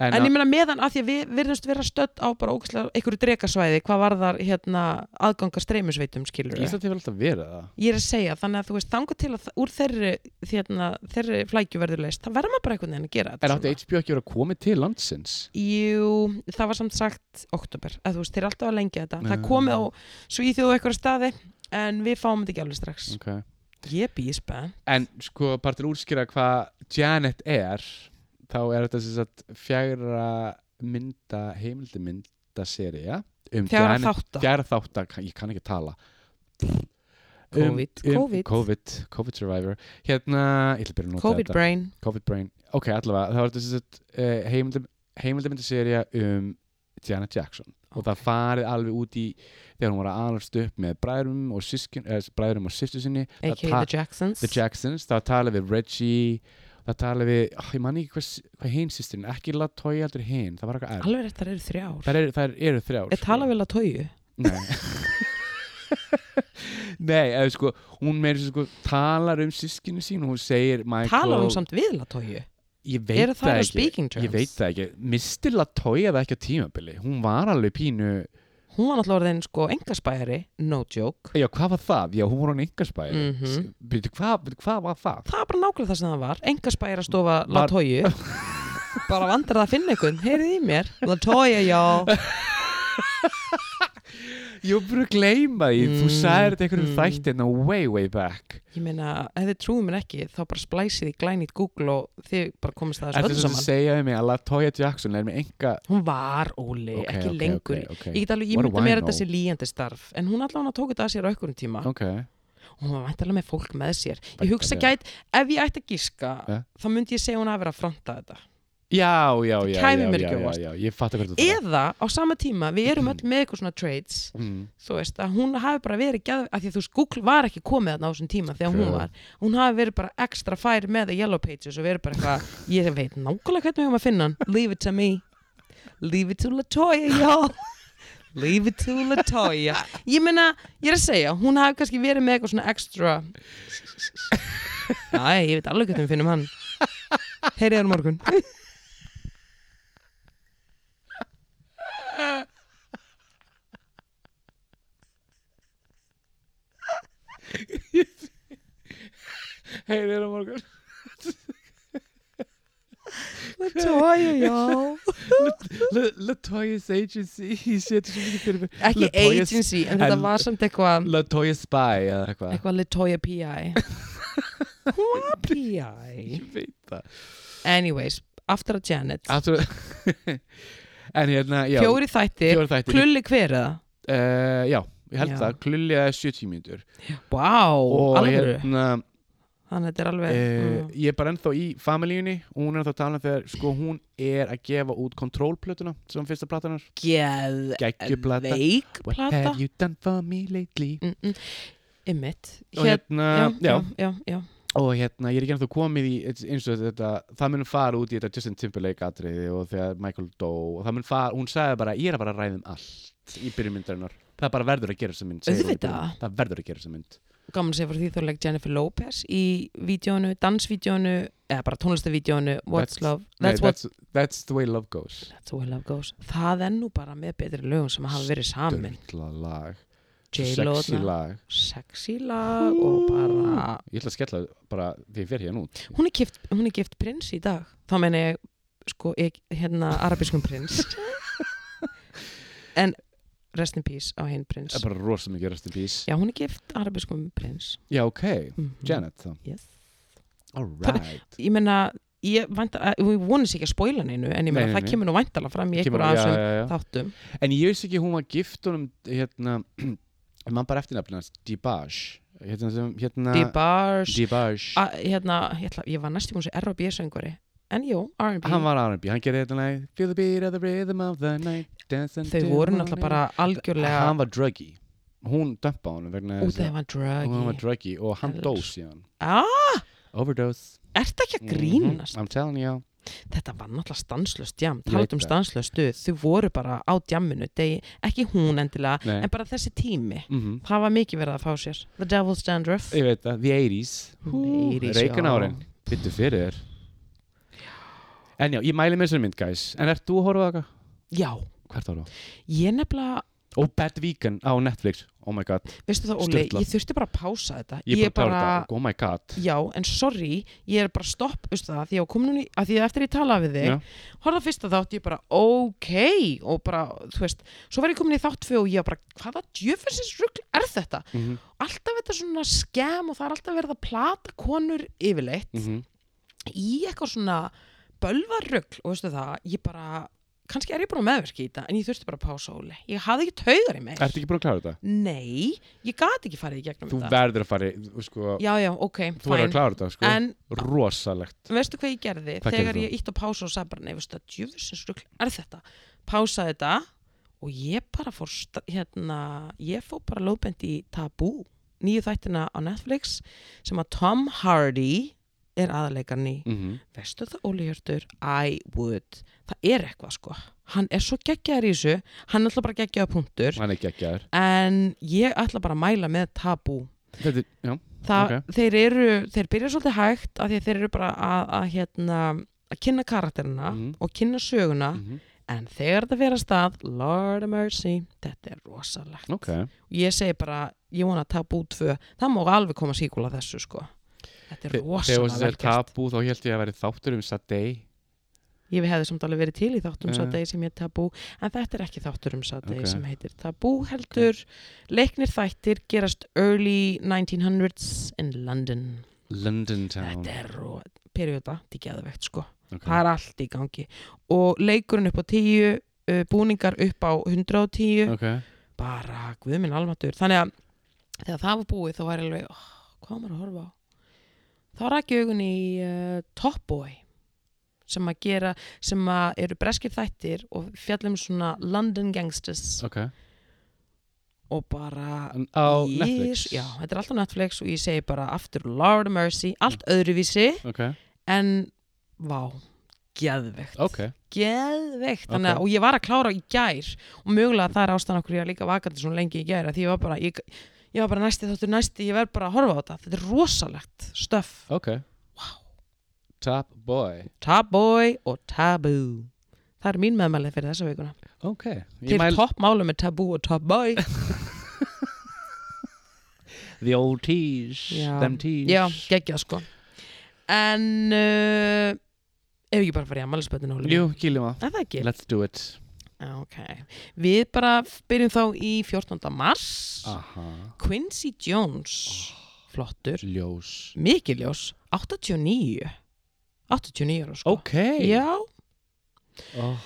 [SPEAKER 1] en, ég meina meðan að því að við virðumst vera stödd á bara ógæslega einhverju drekasvæði hvað varðar hérna aðgangar streymisveitum skilur við.
[SPEAKER 2] Ísland hefur alltaf verið það
[SPEAKER 1] ég er að segja þannig að þú veist þanga til að þa- úr þeirri, hérna, þeirri flækju verður leist það verður maður bara einhvern veginn að gera
[SPEAKER 2] Er
[SPEAKER 1] þetta
[SPEAKER 2] átti
[SPEAKER 1] svona.
[SPEAKER 2] HBO ekki verið að koma til landsins?
[SPEAKER 1] Jú, það var samt sagt oktober, að þú veist, þeir eru alltaf að lengja þetta það
[SPEAKER 2] Já.
[SPEAKER 1] er komið á svíþjóðu eitthvað staði en við fáum þetta ekki alveg strax
[SPEAKER 2] Okay. Mm.
[SPEAKER 1] ég býð spennt
[SPEAKER 2] En sko, bara til að útskýra hvað Janet er þá er þetta sem sagt fjægra mynda, heimildamyndasería um
[SPEAKER 1] þegar að
[SPEAKER 2] Janet-
[SPEAKER 1] þátt
[SPEAKER 2] fjæra þátt að, ég kann ekki tala
[SPEAKER 1] COVID, COVID.
[SPEAKER 2] um- COVID, COVID survivor hérna, ég ætla að byrja að nota
[SPEAKER 1] COVID
[SPEAKER 2] þetta
[SPEAKER 1] brain
[SPEAKER 2] COVID brain, ok allavega það var þetta sem sagt eh, heimildam, heimildamindasería um Janet Jackson og það farið alveg út í þegar hún var að alast upp með bræðrum og, sískin, eh, bræðrum og sýstu sinni það
[SPEAKER 1] a.k.a.
[SPEAKER 2] ta-
[SPEAKER 1] The Jacksons
[SPEAKER 2] The Jacksons, það tala við Reggie það tala við, oh, ég man ekki hvað, hvað hinn sýsturinn, ekki Latoya heldur hinn það var eitthvað er,
[SPEAKER 1] alveg rétt þar eru þrjár
[SPEAKER 2] það eru, það eru þrjár sko.
[SPEAKER 1] ég tala vel að tóju
[SPEAKER 2] Nei Nei, eða sko hún meiri sko talar um sískinu sín og hún segir Michael
[SPEAKER 1] tala um samt við að tóju
[SPEAKER 2] Ég veit
[SPEAKER 1] eru það á
[SPEAKER 2] ekki
[SPEAKER 1] speaking terms
[SPEAKER 2] Ég veit það ekki, misti Latoya það ekki á tímabili hún var alveg pínu
[SPEAKER 1] hún var náttúrulega orðin sko engasbæri no joke
[SPEAKER 2] Já, hvað var það? Já, hún var hann yngarspæri
[SPEAKER 1] Mhm.
[SPEAKER 2] Býtu, hvað, bíddu, hvað var það?
[SPEAKER 1] það var bara nákvæmlega það sem það var engasbæri að stofa La
[SPEAKER 2] Var-
[SPEAKER 1] Tóju bara vandir það að finna einhvern heyrið í mér La Tóju, já
[SPEAKER 2] Ég var bara að gleyma því, þú
[SPEAKER 1] Mm,
[SPEAKER 2] sagðir þetta einhverjum
[SPEAKER 1] mm.
[SPEAKER 2] mm. þættina way, way back
[SPEAKER 1] ég meina, ef þið trúið mér ekki þá bara splæsið í glænit Google og þið bara komist að
[SPEAKER 2] Þetta
[SPEAKER 1] þessu
[SPEAKER 2] er
[SPEAKER 1] öllu
[SPEAKER 2] sem að
[SPEAKER 1] saman
[SPEAKER 2] segja um mig að Latoya Jackson er með enga
[SPEAKER 1] hún var óli, ekki lengur okay,
[SPEAKER 2] okay,
[SPEAKER 1] ég get alveg
[SPEAKER 2] What do
[SPEAKER 1] ímynda
[SPEAKER 2] I
[SPEAKER 1] mér
[SPEAKER 2] know?
[SPEAKER 1] þetta sé líjandi starf en hún allavega tók þetta að sér á einhverjum tíma
[SPEAKER 2] Ok,
[SPEAKER 1] og hún var væntalega með fólk með sér ég
[SPEAKER 2] Væntanlega.
[SPEAKER 1] hugsa gæt, ef ég ætti að gíska
[SPEAKER 2] Ja.
[SPEAKER 1] þá myndi ég segja hún að vera að fronta þetta
[SPEAKER 2] Já, já, já,
[SPEAKER 1] kæmi
[SPEAKER 2] já,
[SPEAKER 1] mér
[SPEAKER 2] já,
[SPEAKER 1] ekki á
[SPEAKER 2] já,
[SPEAKER 1] óvart.
[SPEAKER 2] já, ég fatt að hvernig þú það
[SPEAKER 1] eða á sama tíma, við erum öll með eitthvað svona trades
[SPEAKER 2] mm.
[SPEAKER 1] þú veist, að hún hafi bara verið geð, að því að þú veist, Google var ekki komið þarna á þessum tíma þegar hún
[SPEAKER 2] True.
[SPEAKER 1] var, hún hafi verið bara extra fær með the yellow pages og verið bara eitthvað, ég veit nákvæmlega hvernig við höfum að finna hann, leave it to me leave it to Latoya, y'all leave it to Latoya ég meina, ég er að segja, hún hafi kannski verið með eitthvað svona extra næ, ég veit alveg hvernig við finnum hann heyriðar morgun
[SPEAKER 2] Heyri þér á morgun
[SPEAKER 1] Latoya, já
[SPEAKER 2] Latoya's agency Ég seti svo mikið fyrir mér
[SPEAKER 1] Ekki
[SPEAKER 2] Latoya-
[SPEAKER 1] agency, en þetta
[SPEAKER 2] en-
[SPEAKER 1] var samt eitthvað
[SPEAKER 2] Latoya Spy eða eitthvað
[SPEAKER 1] eitthvað Latoya P.I. Hún var P.I.
[SPEAKER 2] Ég veit það
[SPEAKER 1] Anyways, aftur að Janet
[SPEAKER 2] Aftur En hérna, Ah, já
[SPEAKER 1] Fjóri þættir,
[SPEAKER 2] fjóri þættir
[SPEAKER 1] klulli hver eða?
[SPEAKER 2] Eh, Já, ég held
[SPEAKER 1] Já.
[SPEAKER 2] það Klulli að 70 mínútur
[SPEAKER 1] Vá,
[SPEAKER 2] Og
[SPEAKER 1] alveg
[SPEAKER 2] hérna
[SPEAKER 1] Þannig að þetta er alveg
[SPEAKER 2] eh,
[SPEAKER 1] mm.
[SPEAKER 2] Ég er bara ennþá í familíunni og Hún er ennþá að tala um þegar Sko hún er að gefa út kontrólplötuna Sem fyrsta platanar Gekkjuplata
[SPEAKER 1] geðveik
[SPEAKER 2] What
[SPEAKER 1] plata
[SPEAKER 2] have you done for me lately
[SPEAKER 1] Mm, mm. Ymmit
[SPEAKER 2] Og hérna, já,
[SPEAKER 1] já, já, já.
[SPEAKER 2] og hérna, ég er ekki ennþá komið í eins og þetta, það mun fara út í þetta Justin Timberlake atriði og þegar Michael dó og það mun fara, hún sagði bara, ég er að bara að ræða um allt í byrjumyndarinnar það bara verður að gera þessa mynd segir hún í
[SPEAKER 1] Auðvitað.
[SPEAKER 2] byrjun. það verður að gera þessa mynd
[SPEAKER 1] Gaman að segja frá því þó legg Jennifer Lopez í vídjónu, dansvídjónu eða bara tónlistavídjónu What's
[SPEAKER 2] That's-
[SPEAKER 1] Love,
[SPEAKER 2] Nei,
[SPEAKER 1] That's What
[SPEAKER 2] that's, that's the way love goes
[SPEAKER 1] That's What Love Goes Það er nú bara með betri lögum sem hafa verið samin
[SPEAKER 2] Dörla lag,
[SPEAKER 1] J-Lo
[SPEAKER 2] sexy
[SPEAKER 1] þarna,
[SPEAKER 2] lag
[SPEAKER 1] Sexy lag og bara
[SPEAKER 2] ég ætla að skella bara því ég fer hér nút
[SPEAKER 1] hún er, gift, hún er gift prins í dag þá meina ég sko ég, hérna arabiskum prins en rest in peace á hinn prins
[SPEAKER 2] það er bara rosa mikið rest in peace
[SPEAKER 1] já hún er gift arabiskum prins
[SPEAKER 2] já, ok,
[SPEAKER 1] mm
[SPEAKER 2] Janet þá
[SPEAKER 1] Yes.
[SPEAKER 2] alright
[SPEAKER 1] ég meina ég vænta, að- við vonum sér ekki að spoila neinu en ég meina
[SPEAKER 2] Nei, nei,
[SPEAKER 1] það
[SPEAKER 2] nei.
[SPEAKER 1] kemur nú væntala fram í
[SPEAKER 2] Kemur-
[SPEAKER 1] einhverja af
[SPEAKER 2] já,
[SPEAKER 1] þessum
[SPEAKER 2] já, já.
[SPEAKER 1] þáttum
[SPEAKER 2] En ég veist ekki hún var gift honum hérna, ef mann bara eftirnafnina Dibage hérna, sem- hérna,
[SPEAKER 1] Dibars
[SPEAKER 2] Dibage
[SPEAKER 1] a- hérna, ég, ætla, ég var næstum hún sem R&B söngari en jú, R&B
[SPEAKER 2] Hann var R&B, hann gerði hérna lagið, Feel the beat of the rhythm of the night dance
[SPEAKER 1] þau voru náttúrulega bara algjörlega
[SPEAKER 2] Hann var druggy Hún dömpa honum vegna
[SPEAKER 1] út af það var
[SPEAKER 2] Hún var
[SPEAKER 1] druggy
[SPEAKER 2] druggy og hann
[SPEAKER 1] Hells.
[SPEAKER 2] dó síðan
[SPEAKER 1] ah,
[SPEAKER 2] Overdose
[SPEAKER 1] er þetta ekki að grínast
[SPEAKER 2] Mhm, I'm telling you
[SPEAKER 1] þetta var náttúrulega stanslöst jam
[SPEAKER 2] Mhm. Ég
[SPEAKER 1] talað
[SPEAKER 2] veit
[SPEAKER 1] um
[SPEAKER 2] það.
[SPEAKER 1] stanslöst stuð, þau voru bara á jamminu degi, ekki hún endilega
[SPEAKER 2] Nei.
[SPEAKER 1] en bara þessi tími,
[SPEAKER 2] mm
[SPEAKER 1] það var mikið verið að fá sér The Devil's Dandruff
[SPEAKER 2] Ég veit það, the 80s Hú,
[SPEAKER 1] 80s,
[SPEAKER 2] Reagan
[SPEAKER 1] já.
[SPEAKER 2] árin, byttu fyrir þér En já, ég mæli með þessari mynd, guys En ert þú að horfa á það?
[SPEAKER 1] já,
[SPEAKER 2] Hvert horfa?
[SPEAKER 1] ég nefnilega
[SPEAKER 2] og Bad Vegan á Netflix oh my god,
[SPEAKER 1] veistu það Óli,
[SPEAKER 2] Sturlað.
[SPEAKER 1] ég þurfti bara að pása þetta
[SPEAKER 2] ég, ég bara, bara... oh my god
[SPEAKER 1] já, en sorry, ég er bara stopp veistu það, því að kom núni, að því að eftir ég talaði við þig
[SPEAKER 2] Já.
[SPEAKER 1] horfða fyrst að þátt, ég bara ok, og bara, þú veist svo var ég komin í þátt fyrir og ég bara hvaða djöfessins rugl er þetta
[SPEAKER 2] mm -hmm.
[SPEAKER 1] alltaf þetta svona skem og það er alltaf verið að plata konur yfirleitt
[SPEAKER 2] Mhm.
[SPEAKER 1] í eitthvað svona bölvarugl og veistu það, ég bara kannski er ég bara meðverki í þetta en ég þurfti bara að pása óli, ég hafði ekki taugar í mig
[SPEAKER 2] ertu ekki búin að klára þetta?
[SPEAKER 1] nei, ég gat ekki farið í gegnum
[SPEAKER 2] þú
[SPEAKER 1] þetta
[SPEAKER 2] verður að fara í- þú sko,
[SPEAKER 1] já, já, ok,
[SPEAKER 2] þú verður að
[SPEAKER 1] fæn
[SPEAKER 2] klára þetta sko.
[SPEAKER 1] en
[SPEAKER 2] rosalegt
[SPEAKER 1] veistu hvað ég gerði
[SPEAKER 2] Hvað
[SPEAKER 1] þegar
[SPEAKER 2] gerðir þú?
[SPEAKER 1] ég ítt á pása og sagði bara nei, veistu það, djöfusins rugl er þetta pásaði þetta og ég bara fór sta- hérna, ég fór bara lóðbend í Tabú nýju þættina á Netflix sem að Tom Hardy er aðleikarni
[SPEAKER 2] mm -hmm.
[SPEAKER 1] veistu það Óli Hjörtur, I would það er eitthvað sko, hann er svo geggjaður í þessu, hann er alltaf bara geggjaða punktur
[SPEAKER 2] hann er geggjaður
[SPEAKER 1] en ég ætla bara að mæla með Tabú
[SPEAKER 2] þetta, er- já,
[SPEAKER 1] Þa, þeir eru, þeir byrja svolítið hægt af því að þeir eru bara að, að hérna að kynna karakterina
[SPEAKER 2] Mhm.
[SPEAKER 1] og kynna söguna
[SPEAKER 2] mm
[SPEAKER 1] en þegar þetta fer að stað, Lord of Mercy þetta er rosalegt
[SPEAKER 2] ok
[SPEAKER 1] ég segi bara, ég vona að tabu 2 það má alveg koma síkula þessu sko þetta er
[SPEAKER 2] Þe- þegar
[SPEAKER 1] rosalega
[SPEAKER 2] þetta er
[SPEAKER 1] velkjast
[SPEAKER 2] tabú þá held ég að verði þáttur um Sadei
[SPEAKER 1] ég hefði samt alveg verið til í þáttum
[SPEAKER 2] Já.
[SPEAKER 1] satay sem ég tabu, en þetta er ekki þáttur um satay
[SPEAKER 2] Eh. Ok.
[SPEAKER 1] sem heitir tabu heldur leiknir þættir gerast early 1900s in London
[SPEAKER 2] London Town
[SPEAKER 1] þetta er ró, perióda, þetta er geðvegt sko
[SPEAKER 2] Ok.
[SPEAKER 1] það er allt í gangi og leikurinn upp á 10 uh, búningar upp á 110
[SPEAKER 2] ok,
[SPEAKER 1] bara guðminn almatur þannig að þegar það var búið þá var ég alveg, oh, hvað á maður að horfa á þá rækja augun í uh, Top Boy sem að gera, sem að eru breskir þættir og fjallum svona London Gangsters
[SPEAKER 2] ok
[SPEAKER 1] og bara
[SPEAKER 2] En á Netflix
[SPEAKER 1] Yes, já, þetta er allt á Netflix og ég segi bara aftur Lord of Mercy, allt öðruvísi
[SPEAKER 2] ok,
[SPEAKER 1] en vá, geðveikt
[SPEAKER 2] ok
[SPEAKER 1] geðveikt,
[SPEAKER 2] Ok.
[SPEAKER 1] þannig að og ég var að klára í gær og mögulega það er ástæðan okkur ég var líka vakandi svona lengi í gær að því ég var bara, ég, ég var bara næsti þáttur næsti ég verð bara að horfa á þetta, þetta er rosalegt stöf,
[SPEAKER 2] ok top boy
[SPEAKER 1] taboy og taboo það er mín meðmælið fyrir þessa vikuna
[SPEAKER 2] ok,
[SPEAKER 1] til mæl... toppmálu með taboo og taboy
[SPEAKER 2] the old teas
[SPEAKER 1] Já.
[SPEAKER 2] them teas
[SPEAKER 1] já, geggjað sko en uh, ef ekki bara að fara í ammælisböndin
[SPEAKER 2] Jú, kýlum að
[SPEAKER 1] Er það ekki?
[SPEAKER 2] Let's do it
[SPEAKER 1] Já, ok. Við bara byrjum þá í 14. mars.
[SPEAKER 2] Aha
[SPEAKER 1] Quincy Jones. Flottur.
[SPEAKER 2] Ljós
[SPEAKER 1] Mikiljós. 89. 89 ára sko.
[SPEAKER 2] Ok
[SPEAKER 1] Já.
[SPEAKER 2] oh.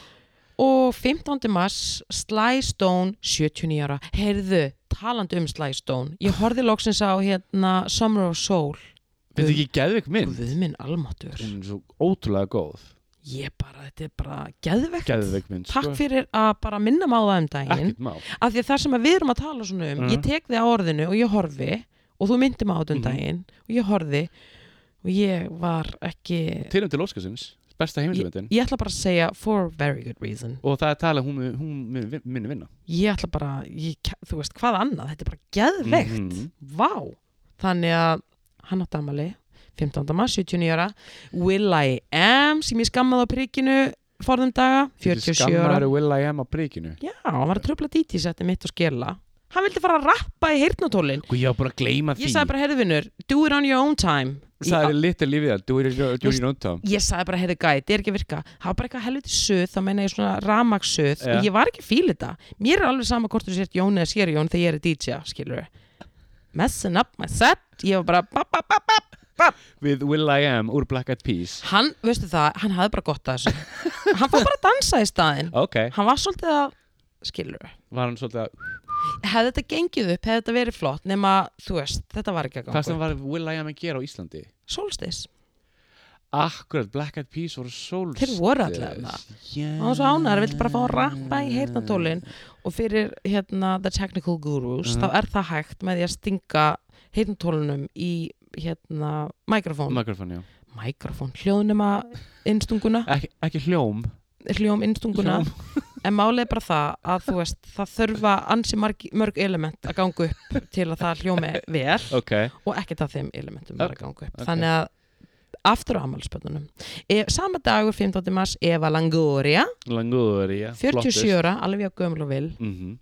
[SPEAKER 1] Og 15. mars Sly Stone 79 ára. Heyrðu, talandi um Sly Stone. Ég horfði loksins á hérna Summer of Soul.
[SPEAKER 2] Þetta er ekki geðveik mynd
[SPEAKER 1] Guð minn almatur.
[SPEAKER 2] Hún er svo ótrúlega góð
[SPEAKER 1] Ég bara, þetta er bara geðvegt.
[SPEAKER 2] Geðveik mynd
[SPEAKER 1] Takk
[SPEAKER 2] sko.
[SPEAKER 1] fyrir að bara minna má það um daginn.
[SPEAKER 2] Ekkert mál
[SPEAKER 1] af því að það sem að við erum að tala svona um
[SPEAKER 2] Mhm.
[SPEAKER 1] ég tek þið á orðinu og ég horfi og þú myndir mig á þetta um
[SPEAKER 2] Mhm.
[SPEAKER 1] daginn og ég horfi og ég var ekki
[SPEAKER 2] Tilum til Óskarsins Besta heimildumöndin
[SPEAKER 1] ég ætla bara að segja for very good reason
[SPEAKER 2] Og það er talað að hún, mun- hún mun- mun- muni vinna
[SPEAKER 1] ég ætla bara, ég, þú veist hvað annað þetta er bara geðveikt,
[SPEAKER 2] Mhm.
[SPEAKER 1] vá þannig að hann átti amali 15. maður, 79 ára Will I Am, sem ég skammaði á prikinu forðum daga, 47 ára
[SPEAKER 2] Skammar Will I Am á prikinu
[SPEAKER 1] já, hann var að tröfla díti setti mitt og skella hann vildi fara að rappa í heyrnatólin
[SPEAKER 2] Guð, ég var bara að gleyma því
[SPEAKER 1] Ég sagði bara, heyrðu vinnur, do it on your own time
[SPEAKER 2] Það
[SPEAKER 1] Ég-
[SPEAKER 2] er litur lífið það Do it do it in your own time
[SPEAKER 1] Ég sagði bara, heyrðu gæti, þetta er ekki að virka Það var bara eitthvað helviti suð, þá meina ég svona ramagssuð
[SPEAKER 2] Já.
[SPEAKER 1] og ég var ekki að fíla þetta Mér er alveg sama hvort þú sért Jón eða sér Jón þegar ég er að DJ, skilur Messing up my set Ég var bara, bap, bap, bap, bap
[SPEAKER 2] With Will I Am úr Black Eyed Peas
[SPEAKER 1] Hann, veistu það, hann hafði bara gott að þessu Hann fór bara að dansa í staðinn
[SPEAKER 2] Ok,
[SPEAKER 1] Hann var svolítið að, skilur
[SPEAKER 2] var hann svolítið að
[SPEAKER 1] Hefði þetta gengið upp, hefði þetta verið flott nema, þú veist, þetta var ekki að
[SPEAKER 2] Hvað sem
[SPEAKER 1] ganga
[SPEAKER 2] var Will I Am að gera á Íslandi?
[SPEAKER 1] Solstis,
[SPEAKER 2] Akkurat, Black Eyed Peas voru sólstis
[SPEAKER 1] Þeir voru allavega það.
[SPEAKER 2] yeah.
[SPEAKER 1] hann var svo ánæður, vildi bara fá að rappa í heyrnatólin og fyrir hérna The Technical
[SPEAKER 2] Mhm.
[SPEAKER 1] Gurus, þá er það hægt með því að stinga heyrnatólinum í hérna mikrofón,
[SPEAKER 2] Mikrofon, já
[SPEAKER 1] mikrofón, hljóðnema innstunguna,
[SPEAKER 2] Ek, Ekki hljóm
[SPEAKER 1] hljóm innstunguna en málið er bara það að þú veist það þurfa ansi marg, mörg element að ganga upp til að það hljómi vel
[SPEAKER 2] Ok,
[SPEAKER 1] og ekkert af þeim elementum var að ganga upp
[SPEAKER 2] ok.
[SPEAKER 1] þannig að aftur á ammálspöndunum sama dagur 15. mars Eva Langoria
[SPEAKER 2] langur, já
[SPEAKER 1] 47 ára, alveg á gömul og vil
[SPEAKER 2] mm -hmm.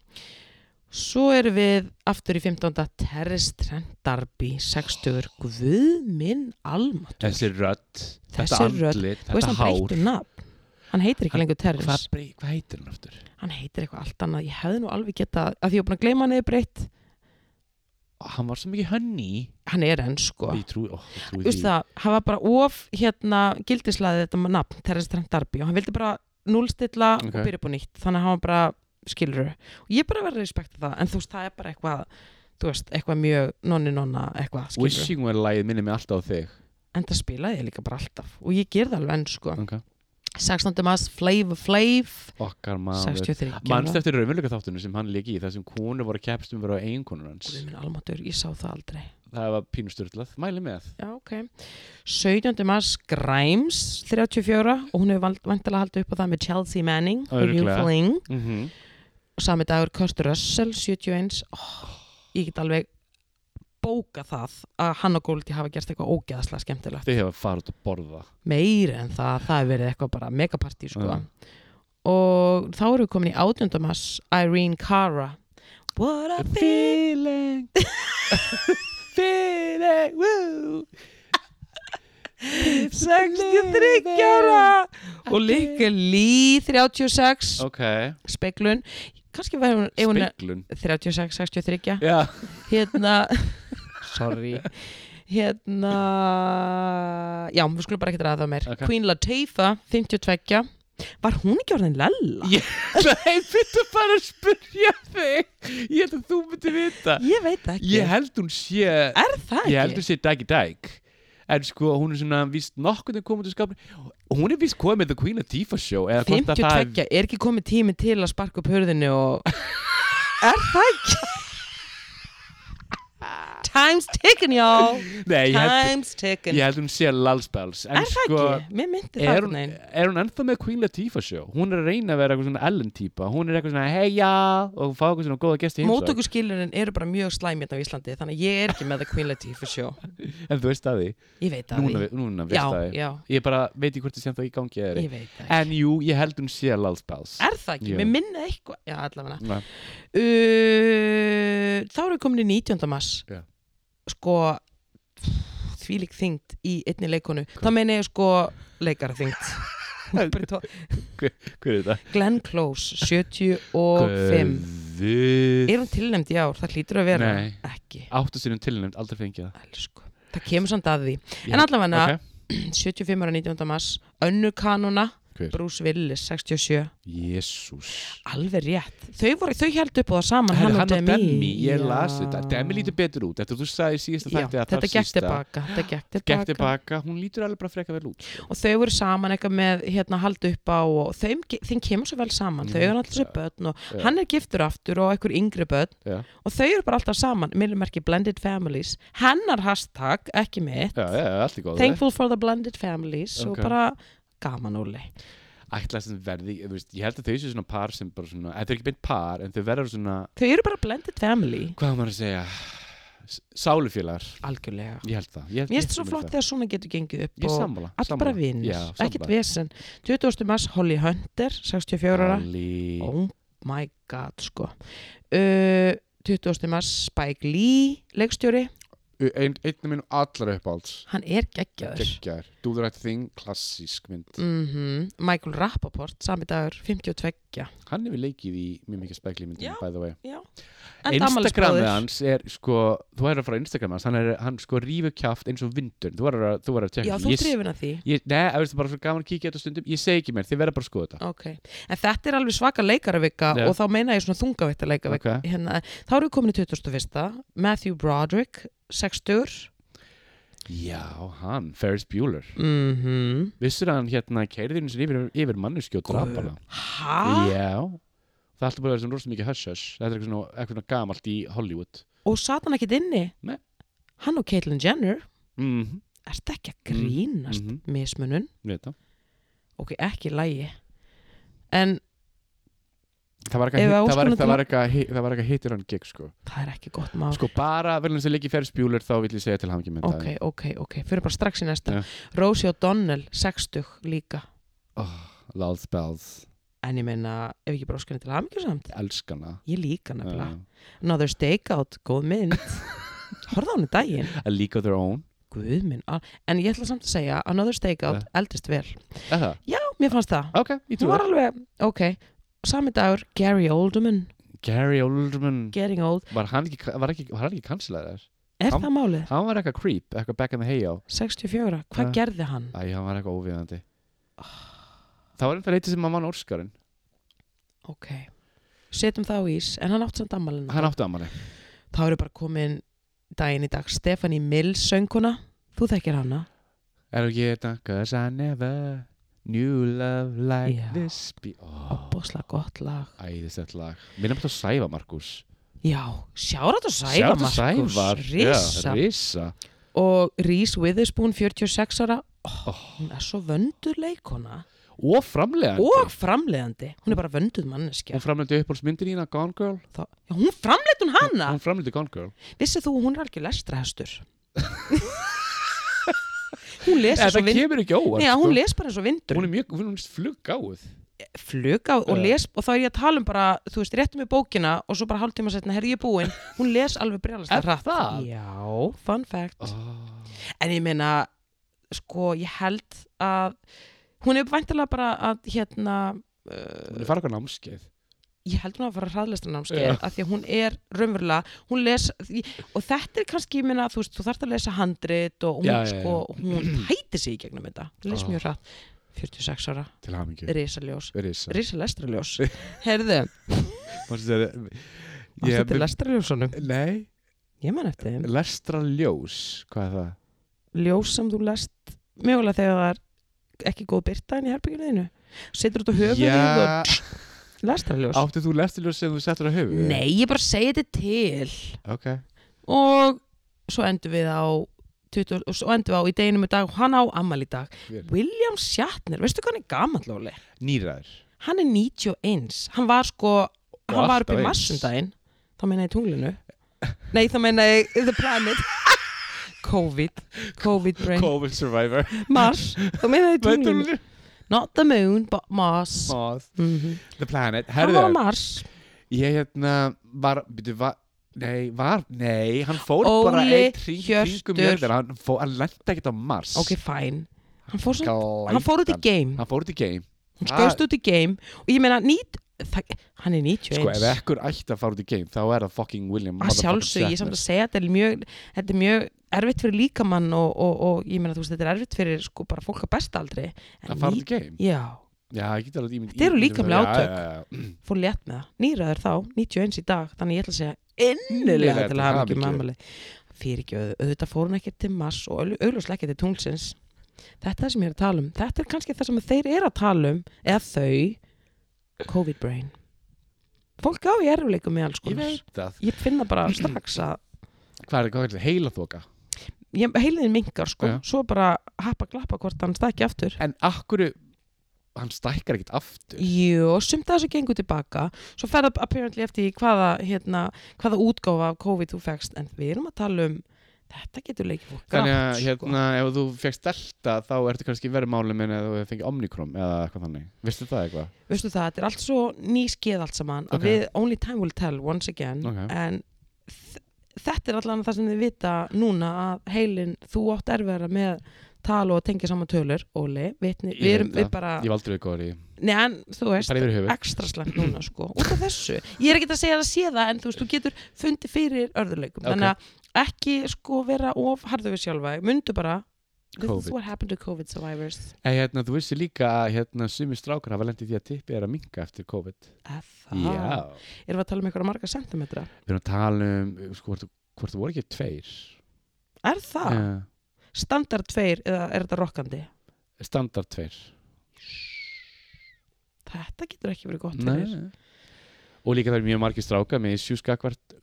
[SPEAKER 1] Svo erum við aftur í 15. Terris Trent Darby 60. Guð minn almatur
[SPEAKER 2] Þessi rödd
[SPEAKER 1] Þessi
[SPEAKER 2] Þetta
[SPEAKER 1] rödd.
[SPEAKER 2] andlit,
[SPEAKER 1] Þú veist hann
[SPEAKER 2] þetta hár
[SPEAKER 1] breyttu nafn Hann heitir ekki
[SPEAKER 2] Hann-
[SPEAKER 1] lengur Terris
[SPEAKER 2] Hvað brey- hvað heitir hann aftur?
[SPEAKER 1] Hann heitir eitthvað allt annað Ég hefði nú alveg getað að því ég er búin að gleyma hann eða breytt
[SPEAKER 2] Hann var svo mikið hönni
[SPEAKER 1] Hann er enn sko
[SPEAKER 2] Ég trúi, ó, ég trúi
[SPEAKER 1] Þú veist það, hann var bara of hérna gildislaði þetta með nafn Terris Trent Darby og hann vildi bara núlstilla
[SPEAKER 2] Ok.
[SPEAKER 1] og byrja upp á nýtt þannig að hann var bara skilur og ég er bara verið að respekta það en þú veist það er bara eitthvað þú veist, eitthvað mjög nonni-nonna eitthvað skilurðu.
[SPEAKER 2] Wishing Well lagið minni mig alltaf á þig
[SPEAKER 1] en það spilaði ég líka bara alltaf og ég gerði alveg enn sko
[SPEAKER 2] Ok
[SPEAKER 1] 16. maður Flav Flav
[SPEAKER 2] Okkar maður
[SPEAKER 1] 63
[SPEAKER 2] Manst eftir raunveruleika þáttunum sem hann líki í þar sem konur voru að keppst um að vera á eiginkonur hans
[SPEAKER 1] Guð minn almatur, ég sá það aldrei
[SPEAKER 2] Það var pínusturlað, mæli með
[SPEAKER 1] Já, ok 17. maður Grimes 34 og hún hefur vantilega haldið upp á það með Chelsea Manning og New
[SPEAKER 2] Örugglega.
[SPEAKER 1] Fling
[SPEAKER 2] mm -hmm.
[SPEAKER 1] og sami dagur Kurt Russell 71 oh, ég get alveg bóka það að hann og Goldie hafa gert eitthvað ógeðaslega skemmtilegt
[SPEAKER 2] Þið hefur farið út að borða
[SPEAKER 1] meiri en það, það hefur verið eitthvað bara megapartí sko.
[SPEAKER 2] Já.
[SPEAKER 1] og þá erum við komin í átjöndum hans Irene Cara What a feel
[SPEAKER 2] Feeling Feeling woo.
[SPEAKER 1] 63 ára og líka Lee 36
[SPEAKER 2] Ok,
[SPEAKER 1] speglun, kannski var hún, ef hún er
[SPEAKER 2] spiklun
[SPEAKER 1] 36, 63
[SPEAKER 2] Já,
[SPEAKER 1] hérna sorry hérna já, við skulum bara ekki draða það meir
[SPEAKER 2] Ok.
[SPEAKER 1] Queen Latifah, 52 var hún ekki orðin lella?
[SPEAKER 2] Ég- nei, byrja bara að spyrja þig Ég held að þú myndi vita
[SPEAKER 1] ég veit það ekki
[SPEAKER 2] Ég held hún sé
[SPEAKER 1] er það
[SPEAKER 2] Ég held
[SPEAKER 1] ekki?
[SPEAKER 2] hún sé dæk í dæk En sko, hún er svona víst nokkuð komið til skapin Hún er víst komið með The Queen of Tifa show eða hvort að það
[SPEAKER 1] 52, er ekki komið tími til að sparka upp hörðinu og er það ekki? time's ticking y'all
[SPEAKER 2] Nei, ég held,
[SPEAKER 1] time's ticking
[SPEAKER 2] ég held hún sé lalspels En
[SPEAKER 1] er það
[SPEAKER 2] sko,
[SPEAKER 1] ekki? mér myndi það
[SPEAKER 2] er hún,
[SPEAKER 1] neinn
[SPEAKER 2] er hún ennþá með Queen Latifah show? Hún er að reyna að vera eitthvað svona Ellen típa Hún er eitthvað svona heja og fá eitthvað svona góða gesti heimsók
[SPEAKER 1] mótökuskilurinn eru bara mjög slæmi hérna á Íslandi þannig að ég er ekki með The Queen Latifah show
[SPEAKER 2] En þú veist að því,
[SPEAKER 1] ég veit það
[SPEAKER 2] núna,
[SPEAKER 1] ekki.
[SPEAKER 2] vi- núna veist
[SPEAKER 1] já,
[SPEAKER 2] að því
[SPEAKER 1] já,
[SPEAKER 2] Ég bara veit ekki hvort það sé það í gangi eða
[SPEAKER 1] ég
[SPEAKER 2] ekki
[SPEAKER 1] veit það ekki. Ah!
[SPEAKER 2] En jú, ég held hún sé lalspels
[SPEAKER 1] Er það ekki?
[SPEAKER 2] Jú.
[SPEAKER 1] Mér minna eitthvað Já, allavega
[SPEAKER 2] Nei.
[SPEAKER 1] uh, Þá erum við komin í 19. mars
[SPEAKER 2] Já.
[SPEAKER 1] Sko Þvílík þyngd í einni leikonu Þá meina ég sko leikara þyngd Roberto
[SPEAKER 2] Hver er þetta?
[SPEAKER 1] Glenn Close, 75
[SPEAKER 2] Guð
[SPEAKER 1] Er hún tilnæmd í ár? Það hlýtur að vera
[SPEAKER 2] Nei.
[SPEAKER 1] Ekki,
[SPEAKER 2] Áttu sinum tilnæmt, aldrei fengið það
[SPEAKER 1] elsku Það kemur samt að því
[SPEAKER 2] Ég-
[SPEAKER 1] En allavega,
[SPEAKER 2] Ok.
[SPEAKER 1] 75 ára 19. mars Önnu kanona,
[SPEAKER 2] Hver?
[SPEAKER 1] Bruce Willis 67,
[SPEAKER 2] Jésús
[SPEAKER 1] alveg rétt Þau, voru, þau heldur upp á það saman hann og Demi
[SPEAKER 2] Ég
[SPEAKER 1] Já.
[SPEAKER 2] las þetta Demi lítur betur út Eftir þú sagði í síðasta
[SPEAKER 1] Já,
[SPEAKER 2] þætti að
[SPEAKER 1] Þetta
[SPEAKER 2] þar
[SPEAKER 1] gekk
[SPEAKER 2] sísta-
[SPEAKER 1] tilbaka, þetta gekk
[SPEAKER 2] Gekk
[SPEAKER 1] tilbaka.
[SPEAKER 2] tilbaka Hún lítur alveg bara freka vel út sko.
[SPEAKER 1] og þau voru saman eitthvað með hérna haldu upp á og þeim, ge- þeim kemur svo vel saman þau
[SPEAKER 2] Mm, Já.
[SPEAKER 1] eru alltaf sér börn og
[SPEAKER 2] Já.
[SPEAKER 1] hann er giftur aftur og einhver yngri börn
[SPEAKER 2] Já,
[SPEAKER 1] og þau eru bara alltaf saman, millumarki blended families hennar hashtag, ekki mitt
[SPEAKER 2] já, já, allt í góð
[SPEAKER 1] thankful for the blended families og
[SPEAKER 2] Ok.
[SPEAKER 1] bara gaman úli
[SPEAKER 2] Ætla sem verði þú veist, Ég held að þau séu svona par sem bara svona Þetta er ekki beint par En þau verður svona
[SPEAKER 1] þau eru bara blended family,
[SPEAKER 2] Hvað á maður að segja S- Sálufélagar
[SPEAKER 1] algjörlega
[SPEAKER 2] Ég held það
[SPEAKER 1] mér
[SPEAKER 2] Ég, ég
[SPEAKER 1] finnst svo
[SPEAKER 2] held
[SPEAKER 1] flott
[SPEAKER 2] það.
[SPEAKER 1] þegar svona getur gengið upp
[SPEAKER 2] Ég er
[SPEAKER 1] og
[SPEAKER 2] sammála
[SPEAKER 1] allt
[SPEAKER 2] sammála.
[SPEAKER 1] bara vinnur,
[SPEAKER 2] Já,
[SPEAKER 1] ekkert vesen 20. mars Holly Hunter, 64 ára
[SPEAKER 2] Alli
[SPEAKER 1] Oh my god, sko. Uh, 20. mars Spike Lee, leikstjóri,
[SPEAKER 2] Einn af mínum allra uppáhalds
[SPEAKER 1] hann er geggjaður.
[SPEAKER 2] Gekkjar Do the right thing Klassísk mynd
[SPEAKER 1] Mm Michael Rappaport, sami dagur, 52.
[SPEAKER 2] Hann hefur leikið í Mjög mikið spekli myndum
[SPEAKER 1] Já.
[SPEAKER 2] By the way
[SPEAKER 1] En
[SPEAKER 2] Instagramið
[SPEAKER 1] afmælisbróðir.
[SPEAKER 2] hans er sko Þú er að fara á Instagram hans Hann, er, hann sko rífur kjáft eins og vindur Þú er að, þú er að tjekka
[SPEAKER 1] Já,
[SPEAKER 2] þetta.
[SPEAKER 1] þú
[SPEAKER 2] Ég-
[SPEAKER 1] trefin að því.
[SPEAKER 2] Ég, nei, það er bara svo gaman að kíkja þetta stundum Ég segi ekki mér, þið verða bara að skoða þetta
[SPEAKER 1] Ok, en þetta er alveg svaka leikarvika
[SPEAKER 2] Já.
[SPEAKER 1] og þá meina ég svona þungavætta leikarvika.
[SPEAKER 2] Ok.
[SPEAKER 1] Hérna, þá erum við komin í 21. Matthew Broderick, 60.
[SPEAKER 2] Já, hann, Ferris Bueller
[SPEAKER 1] Mm -hmm.
[SPEAKER 2] Vissur að hann hérna keirðinu sem yfir, yfir manneskju og draf hana
[SPEAKER 1] Hæ?
[SPEAKER 2] Já, það er alltaf bara svona rosa mikið hush-hush Þetta er eitthvað svona, eitthvað svona gamalt í Hollywood
[SPEAKER 1] Og sat hann ekkit inni?
[SPEAKER 2] Nei.
[SPEAKER 1] Hann og Caitlyn Jenner,
[SPEAKER 2] mm
[SPEAKER 1] er þetta ekki að grínast
[SPEAKER 2] Mhm.
[SPEAKER 1] mismunun?
[SPEAKER 2] -hmm.
[SPEAKER 1] ok, ekki lægi en
[SPEAKER 2] Það var
[SPEAKER 1] Ef
[SPEAKER 2] eitthvað-
[SPEAKER 1] að
[SPEAKER 2] það var-
[SPEAKER 1] óskunum
[SPEAKER 2] það var eitthvað hi- það var eitthvað hittir hann gig sko.
[SPEAKER 1] það er ekki gott mál
[SPEAKER 2] sko bara verðin sem leikir Ferris Bueller þá vill ég segja til hann ekki með
[SPEAKER 1] ok, ok, ok, fyrir bara strax í næsta
[SPEAKER 2] Já.
[SPEAKER 1] Rosie O'Donnell, 60 líka
[SPEAKER 2] Loud Spells,
[SPEAKER 1] en ég meina, ef ekki bara óskar henni til hamingju samt
[SPEAKER 2] elskana
[SPEAKER 1] ég líka nefnilega,
[SPEAKER 2] uh,
[SPEAKER 1] another stakeout góð mynd, horfða hún í daginn
[SPEAKER 2] A League of Their Own
[SPEAKER 1] guð minn, al- en ég ætla samt að segja another stakeout, eldist vel
[SPEAKER 2] Er það?
[SPEAKER 1] Já, mér fannst það,
[SPEAKER 2] Ok, ég
[SPEAKER 1] hún
[SPEAKER 2] trú
[SPEAKER 1] var alveg ok, sami dagur, Gary Oldman
[SPEAKER 2] Gary Oldman
[SPEAKER 1] getting old,
[SPEAKER 2] Var hann ekki, var ekki, var hann ekki kanslaðar?
[SPEAKER 1] er
[SPEAKER 2] Hann-
[SPEAKER 1] það málið?
[SPEAKER 2] Hann var eitthvað creep, eitthvað back in the hay á
[SPEAKER 1] 64, hvað
[SPEAKER 2] Já.
[SPEAKER 1] gerði hann?
[SPEAKER 2] Æ, hann var eitthvað óvíðandi Það var einhver eitthvað sem hann vann Óskarinn
[SPEAKER 1] Ok, setjum það á ís en hann átt samt ammalina
[SPEAKER 2] Hann átti ammali
[SPEAKER 1] þá eru bara komin daginn í dag Stefani Mills sönguna þú þekkir hana
[SPEAKER 2] Er þú geta, cause I never knew love like
[SPEAKER 1] Já.
[SPEAKER 2] this be oh,
[SPEAKER 1] opbóðslega gott lag
[SPEAKER 2] Æðislegt lag Minnum þetta Sæva Markus
[SPEAKER 1] já, sjárat og sæfa
[SPEAKER 2] Sjáðu
[SPEAKER 1] Markus
[SPEAKER 2] Sævar
[SPEAKER 1] risa
[SPEAKER 2] Já, Risa
[SPEAKER 1] og Rís Witherspoon 46 ára oh,
[SPEAKER 2] Oh.
[SPEAKER 1] hún er svo vöndur leikona
[SPEAKER 2] Og framlegandi
[SPEAKER 1] og framleiðandi, hún er bara vönduð manneskja
[SPEAKER 2] Hún framlegandi uppbólsmyndin ína Gone Girl
[SPEAKER 1] Þá, já, hún framleitt hún hana
[SPEAKER 2] Hún framlegandi Gone Girl
[SPEAKER 1] vissið þú að hún er algjör lestrahestur hún lesa
[SPEAKER 2] En
[SPEAKER 1] svo
[SPEAKER 2] það
[SPEAKER 1] vind
[SPEAKER 2] kemur ekki óvart
[SPEAKER 1] Nei, já,
[SPEAKER 2] sko.
[SPEAKER 1] hún les bara eins og vindur
[SPEAKER 2] Hún er mjög, hún er mjög fluggáð
[SPEAKER 1] fluga og
[SPEAKER 2] Já.
[SPEAKER 1] les og þá er ég að tala um bara, þú veist, réttum í bókina og svo bara hálftíma setna, herri ég er búin hún les alveg brjálast
[SPEAKER 2] Er það?
[SPEAKER 1] Já, fun fact
[SPEAKER 2] oh.
[SPEAKER 1] En ég meina, sko, ég held að hún er væntalega bara að hérna uh,
[SPEAKER 2] Hún er farað á námskeið
[SPEAKER 1] ég held hún að fara að hraðlestra
[SPEAKER 2] Já.
[SPEAKER 1] námskeið af því að hún er raunverulega, hún les og þetta er kannski, ég meina, þú veist, þú þarft að lesa handrit og hún,
[SPEAKER 2] Já, já, já.
[SPEAKER 1] sko, hún hætti sig í gegnum þetta, les
[SPEAKER 2] Ah.
[SPEAKER 1] mjög hratt 46 ára,
[SPEAKER 2] Til hamingju
[SPEAKER 1] risaljós
[SPEAKER 2] Risa
[SPEAKER 1] risalestraljós, heyrðu
[SPEAKER 2] Manstu þegar-
[SPEAKER 1] Varstu
[SPEAKER 2] Ég-
[SPEAKER 1] til lestrarljósunum?
[SPEAKER 2] Nei,
[SPEAKER 1] Ég man eftir þeim.
[SPEAKER 2] lestra ljós Hvað er það?
[SPEAKER 1] Ljós sem þú lest mögulega þegar það er ekki góð byrta inn í herbygginu þínu. Setur út á höfuð þínu og lestrarljós.
[SPEAKER 2] Áttið þú lestraljós sem þú settur á höfuð?
[SPEAKER 1] Nei, ég bara segi þetta til.
[SPEAKER 2] Ok
[SPEAKER 1] Og svo endum við á 20, og svo endum við á í deginum í dag og hann á ammal í dag.
[SPEAKER 2] Hver?
[SPEAKER 1] William Shatner, veistu hvað hann er gamall Lóli?
[SPEAKER 2] Nýræður
[SPEAKER 1] Hann er 91. Hann var sko, hann var upp í
[SPEAKER 2] alltaf eins.
[SPEAKER 1] massundaginn. Þá meina ég tunglinu. Nei, þá meina ég the planet. COVID. COVID brain.
[SPEAKER 2] COVID survivor
[SPEAKER 1] Mars, þú meinaði tunglinu
[SPEAKER 2] Tunglinu.
[SPEAKER 1] Not the moon, but Mars
[SPEAKER 2] Moth.
[SPEAKER 1] mm
[SPEAKER 2] The planet
[SPEAKER 1] Hann var á
[SPEAKER 2] Herðu,
[SPEAKER 1] Mars
[SPEAKER 2] ég hérna var, byrju, var Nei, var, nei, hann fór
[SPEAKER 1] Óli
[SPEAKER 2] bara eitt hring
[SPEAKER 1] Hjörtur.
[SPEAKER 2] kringum jörðina, hann, fó, hann lenda ekkert á Mars
[SPEAKER 1] Ok, fine hann fór, svo,
[SPEAKER 2] Glætan.
[SPEAKER 1] hann fór út í game
[SPEAKER 2] Hann fór út í game
[SPEAKER 1] hann
[SPEAKER 2] Það-
[SPEAKER 1] skóðst út í game og ég meina nýt, það, hann er 91
[SPEAKER 2] Sko, ef ekkur ætti að fara út í game þá er það fucking William
[SPEAKER 1] að sjálfsög, ég er samt að segja þetta er mjög, þetta er mjög erfitt fyrir líkamann og, og, og ég meina þú veist þetta er erfitt fyrir sko bara fólk að besta aldrei en
[SPEAKER 2] Það fara
[SPEAKER 1] ný,
[SPEAKER 2] út í game
[SPEAKER 1] já,
[SPEAKER 2] Já, ég get alveg ímynd
[SPEAKER 1] Þetta eru líkamleg
[SPEAKER 2] Já,
[SPEAKER 1] átök.
[SPEAKER 2] já, já, já.
[SPEAKER 1] fór létt með það nýraður þá, 91 í dag, þannig ég ætla að segja innilega til að hafa ekki með
[SPEAKER 2] hamingju.
[SPEAKER 1] amali fyrir ekki, auðvitað fór hún ekki til mass og auð- augljóslega ekki til tunglsins þetta er það sem ég er að tala um, þetta er kannski það sem þeir eru að tala um, eða þau COVID brain fólk á í erfuleikum með alls
[SPEAKER 2] Ég
[SPEAKER 1] konar
[SPEAKER 2] veit það
[SPEAKER 1] ég finna bara strax að
[SPEAKER 2] Hvað er hvað er þetta? Heila þoka
[SPEAKER 1] ég, heilin minkar sko,
[SPEAKER 2] Já.
[SPEAKER 1] svo bara happa glappa hvort hann stækki aftur
[SPEAKER 2] En akkur Hann stækkar ekkert aftur
[SPEAKER 1] Jú, og sumt að þessu gengur tilbaka svo fer það apparently eftir því hvaða hérna, hvaða útgáfa af COVID þú fegst en við erum að tala um þetta getur leikið fólk
[SPEAKER 2] Þannig
[SPEAKER 1] grátt, sko.
[SPEAKER 2] að hérna, ef þú fegst delta þá ertu kannski verið málum en ef þú fengið omnikrom eða eitthvað þannig Vistu það eitthvað?
[SPEAKER 1] sko. veistu það, þetta er allt svo ný skeið allt saman
[SPEAKER 2] Ok.
[SPEAKER 1] að við only time will tell once again
[SPEAKER 2] Ok.
[SPEAKER 1] en þ- þetta er allan það sem þið vita núna að heilin, þú átt erfara með tal og að tengja saman tölur Óli, vitni,
[SPEAKER 2] Ég
[SPEAKER 1] við
[SPEAKER 2] veit
[SPEAKER 1] erum við
[SPEAKER 2] það.
[SPEAKER 1] bara,
[SPEAKER 2] Ég var aldrei góður í
[SPEAKER 1] Nei, en þú veist
[SPEAKER 2] Bara yfir höfuð
[SPEAKER 1] ekstra slæmt núna sko út af þessu, ég er ekki að segja að sé það en þú veist, þú getur fundið fyrir örðurleikum
[SPEAKER 2] Ok.
[SPEAKER 1] þannig að ekki sko vera of harðu við sjálfa, þig. mundu bara this
[SPEAKER 2] COVID.
[SPEAKER 1] is what happened to COVID survivors
[SPEAKER 2] En hérna, þú vissir líka að hérna, sumi strákar hafa lendið því að tippi er að minka eftir COVID
[SPEAKER 1] eða,
[SPEAKER 2] Já
[SPEAKER 1] erum við að tala um einhverja marga sentimetra
[SPEAKER 2] Við erum að tala um, sko, hvort, hvort þú voru ekki tveir
[SPEAKER 1] er það,
[SPEAKER 2] Eh,
[SPEAKER 1] standard tveir eða er þetta rokkandi,
[SPEAKER 2] Standard tveir
[SPEAKER 1] þetta getur ekki verið gott fyrir
[SPEAKER 2] Nei. Og líka það er mjög margir strákar með sjúskakvart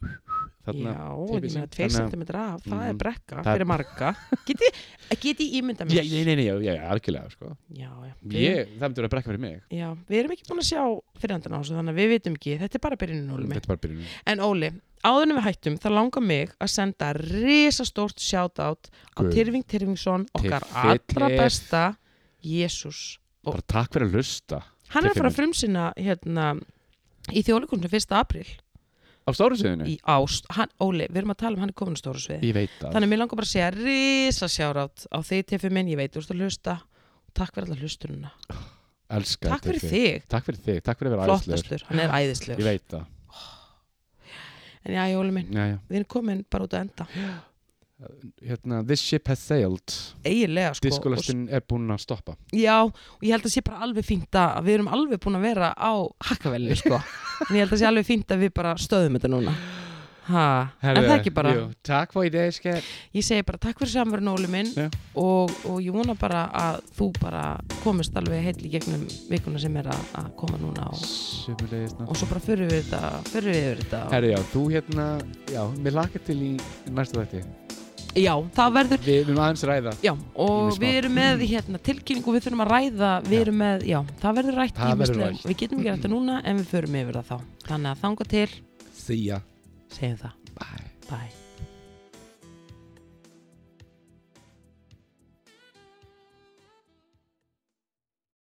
[SPEAKER 2] Þarna
[SPEAKER 1] Já, en
[SPEAKER 2] teipið
[SPEAKER 1] ég
[SPEAKER 2] sig.
[SPEAKER 1] meina tveir
[SPEAKER 2] Þannig að-
[SPEAKER 1] sentimetra af, það er
[SPEAKER 2] Mhm.
[SPEAKER 1] brekka
[SPEAKER 2] Það-
[SPEAKER 1] fyrir marga geti, geti ímynda mér
[SPEAKER 2] Já, nei, nei, nei, já, já, algjörlega, sko
[SPEAKER 1] já, já. Við,
[SPEAKER 2] Ég, það myndur að brekka fyrir mig
[SPEAKER 1] já, við erum ekki búin að sjá fyrirhandan á þessu þannig að við vitum ekki, þetta er bara byrjunin Óli minn.
[SPEAKER 2] Þetta er bara byrjunum
[SPEAKER 1] En Óli, áður en við hættum þá langar mig að senda risastórt shoutout á
[SPEAKER 2] Guð.
[SPEAKER 1] Tyrfing Tyrfingsson okkar
[SPEAKER 2] Tiffi
[SPEAKER 1] allra
[SPEAKER 2] Tiff.
[SPEAKER 1] besta Jésús. Og-
[SPEAKER 2] Bara takk fyrir að lusta
[SPEAKER 1] Hann er að fara að
[SPEAKER 2] Tiffinum.
[SPEAKER 1] frumsýna hérna í þjóðleikunum 1. april
[SPEAKER 2] Á stóru sviðinu?
[SPEAKER 1] í ást. Hann, Óli, við erum að tala um hann er komin á stóru sviði.
[SPEAKER 2] Ég veit það
[SPEAKER 1] Þannig mér langar bara að segja risasjárat á þig Tiffi minn, ég veit, þú ert að hlusta takk fyrir alla hlustununa.
[SPEAKER 2] Elska
[SPEAKER 1] Takk fyrir
[SPEAKER 2] Tiffi.
[SPEAKER 1] þig,
[SPEAKER 2] Takk fyrir þig, takk fyrir að vera æðislegur
[SPEAKER 1] flottastur, hann er
[SPEAKER 2] Ég
[SPEAKER 1] æðislegur.
[SPEAKER 2] veit það
[SPEAKER 1] En já, Óli minn,
[SPEAKER 2] já, já.
[SPEAKER 1] við erum komin bara út að enda.
[SPEAKER 2] Hérna, This ship has sailed
[SPEAKER 1] Eiginlega, sko. og
[SPEAKER 2] Diskolastinn er búinn að stoppa
[SPEAKER 1] Já, og ég held að sé bara alveg fínt að við erum alveg búin að vera á hakkavelli, sko. en ég held að sé alveg fínt að við bara stöðum þetta núna. Ha, en það ekki bara.
[SPEAKER 2] jú, Takk fyrir þig, skell
[SPEAKER 1] Ég segi bara takk fyrir samverðin Óli minn
[SPEAKER 2] Já.
[SPEAKER 1] og, og ég vona bara að þú bara komist alveg heill í gegnum vikuna sem er að, að koma núna og,
[SPEAKER 2] Sumulegis
[SPEAKER 1] og svo bara fyrir við þetta, fyrir við yfir þetta.
[SPEAKER 2] Herri, já, þú hérna Já, mér lakar til í næsta þætti
[SPEAKER 1] Já, það verður,
[SPEAKER 2] Við við erum aðeins að ræða
[SPEAKER 1] já,
[SPEAKER 2] Ýmis
[SPEAKER 1] og
[SPEAKER 2] mál.
[SPEAKER 1] við erum með hérna, tilkynningu, við þurfum að ræða, við
[SPEAKER 2] Mm. Já.
[SPEAKER 1] erum með, já, það verður rætt
[SPEAKER 2] Það verður
[SPEAKER 1] ýmislegu.
[SPEAKER 2] rætt.
[SPEAKER 1] Við getum ekki rætt það núna en við förum yfir það þá. Þannig að þanga til,
[SPEAKER 2] See ya
[SPEAKER 1] segjum það.
[SPEAKER 2] Bye
[SPEAKER 1] Bye.